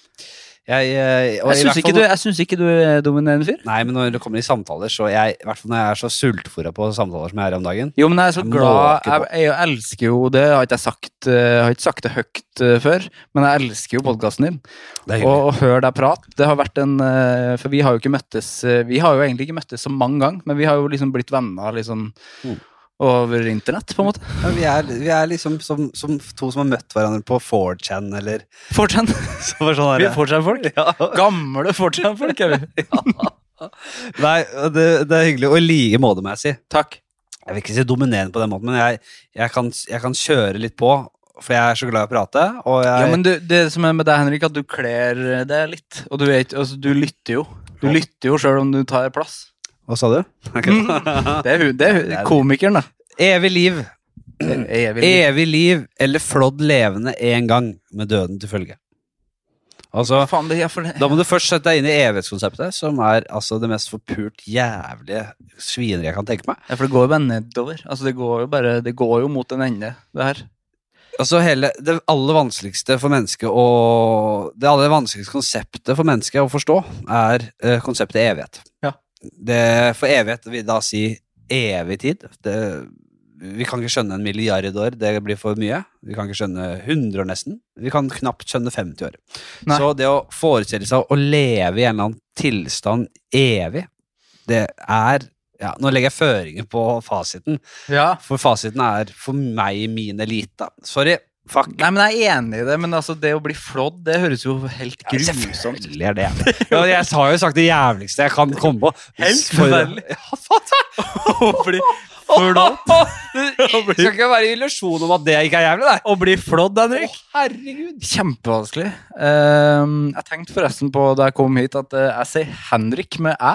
Speaker 1: Jeg, eh, og i
Speaker 2: Jeg syns
Speaker 1: hvert
Speaker 2: ikke,
Speaker 1: fall-
Speaker 2: du- jeg syns ikke du er dominerende fyr.
Speaker 1: Nei, men når det kommer i samtaler, så jeg, i hvert fall når jeg er så sultfora på samtaler som jeg er om dagen
Speaker 2: Jo, men jeg er så
Speaker 1: Jeg
Speaker 2: glad
Speaker 1: måker
Speaker 2: jeg,
Speaker 1: på.
Speaker 2: jeg, elsker jo det. Har ikke jeg sagt, eh, har ikke sagt det høyt eh, før, men jeg elsker jo podkasten din.
Speaker 1: Det er hyggelig.
Speaker 2: Og å høre deg prate. Det har vært en eh, For vi har jo ikke møttes eh, Vi har jo egentlig ikke møttes så mange ganger, men vi har jo liksom blitt venner liksom
Speaker 1: Mm.
Speaker 2: over internett, på en måte.
Speaker 1: Ja, vi, er, vi er liksom som, som to som har møtt hverandre på 4chan eller
Speaker 2: Fortsatt.
Speaker 1: så var det sånn
Speaker 2: [laughs] Vi
Speaker 1: der-
Speaker 2: er fortsatt folk.
Speaker 1: [laughs] ja.
Speaker 2: Gamle fortsatt folk er vi.
Speaker 1: Nei, det, det er hyggelig. Og i like måte, må jeg si.
Speaker 2: Takk.
Speaker 1: Jeg vil ikke si dominerende på den måten, men jeg, jeg, kan, jeg kan kjøre litt på, for jeg er så glad i å prate. Og jeg,
Speaker 2: Ja, men du, det som er med deg, Henrik, at du kler deg litt. Og du, vet, altså, du lytter jo. Du lytter jo sjøl om du tar plass.
Speaker 1: Hva sa du? [laughs]
Speaker 2: Det er, hun- det er hun- komikeren, da. Eh,
Speaker 1: Evig liv.
Speaker 2: Evig liv.
Speaker 1: Evig liv eller flådd levende én gang, med døden til følge. Altså,
Speaker 2: Faen, det, ja, for det.
Speaker 1: Da må du først sette deg inn i evighetskonseptet, som er altså det mest forpult jævlige svineriet jeg kan tenke meg.
Speaker 2: Ja, for det går jo bare nedover. Altså, det går jo bare Det går jo mot en ende, det her.
Speaker 1: Altså hele, Det aller vanskeligste for mennesket å Det aller vanskeligste konseptet for mennesket å forstå, er eh, konseptet evighet.
Speaker 2: Ja.
Speaker 1: Det, for evighet vil da si evig tid. Det, vi kan ikke skjønne en milliard år, det blir for mye. Vi kan ikke skjønne 100 år nesten. Vi kan knapt skjønne 50 år.
Speaker 2: Nei.
Speaker 1: Så det å forestille seg å leve i en eller annen tilstand evig, det er ja, Nå legger jeg føringer på fasiten.
Speaker 2: Ja.
Speaker 1: For fasiten er for meg min elite. Sorry. Fuck.
Speaker 2: Nei, men jeg er enig i det, men altså, det å bli flådd, det høres jo helt
Speaker 1: Ja,
Speaker 2: grusomt ut.
Speaker 1: Selvfølgelig er det [laughs] ja, Jeg har jo sagt det jævligste jeg kan komme på.
Speaker 2: Helt
Speaker 1: For-
Speaker 2: forferdelig.
Speaker 1: Ja, faen,
Speaker 2: Å bli flådd
Speaker 1: [laughs] Det skal ikke være illusjon om at det ikke er jævlig, nei.
Speaker 2: [laughs] Å bli flådd, Henrik.
Speaker 1: herregud.
Speaker 2: Kjempevanskelig. Ehm, jeg tenkte forresten på da jeg kom hit, at eh, jeg sier Henrik med æ.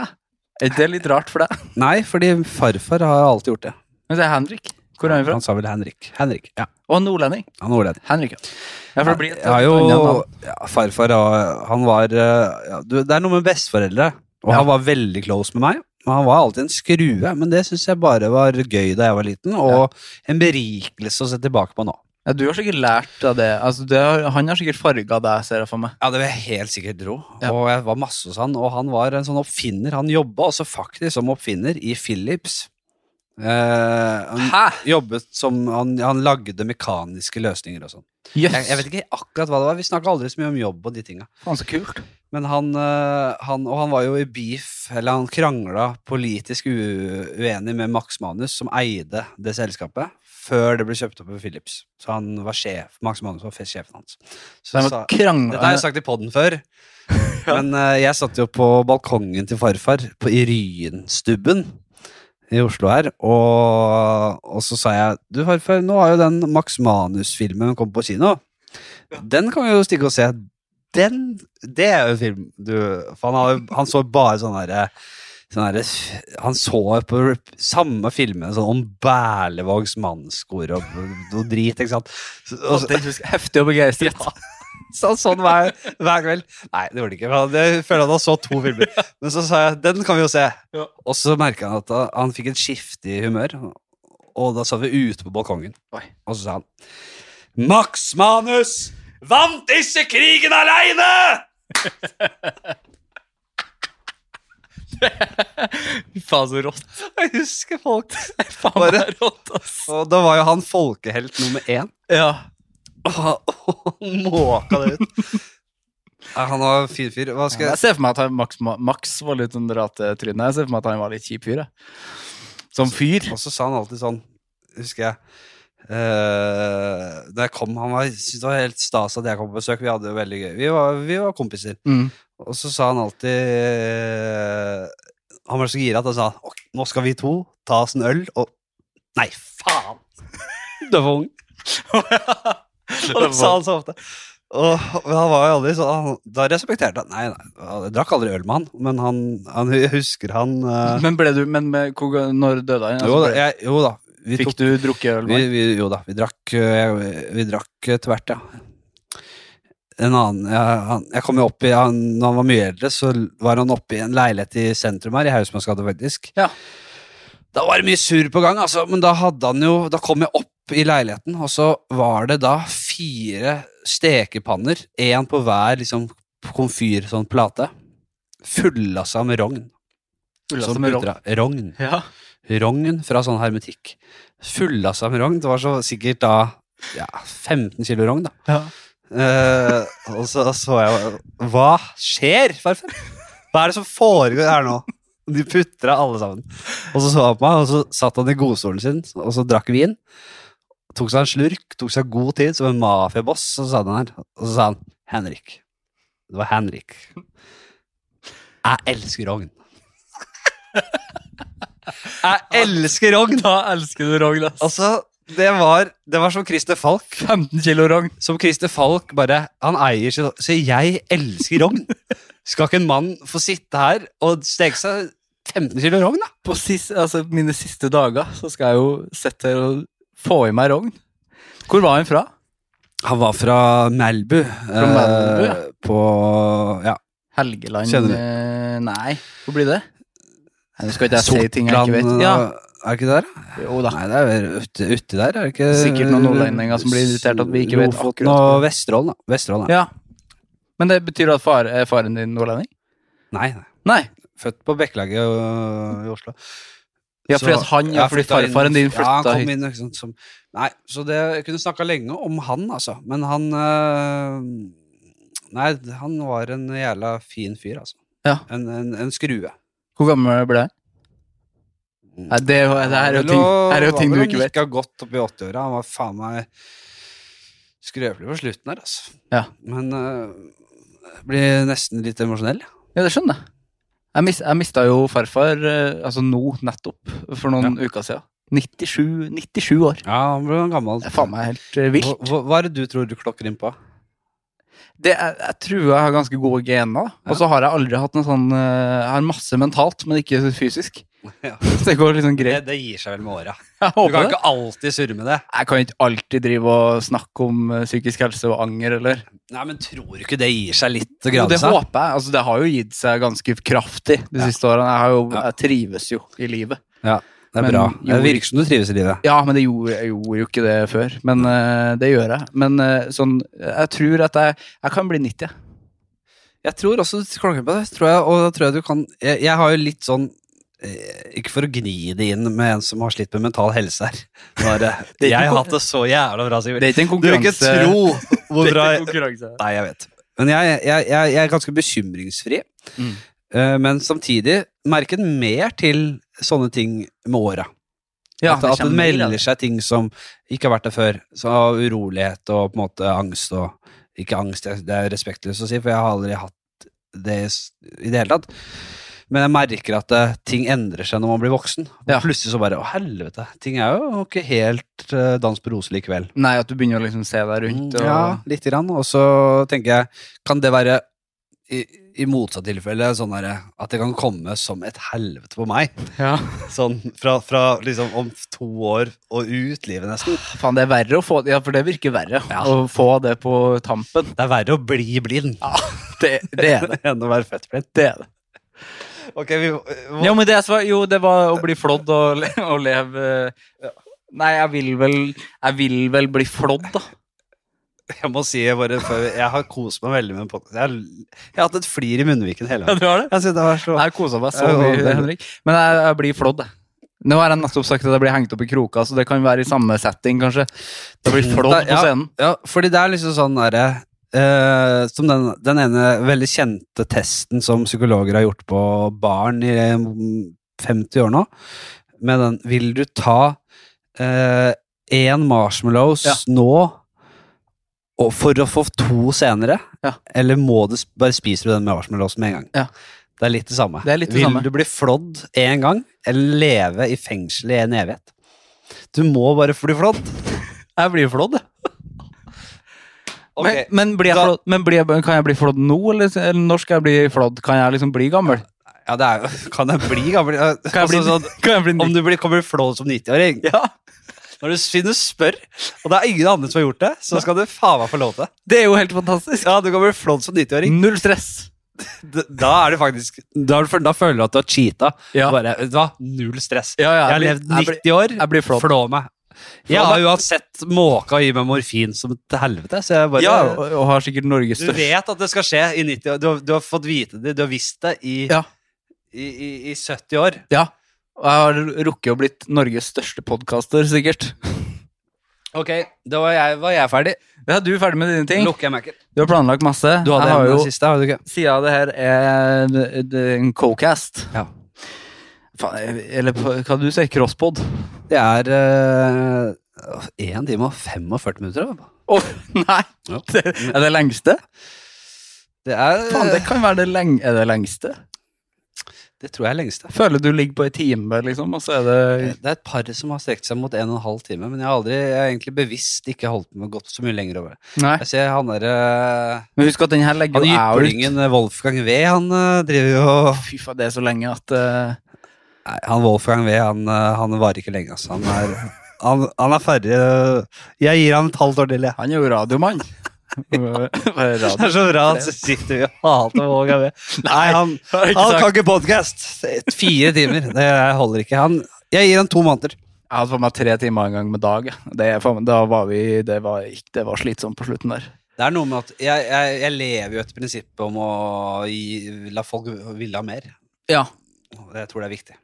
Speaker 2: Er ikke det litt rart for deg?
Speaker 1: Nei, fordi farfar har alltid gjort det.
Speaker 2: Men sier Henrik. Hvor er han fra?
Speaker 1: Han sa vel Henrik. Henrik, ja.
Speaker 2: Å, nordlending.
Speaker 1: Han var det.
Speaker 2: Henrik, ja. Ja, for det blir et
Speaker 1: Jeg har jo
Speaker 2: annet navn.
Speaker 1: ja, Farfar har- han var eh, ja, du, Det er noe med besteforeldre. Og
Speaker 2: Ja.
Speaker 1: han var veldig close med meg. Og han var alltid en skrue, men det syns jeg bare var gøy da jeg var liten. Og en berikelse å se tilbake på nå.
Speaker 2: Ja, du har sikkert lært av det. Altså, det har, han har sikkert farga deg, ser jeg for meg.
Speaker 1: Ja, det vil jeg helt sikkert tro.
Speaker 2: Ja.
Speaker 1: Og jeg var masse hos han, og han var en sånn oppfinner. Han jobba også faktisk som oppfinner i Philips. Eh, han
Speaker 2: Hæ?
Speaker 1: jobbet som han, han lagde mekaniske løsninger og sånn.
Speaker 2: Jøss.
Speaker 1: Jeg, jeg vet ikke akkurat hva det var, vi snakka aldri så mye om jobb og de tinga.
Speaker 2: Faen, så kult.
Speaker 1: Men han, eh, han Og han var jo i beef, eller han krangla politisk u uenig med Max Manus, som eide det selskapet, før det ble kjøpt opp av Philips. Så han var sjef. Max Manus var sjefen hans. Så
Speaker 2: Så
Speaker 1: sa-
Speaker 2: de var krangla
Speaker 1: dette har jeg sagt i podden før. Men eh, jeg satt jo på balkongen til farfar på, i Ryenstubben i Oslo her, og, og så sa jeg Du, farfar, nå har jo den Max Manus-filmen kommet på kino. Den kan vi jo stikke og se. Den, det er jo en film du For han, har, jo- han så bare sånn herre Sånn herre han så på rep- samme filmene sånn om Berlevogs mannskor og noe drit, ikke sant. Så- og så-
Speaker 2: Altså, heftig og begeistret.
Speaker 1: [laughs] sa han sånn hver, hver kveld. Nei, det gjorde det ikke. men Jeg føler han har så to [laughs] filmer. Men så sa jeg den kan vi jo se.
Speaker 2: Ja.
Speaker 1: Og så merka han at da, han fikk et skifte i humør. Og da satt vi ute på balkongen,
Speaker 2: Oi.
Speaker 1: [laughs] og så sa han Max Manus vant disse krigen aleine!
Speaker 2: Faen, så rått.
Speaker 1: Jeg husker [laughs] folk.
Speaker 2: Faen,
Speaker 1: Bare-
Speaker 2: det er rått, ass.
Speaker 1: Og da var jo han folkehelt nummer én.
Speaker 2: Ja.
Speaker 1: Og han måka det ut. [laughs] Nei, Han var en fin fyr. Hva skal jeg
Speaker 2: Jeg ser for meg at han, Max, Max var litt sånn ratetryne. Jeg ser for meg at han var litt kjip fyr. Jeg. Som fyr.
Speaker 1: Og så sa han alltid sånn, husker jeg eh, Da jeg kom, han var, syntes det var helt stas at jeg kom på besøk. Vi hadde det veldig gøy. Vi var, vi var kompiser.
Speaker 2: Mm.
Speaker 1: Og så sa han alltid eh,
Speaker 2: [laughs]
Speaker 1: Han var så gira at han sa «Ok, Nå skal vi to ta oss en øl, og Nei, faen! Døvungen! [laughs] Han sa han så ofte. Og men han var jo aldri så han, Da respekterte han Nei, nei, jeg drakk aldri øl med han, men han, han jeg husker han eh,
Speaker 2: Men ble du, men med, hvor, ga- når døde han? Altså,
Speaker 1: jo, da,
Speaker 2: ble-
Speaker 1: jeg, jo da. Vi
Speaker 2: fikk
Speaker 1: tok,
Speaker 2: du drukket øl?
Speaker 1: vi,
Speaker 2: med?
Speaker 1: vi, jo da, vi drakk, eh, vi, vi drakk eh, tvert, ja. En annen jeg, han, jeg kom jo opp i han, Når han var mye eldre, så var han oppe i en leilighet i sentrum her, i Hausmannsgata, faktisk.
Speaker 2: Ja.
Speaker 1: Da var det mye surr på gang, altså. Men da hadde han jo Da kom jeg opp i leiligheten, og så var det da fire stekepanner, én på hver liksom komfyr, sånn plate, fullassa med rogn.
Speaker 2: Ullassa
Speaker 1: Sånn
Speaker 2: med
Speaker 1: putra- Rogn.
Speaker 2: Ja.
Speaker 1: Rogn fra sånn hermetikk. Fullassa med rogn. Det var så sikkert da ja, 15 kilo rogn, da.
Speaker 2: ja.
Speaker 1: Eh, og så så jeg Hva skjer, farfar? Hva er det som foregår her nå? De putra alle sammen. Og så så han på meg, og så satt han i godstolen sin, og så drakk vin. Tok seg en slurk, tok seg god tid som en mafiaboss, og så sa han her. Og så sa han Henrik. Det var Henrik. Jeg elsker rogn. Jeg elsker rogn!
Speaker 2: Da elsker du rogn, ass.
Speaker 1: Altså, det var, det var som Christer Falk
Speaker 2: 15 kilo rogn.
Speaker 1: som Christer Falk bare Han eier sin Så jeg elsker rogn. Skal ikke en mann få sitte her og steke seg 15 kilo rogn, da?
Speaker 2: På sist, altså, mine siste dager så skal jeg jo sette her og få i meg rogn. Hvor var han fra?
Speaker 1: Han var fra Melbu. Fra
Speaker 2: Melbu, ja.
Speaker 1: På ja,
Speaker 2: Helgeland
Speaker 1: Kjenner du?
Speaker 2: eh, Nei, hvor blir det? Nei, Nå skal ikke jeg si ting jeg ikke vet.
Speaker 1: Sortland, eh,
Speaker 2: Ja,
Speaker 1: Er det ikke der? da?
Speaker 2: jo da.
Speaker 1: Nei, det er vel uti uti der, er det ikke?
Speaker 2: Sikkert noen nordlendinger som blir irritert at vi ikke vet
Speaker 1: Lofoten
Speaker 2: akkurat.
Speaker 1: og Vesterålen, da. Vesterålen, ja.
Speaker 2: Ja. Men det betyr at far, er faren din nordlending?
Speaker 1: Nei, nei.
Speaker 2: Nei.
Speaker 1: Født på Bekkelaget øh, i Oslo.
Speaker 2: Ja,
Speaker 1: Så-
Speaker 2: fordi at han, ja, fordi
Speaker 1: flytta inn-
Speaker 2: farfaren din
Speaker 1: ja, han
Speaker 2: flytta
Speaker 1: kom
Speaker 2: hit.
Speaker 1: inn, ikke sant, som, Nei, så det, jeg kunne snakka lenge om han, altså. Men han øh, Nei, han var en jævla fin fyr, altså.
Speaker 2: Ja.
Speaker 1: En, en, en skrue.
Speaker 2: Hvor gammel ble han? Nei, det, er jo- det her er jo ting, her er jo ting du ikke vet.
Speaker 1: Han var godt oppi 80-åra. Han var faen meg skrøpelig på slutten her, altså.
Speaker 2: Ja.
Speaker 1: Men øh, jeg blir nesten litt emosjonell.
Speaker 2: Ja, det skjønner jeg. Jeg, mis, jeg mista jo farfar eh, altså nå nettopp, for noen uker siden. 97, 97 år.
Speaker 1: Ja, han ble gammel.
Speaker 2: Det er faen meg helt eh, vilt.
Speaker 1: hva, hva- hva er det du tror du klokker inn på?
Speaker 2: det er, jeg tror jeg har ganske gode gener. Og så har jeg aldri hatt noe sånn eh, Jeg har masse mentalt, men ikke fysisk.
Speaker 1: Ja.
Speaker 2: [laughs] Så det går liksom greit.
Speaker 1: det gir seg vel med åra.
Speaker 2: Jeg
Speaker 1: Du kan
Speaker 2: håper det.
Speaker 1: ikke alltid surre med det.
Speaker 2: Jeg kan ikke alltid drive og snakke om eh, psykisk helse og anger, eller
Speaker 1: Nei, men tror du ikke det gir seg litt å
Speaker 2: Jo,
Speaker 1: grave
Speaker 2: det
Speaker 1: seg?
Speaker 2: håper jeg. Altså, det har jo gitt seg ganske kraftig de
Speaker 1: Ja.
Speaker 2: siste årene. Jeg, har jo,
Speaker 1: Ja.
Speaker 2: jeg trives jo i livet.
Speaker 1: Det er
Speaker 2: Men
Speaker 1: bra. Det
Speaker 2: jo-
Speaker 1: virker som du trives i livet.
Speaker 2: Ja, men det gjorde, jeg gjorde jo ikke det før. Men eh, det gjør jeg. Men eh, sånn Jeg tror at jeg Jeg kan bli 90. jeg.
Speaker 1: Jeg tror også du klokker på det, tror jeg, og da tror jeg du kan Jeg, jeg har jo litt sånn eh, ikke for å gni det inn med en som har slitt med mental helse her. Bare,
Speaker 2: Det er
Speaker 1: [laughs]
Speaker 2: ikke
Speaker 1: jeg har
Speaker 2: kon-
Speaker 1: hatt det så jævla bra, Sigurd.
Speaker 2: Det er ikke en
Speaker 1: Du vil ikke
Speaker 2: konkurranse.
Speaker 1: tro
Speaker 2: Det
Speaker 1: hvor
Speaker 2: er
Speaker 1: bra
Speaker 2: ikke en
Speaker 1: jeg-
Speaker 2: konkurranse.
Speaker 1: Nei, jeg vet. Men jeg, jeg, jeg, jeg er ganske bekymringsfri.
Speaker 2: Mm.
Speaker 1: eh, Men samtidig merket mer til sånne ting med åra.
Speaker 2: Ja,
Speaker 1: at, det at det
Speaker 2: kommer mer av det.
Speaker 1: melder seg ting som ikke har vært der før. Så urolighet og på en måte angst og Ikke angst, det er respektløst å si, for jeg har aldri hatt det i s- i det hele tatt. Men jeg merker at eh, ting endrer seg når man blir voksen. Og
Speaker 2: Ja.
Speaker 1: Plutselig så bare Å, helvete. Ting er jo ikke helt eh, dans på roser likevel. Mm,
Speaker 2: Nei, at du begynner å liksom se deg rundt. Og...
Speaker 1: Ja, lite grann. Og så tenker jeg, kan det være i, i motsatt tilfelle sånn derre at det kan komme som et helvete på meg?
Speaker 2: Ja.
Speaker 1: Sånn fra, fra liksom om to år og ut livet, nesten.
Speaker 2: Faen, det er verre å få Ja, for det virker verre
Speaker 1: Ja.
Speaker 2: å få det på tampen.
Speaker 1: Det er verre å bli blind
Speaker 2: Det, det er det.
Speaker 1: [laughs] enn å være født
Speaker 2: Det er det.
Speaker 1: Ok, vi må-
Speaker 2: Jo, men det som var, jo, det var å bli flådd og, le- og leve eh, Nei, jeg vil vel Jeg vil vel bli flådd, da.
Speaker 1: Jeg må si jeg bare før Jeg har kost meg veldig med en podkast. Jeg, har- jeg har hatt et flir i munnviken [laughs] hele veien.
Speaker 2: du har
Speaker 1: Jeg synes det var
Speaker 2: [laughs]
Speaker 1: så
Speaker 2: Jeg kosa meg så
Speaker 1: Ja, det-
Speaker 2: mye, Henrik. Men jeg, jeg blir flådd, jeg. Nå har jeg nettopp sagt at jeg blir hengt opp i kroka, så det kan være i samme setting, kanskje. Jeg blir flådd på
Speaker 1: Ja.
Speaker 2: scenen.
Speaker 1: Ja, fordi det er liksom sånn derre eh, Som den, den ene veldig kjente testen som psykologer har gjort på barn i mm, 50 år nå, med den Vil du ta én marshmallows
Speaker 2: Ja.
Speaker 1: nå og for å få to senere?
Speaker 2: Ja.
Speaker 1: Eller må du, s- bare spiser du den med marshmallowsen med en gang?
Speaker 2: Ja.
Speaker 1: Det er litt det samme.
Speaker 2: Det er litt det
Speaker 1: Vil
Speaker 2: samme.
Speaker 1: du bli flådd én gang, eller leve i fengsel i en evighet? Du må bare bli flådd.
Speaker 2: Jeg blir flådd. jeg.
Speaker 1: Ok,
Speaker 2: Men, men, blir jeg
Speaker 1: da-
Speaker 2: flådd, men blir jeg, kan jeg bli flådd nå, eller, eller når skal jeg bli flådd? Kan jeg liksom bli gammel?
Speaker 1: ja, det er jo [laughs] Kan jeg bli gammel? Ja,
Speaker 2: Kan jeg bli, [laughs]
Speaker 1: altså, sånn,
Speaker 2: kan jeg bli
Speaker 1: om du blir, kommer flådd som 90-åring
Speaker 2: Ja.
Speaker 1: Når du finner spør, og det er ingen andre som har gjort det, så skal du faen meg få lov til det.
Speaker 2: Det er jo helt fantastisk.
Speaker 1: Ja, du kan bli flådd som 90-åring.
Speaker 2: Null stress.
Speaker 1: D- Da er det faktisk Da, er du- da føler du at du har cheata.
Speaker 2: Ja.
Speaker 1: Bare, vet du hva? Null stress.
Speaker 2: Ja, ja,
Speaker 1: jeg har
Speaker 2: jeg
Speaker 1: levd
Speaker 2: blir- jeg blir-
Speaker 1: 90 år.
Speaker 2: jeg blir flådd.
Speaker 1: Flå meg. Jeg
Speaker 2: Flå
Speaker 1: har
Speaker 2: meg.
Speaker 1: uansett måka i meg morfin som et helvete, så jeg bare
Speaker 2: Ja, og, og har sikkert Norges
Speaker 1: Du
Speaker 2: største
Speaker 1: vet at det skal skje i 90 år. Du har, du har fått vite det, du har visst det i,
Speaker 2: Ja.
Speaker 1: i, i, i 70 år.
Speaker 2: Ja. Og jeg har rukket å blitt Norges største podkaster, sikkert.
Speaker 1: Ok, da var jeg, var jeg ferdig.
Speaker 2: Ja, du er ferdig med dine ting.
Speaker 1: Lukker jeg Mac-en.
Speaker 2: Du har planlagt masse.
Speaker 1: Du hadde
Speaker 2: jeg
Speaker 1: en
Speaker 2: har
Speaker 1: eh,
Speaker 2: jo,
Speaker 1: siste, hadde du ikke?
Speaker 2: Siden av det her er en- en co-cast
Speaker 1: Ja.
Speaker 2: Faen, Eller på- hva du sier? Crosspod?
Speaker 1: Det er én time og 45 minutter. da.
Speaker 2: Å, [laughs] nei!
Speaker 1: Ja.
Speaker 2: Det, er det lengste?
Speaker 1: Det er
Speaker 2: Faen, det kan være det, leng er det lengste.
Speaker 1: det tror jeg er lengste.
Speaker 2: Føler du ligger på en time, liksom, og så er det
Speaker 1: Det er et par som har strekt seg mot en og en halv time, men jeg har aldri, jeg har egentlig bevisst ikke holdt med godt så mye lenger over det.
Speaker 2: Nei.
Speaker 1: Jeg ser han derre
Speaker 2: Men husk at den her legger
Speaker 1: Han
Speaker 2: jo jeg ut.
Speaker 1: jyplingen Wolfgang V, han eh, driver jo
Speaker 2: Fy faen, det er så lenge at eh,
Speaker 1: Nei, han Wolfgang V, han, eh, han varer ikke lenge, altså. Han er, han, han er ferdig eh, Jeg gir han et halvt år til, jeg.
Speaker 2: Han er jo radiomann.
Speaker 1: [laughs]
Speaker 2: Radio.
Speaker 1: Det er så bra, så sitter vi og hater Wolfgang V. Nei, han,
Speaker 2: har jeg ikke
Speaker 1: han
Speaker 2: sagt.
Speaker 1: kan ikke podkast! Fire timer, det holder ikke. Han, jeg gir han to måneder.
Speaker 2: Jeg hadde for meg tre timer en gang med dag. jeg. Det, er faen- da var vi, det, var, ikke- det var slitsomt på slutten der.
Speaker 1: Det er noe med at jeg, jeg, jeg lever jo etter prinsippet om å gi, la folk ville ha mer.
Speaker 2: Ja.
Speaker 1: Og Jeg tror det er viktig.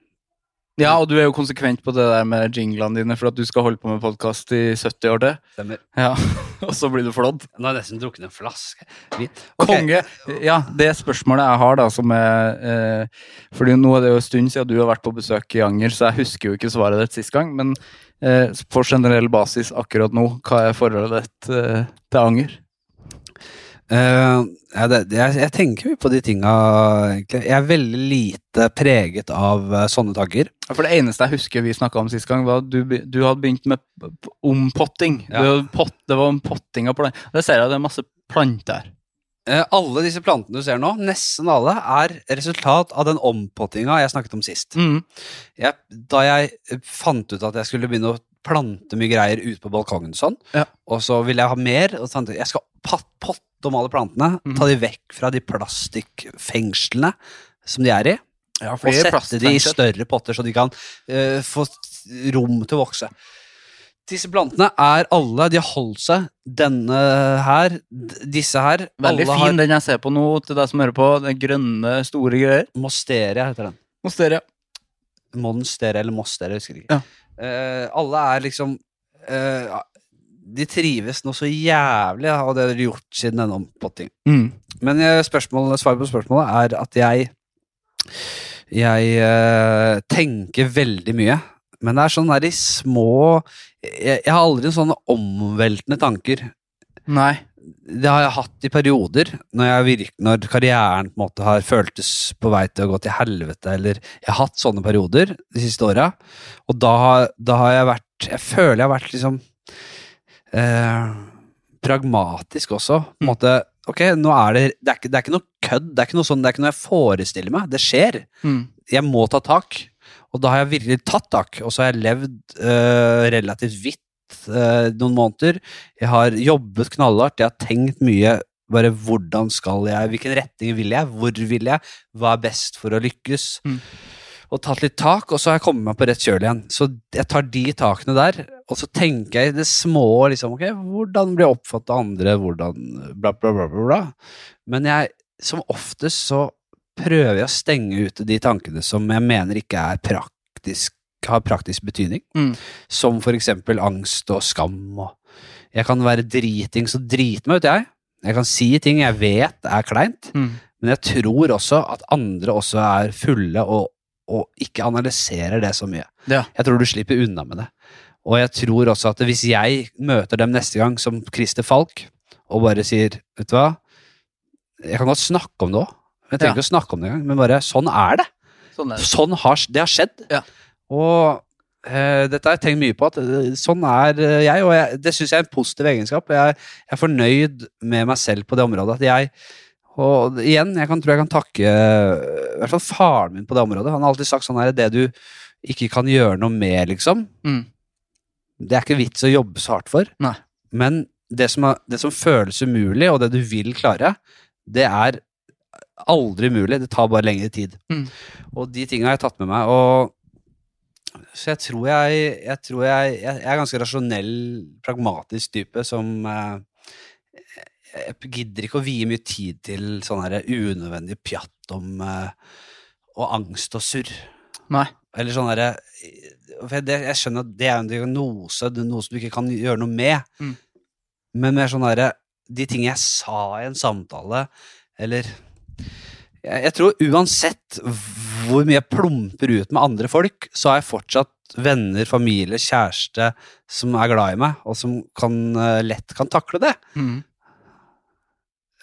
Speaker 2: ja, og du er jo konsekvent på det der med jinglene dine, for at du skal holde på med podkast i 70 år til.
Speaker 1: Stemmer.
Speaker 2: Ja, [laughs] Og så blir du flådd.
Speaker 1: Nå har jeg nesten drukket en flaske. Vi- Ok.
Speaker 2: Konge! Ja, det spørsmålet jeg har, da, som er eh, fordi nå er det jo en stund siden du har vært på besøk i Anger, så jeg husker jo ikke svaret ditt sist gang, men eh, på generell basis akkurat nå, hva er forholdet ditt eh, til Anger?
Speaker 1: Eh, ja, det, det- jeg, jeg tenker mye på de tinga, egentlig. Jeg er veldig lite preget av eh, sånne tanker.
Speaker 2: Ja, For det eneste jeg husker vi snakka om sist gang, var at du, be- du hadde begynt med p- p- ompotting.
Speaker 1: Ja.
Speaker 2: Du hadde pott, det var om potting av planter. Og det ser jeg, det er masse planter her.
Speaker 1: Eh, alle disse plantene du ser nå, nesten alle, er resultat av den ompottinga jeg snakket om sist.
Speaker 2: Mm.
Speaker 1: jeg, da jeg eh, fant ut at jeg skulle begynne å plante mye greier ute på balkongen, og sånn,
Speaker 2: Ja.
Speaker 1: og så ville jeg ha mer, og sånn, jeg skal pat- potte om alle plantene,
Speaker 2: Mhm.
Speaker 1: ta de vekk fra de plastikkfengslene som de er i, og
Speaker 2: det
Speaker 1: sette de
Speaker 2: er
Speaker 1: i
Speaker 2: plastfengsel.
Speaker 1: større potter så de kan eh, få s- rom til å vokse. Disse plantene er alle, de har holdt seg, denne her, d- disse her,
Speaker 2: Veldig
Speaker 1: alle
Speaker 2: fin, den jeg ser på nå, til deg som hører på. Den grønne, store greier.
Speaker 1: har Mosteria heter den.
Speaker 2: Monsteria.
Speaker 1: Monster eller Moster, jeg husker ikke.
Speaker 2: Ja.
Speaker 1: Eh, alle er liksom eh, De trives nå så jævlig, da, og det har de gjort siden denne ompotting.
Speaker 2: Mm.
Speaker 1: Men eh, spørsmålet, svaret på spørsmålet er at jeg Jeg eh, tenker veldig mye. Men det er sånn der i små jeg, jeg har aldri sånne omveltende tanker.
Speaker 2: Nei.
Speaker 1: Det har jeg hatt i perioder, når, jeg virk, når karrieren på en måte har føltes på vei til å gå til helvete, eller jeg har hatt sånne perioder de siste åra, og da, har- da har jeg vært Jeg føler jeg har vært liksom eh, pragmatisk også. På en måte Ok, nå er det Det er ikke, det er ikke noe kødd, det er ikke noe sånn, det er ikke noe jeg forestiller meg. Det skjer.
Speaker 2: Mm.
Speaker 1: Jeg må ta tak. Og da har jeg virkelig tatt tak, og så har jeg levd eh, relativt hvitt eh, noen måneder. Jeg har jobbet knallhardt, jeg har tenkt mye. Bare hvordan skal jeg, hvilken retning vil jeg, hvor vil jeg, hva er best for å lykkes?
Speaker 2: Mm.
Speaker 1: Og tatt litt tak, og så har jeg kommet meg på rett kjøl igjen. Så jeg tar de takene der, og så tenker jeg i det små liksom, ok, hvordan blir jeg oppfattet av andre, hvordan bla, bla, bla, bla, bla. Men jeg, som oftest så prøver jeg å stenge ute de tankene som jeg mener ikke er praktisk, har praktisk betydning.
Speaker 2: Mm.
Speaker 1: Som for eksempel angst og skam. Og jeg kan være driting, så drit meg ut, jeg. Jeg kan si ting jeg vet er kleint,
Speaker 2: Mm.
Speaker 1: men jeg tror også at andre også er fulle og, og ikke analyserer det så mye.
Speaker 2: Ja.
Speaker 1: Jeg tror du slipper unna med det. Og jeg tror også at hvis jeg møter dem neste gang som Christer Falk, og bare sier, vet du hva, jeg kan godt snakke om det òg. Jeg trenger
Speaker 2: Ja.
Speaker 1: ikke å snakke om det engang, men bare sånn er det.
Speaker 2: Sånn er det.
Speaker 1: Sånn har, det har skjedd.
Speaker 2: Ja.
Speaker 1: Og eh, dette har jeg tenkt mye på. at eh, Sånn er eh, jeg, og jeg, det syns jeg er en positiv egenskap. Jeg, jeg er fornøyd med meg selv på det området. At jeg, og igjen, jeg kan, tror jeg kan takke eh, i hvert fall faren min på det området. Han har alltid sagt sånn her Det du ikke kan gjøre noe med, liksom,
Speaker 2: Mm.
Speaker 1: det er ikke vits å jobbe så hardt for.
Speaker 2: Nei.
Speaker 1: Men det som, er, det som føles umulig, og det du vil klare, det er aldri mulig. Det tar bare lengre tid.
Speaker 2: Mm.
Speaker 1: Og de tinga har jeg tatt med meg. og så jeg tror jeg, jeg, tror jeg, jeg jeg er ganske rasjonell, pragmatisk type som eh, Jeg gidder ikke å vie mye tid til sånn her unødvendig pjatt om eh, og angst og surr.
Speaker 2: Nei.
Speaker 1: Eller sånn derre For jeg, det, jeg skjønner at det er en diagnose, det er noe som du ikke kan gjøre noe med.
Speaker 2: Mm.
Speaker 1: Men mer sånn derre De ting jeg sa i en samtale, eller jeg, jeg tror uansett hvor mye jeg plumper ut med andre folk, så har jeg fortsatt venner, familie, kjæreste som er glad i meg, og som kan, eh, lett kan takle det.
Speaker 2: Mm.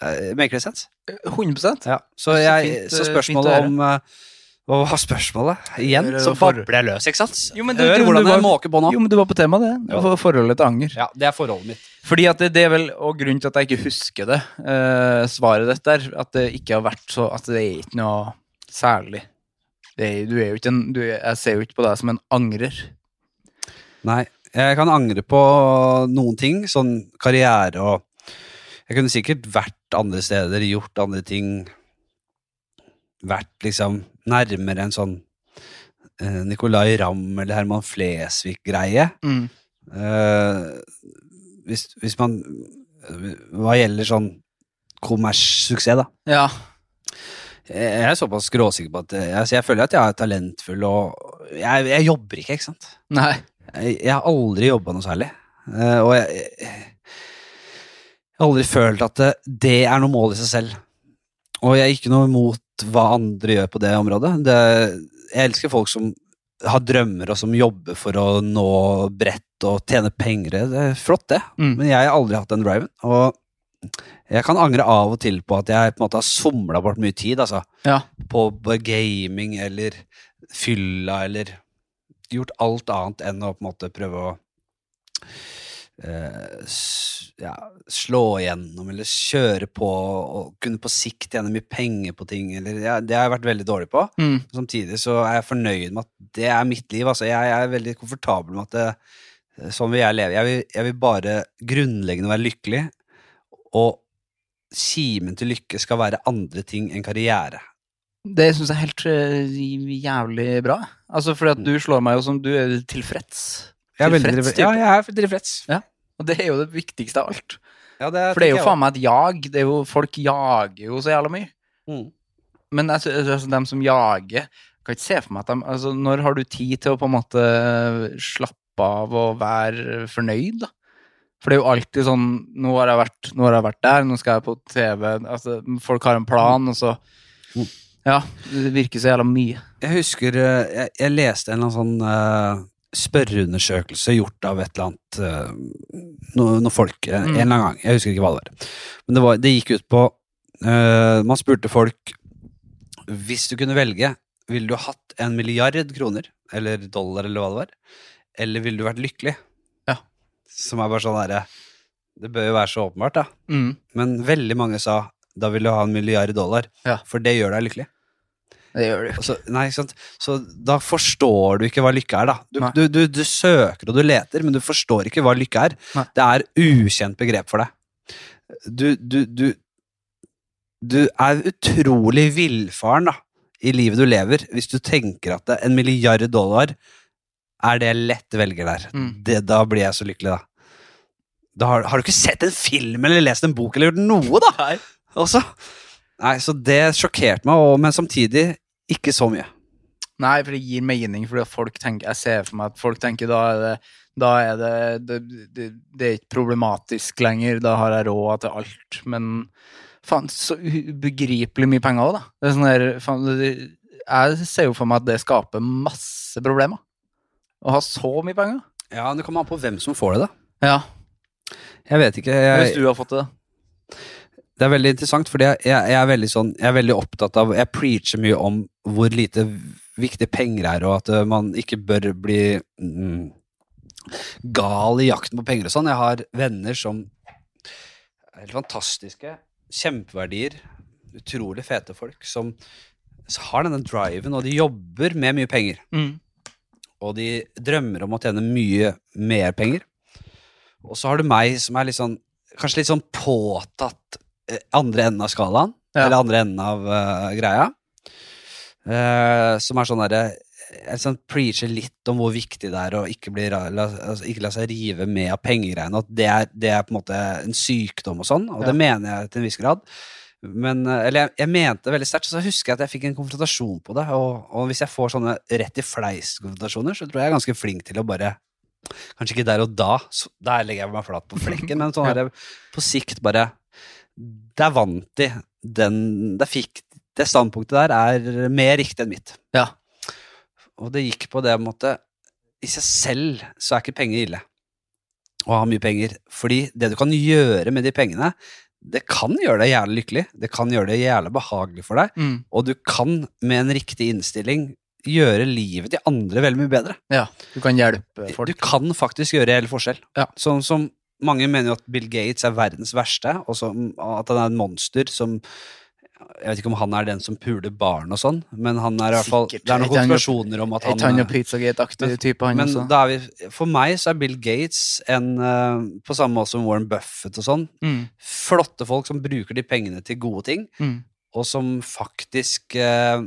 Speaker 1: Eh, Maker det sens?
Speaker 2: 100
Speaker 1: Ja. Så,
Speaker 2: Så
Speaker 1: jeg,
Speaker 2: fint,
Speaker 1: så
Speaker 2: eh,
Speaker 1: spørsmålet
Speaker 2: fint å
Speaker 1: om eh, Hva var spørsmålet? Igjen
Speaker 2: Hør,
Speaker 1: så
Speaker 2: for-
Speaker 1: babler jeg løs, ikke sant?
Speaker 2: Jo, men du-
Speaker 1: Hør
Speaker 2: du-
Speaker 1: hvordan
Speaker 2: du
Speaker 1: jeg
Speaker 2: var-
Speaker 1: måker på nå.
Speaker 2: Jo, men du var på temaet, det.
Speaker 1: Ja.
Speaker 2: For- Forholdet til anger.
Speaker 1: Ja, det er forholdet mitt.
Speaker 2: Fordi at det, det er vel og grunnen til at jeg ikke husker det, eh, svaret ditt der, at det ikke har vært så At det er ikke noe særlig. Det er, du er jo ikke en du, er- Jeg ser jo ikke på deg som en angrer.
Speaker 1: Nei, jeg kan angre på noen ting, sånn karriere og Jeg kunne sikkert vært andre steder, gjort andre ting, vært liksom nærmere en sånn eh, Nicolay Ramm eller Herman Flesvig-greie. Eh, hvis, hvis man Hva gjelder sånn kommerssuksess, da.
Speaker 2: Ja.
Speaker 1: Jeg er såpass skråsikker på at eh, altså, jeg føler at jeg er talentfull og Jeg, jeg jobber ikke, ikke sant?
Speaker 2: Nei.
Speaker 1: Jeg, jeg har aldri jobba noe særlig. Eh, og jeg, jeg, jeg har aldri følt at det, det er noe mål i seg selv. Og jeg er ikke noe imot hva andre gjør på det området. Det, jeg elsker folk som har drømmer og som jobber for å nå bredt og tjene penger. Det er flott, det.
Speaker 2: Mm.
Speaker 1: Men jeg har aldri hatt den driven. Og jeg kan angre av og til på at jeg på en måte har somla bort mye tid altså,
Speaker 2: Ja.
Speaker 1: på b- gaming eller fylla eller gjort alt annet enn å på en måte prøve å eh, s- ja, slå igjennom eller kjøre på og kunne på sikt tjene mye penger på ting. Eller, ja, det har jeg vært veldig dårlig på.
Speaker 2: Mm.
Speaker 1: Samtidig så er jeg fornøyd med at det er mitt liv. Altså, jeg, jeg er veldig komfortabel med at det, sånn vil jeg leve. Jeg vil, jeg vil bare grunnleggende være lykkelig, og kimen til lykke skal være andre ting enn karriere.
Speaker 2: Det syns jeg er helt eh, jævlig bra. Altså, fordi
Speaker 1: Mm.
Speaker 2: at du slår meg jo som du er tilfreds.
Speaker 1: Jeg er veldig
Speaker 2: Tilfreds
Speaker 1: tilfreds.
Speaker 2: type.
Speaker 1: Ja, jeg er tilfreds.
Speaker 2: Og det er jo det viktigste av alt.
Speaker 1: Ja, det
Speaker 2: For det er
Speaker 1: tenker
Speaker 2: jo
Speaker 1: jeg
Speaker 2: faen meg et jag. Det er jo, folk jager jo så jævla mye.
Speaker 1: også. Mm.
Speaker 2: Men jeg sy- altså, dem som jager jeg Kan ikke se for meg at dem altså, Når har du tid til å på en måte eh, slappe av og være fornøyd, da? For det er jo alltid sånn Nå har jeg vært, nå har jeg vært der, nå skal jeg på TV altså, Folk har en plan, og så
Speaker 1: Mm.
Speaker 2: Ja. Det virker så jævla mye.
Speaker 1: Jeg husker eh, jeg, jeg leste en eller annen sånn eh, spørreundersøkelse gjort av et eller annet eh, no, noen folk eh, en
Speaker 2: Mm.
Speaker 1: eller annen gang. Jeg husker ikke hva det var. Men det, var, det gikk ut på eh, Man spurte folk Hvis du kunne velge, ville du hatt en milliard kroner, eller dollar, eller hva det var, eller ville du vært lykkelig?
Speaker 2: Ja.
Speaker 1: Som er bare sånn derre Det bør jo være så åpenbart, da.
Speaker 2: Mm.
Speaker 1: Men veldig mange sa da vil du ha en milliard dollar,
Speaker 2: Ja.
Speaker 1: for det gjør deg lykkelig.
Speaker 2: Det gjør det jo.
Speaker 1: Og Så, nei, ikke sant? Så da forstår du ikke hva lykke er, da. Du,
Speaker 2: Nei.
Speaker 1: du, du, du søker og du leter, men du forstår ikke hva lykke er.
Speaker 2: Nei.
Speaker 1: Det er ukjent begrep for deg. Du, du, du, du er utrolig villfaren da, i livet du lever, hvis du tenker at det, en milliard dollar er det jeg lett velger der.
Speaker 2: Mm.
Speaker 1: Det, da blir jeg så lykkelig, da. da har, har du ikke sett en film eller lest en bok eller gjort noe, da?
Speaker 2: Nei.
Speaker 1: Også? Nei, så det sjokkerte meg, og, men samtidig ikke så mye.
Speaker 2: Nei, for det gir mening, fordi at folk tenker Jeg ser for meg at folk tenker da er det da er det, det, det, det er ikke problematisk lenger, da har jeg råd til alt. Men faen, så ubegripelig mye penger òg, da. Det er sånn der, faen, det- jeg ser jo for meg at det skaper masse problemer. Å ha så mye penger.
Speaker 1: Ja, Det kommer an på hvem som får det, da.
Speaker 2: Ja,
Speaker 1: Jeg vet ikke.
Speaker 2: Hvis
Speaker 1: Jeg,
Speaker 2: du har fått det, da.
Speaker 1: Det er veldig interessant, fordi jeg, jeg, jeg, er veldig sånn, jeg er veldig opptatt av Jeg preacher mye om hvor lite viktige penger er, og at eh, man ikke bør bli mm, gal i jakten på penger og sånn. Jeg har venner som er helt fantastiske, kjempeverdier, utrolig fete folk, som har denne driven, og de jobber med mye penger
Speaker 2: Mm.
Speaker 1: og de drømmer om å tjene mye mer penger. Og så har du meg som er litt sånn, kanskje litt sånn påtatt eh, andre enden av skalaen,
Speaker 2: Ja.
Speaker 1: eller andre enden av eh, greia, Eh, som er sånn derre jeg sånn preacher litt om hvor viktig det er å ikke, bli, ra- la, altså, ikke la seg rive med av pengegreiene. At det er, det er på en måte en sykdom og sånn, og
Speaker 2: Ja.
Speaker 1: det mener jeg til en viss grad. Men, eh, eller jeg, jeg mente det veldig sterkt, så husker jeg at jeg fikk en konfrontasjon på det. Og, og hvis jeg får sånne rett i fleis-konfrontasjoner, så tror jeg jeg er ganske flink til å bare Kanskje ikke der og da, så der legger jeg meg flat på flekken, men sånn
Speaker 2: Ja.
Speaker 1: er det på sikt bare Der vant de. Den, der fikk, det standpunktet der er mer riktig enn mitt.
Speaker 2: Ja.
Speaker 1: Og det gikk på det måte I seg selv så er ikke penger ille å ha mye penger. Fordi det du kan gjøre med de pengene, det kan gjøre deg jævlig lykkelig. Det kan gjøre det jævlig behagelig for deg.
Speaker 2: Mm.
Speaker 1: Og du kan med en riktig innstilling gjøre livet til andre veldig mye bedre.
Speaker 2: ja. Du kan hjelpe folk.
Speaker 1: Du kan faktisk gjøre reell forskjell.
Speaker 2: Ja.
Speaker 1: Sånn som mange mener jo at Bill Gates er verdens verste, og som, at han er en monster som Jeg vet ikke om han er den som puler barn og sånn, men han er i hvert fall
Speaker 2: Sikkert.
Speaker 1: Det er noen
Speaker 2: Jeg tenker-
Speaker 1: konspirasjoner om at
Speaker 2: Et
Speaker 1: han
Speaker 2: han og Pizzagate-aktig
Speaker 1: Men-
Speaker 2: type, han
Speaker 1: men
Speaker 2: også.
Speaker 1: da er vi, for meg så er Bill Gates en, eh, på samme måte som Warren Buffett og sånn,
Speaker 2: Mm.
Speaker 1: flotte folk som bruker de pengene til gode ting,
Speaker 2: Mm.
Speaker 1: og som faktisk eh,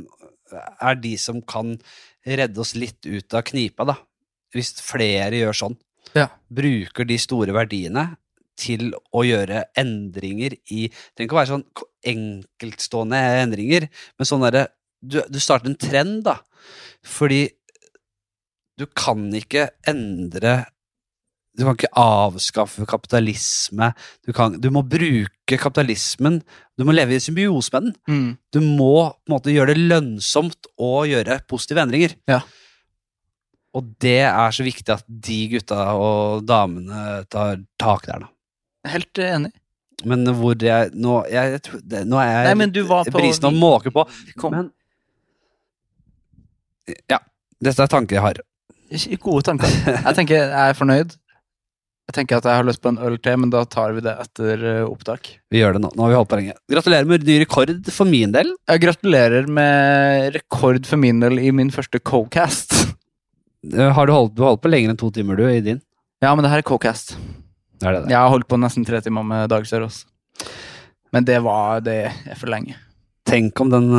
Speaker 1: er de som kan redde oss litt ut av knipa, da. Hvis flere gjør sånn.
Speaker 2: Ja.
Speaker 1: Bruker de store verdiene til å gjøre endringer i Det trenger ikke å være sånn k- enkeltstående endringer, men sånn derre du, du starter en trend, da. Fordi du kan ikke endre Du kan ikke avskaffe kapitalisme. Du, kan, du må bruke kapitalismen. Du må leve i symbiose med den
Speaker 2: Mm.
Speaker 1: du må på en måte gjøre det lønnsomt å gjøre positive endringer.
Speaker 2: Ja.
Speaker 1: Og det er så viktig at de gutta og damene tar tak der, da.
Speaker 2: Helt enig.
Speaker 1: Men hvor jeg Nå, jeg, jeg, tror- det, nå er jeg
Speaker 2: Nei, men du var på
Speaker 1: brisen og måker på.
Speaker 2: Kom.
Speaker 1: Men Ja. Dette er tanker jeg har.
Speaker 2: Gode tanker. Jeg tenker jeg er fornøyd. Jeg tenker at jeg har lyst på en øl til, men da tar vi det etter eh, opptak.
Speaker 1: Vi gjør det nå. Nå har vi holdt på lenge. Gratulerer med ny rekord for min del.
Speaker 2: Jeg gratulerer med rekord for min del i min første co-cast.
Speaker 1: Eh, Har du holdt, du har holdt på lenger enn to timer, du, i din?
Speaker 2: [laughs] Ja, men det her er co-cast.
Speaker 1: Er det det?
Speaker 2: Jeg har holdt på nesten tre timer med Dag Sørås. Men det var Det er for lenge.
Speaker 1: Tenk om den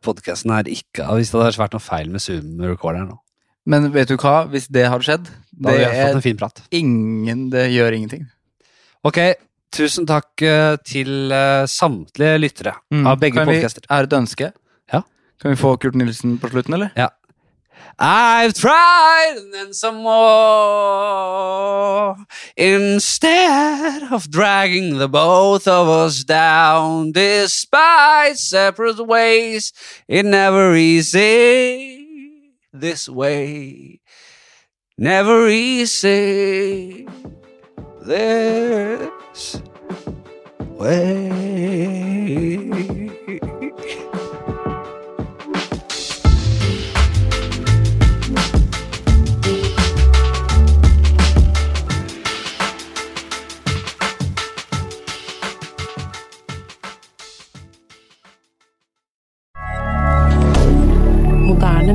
Speaker 1: podkasten her ikke Hvis det hadde vært noe feil med Zoom-recorderen nå.
Speaker 2: Men vet du hva, hvis det hadde skjedd
Speaker 1: Da
Speaker 2: Det
Speaker 1: hadde vi fått
Speaker 2: er
Speaker 1: en fin prat.
Speaker 2: ingen Det gjør ingenting.
Speaker 1: Ok, tusen takk eh, til eh, samtlige lyttere av begge
Speaker 2: Mm. Kan vi-
Speaker 1: podcaster.
Speaker 2: Er det et ønske?
Speaker 1: Ja.
Speaker 2: Kan vi få Kurt Nilsen på slutten, eller?
Speaker 1: I've tried and then some more Instead of dragging the both of us down Despite separate ways It never easy this way Never easy this way
Speaker 3: Moderne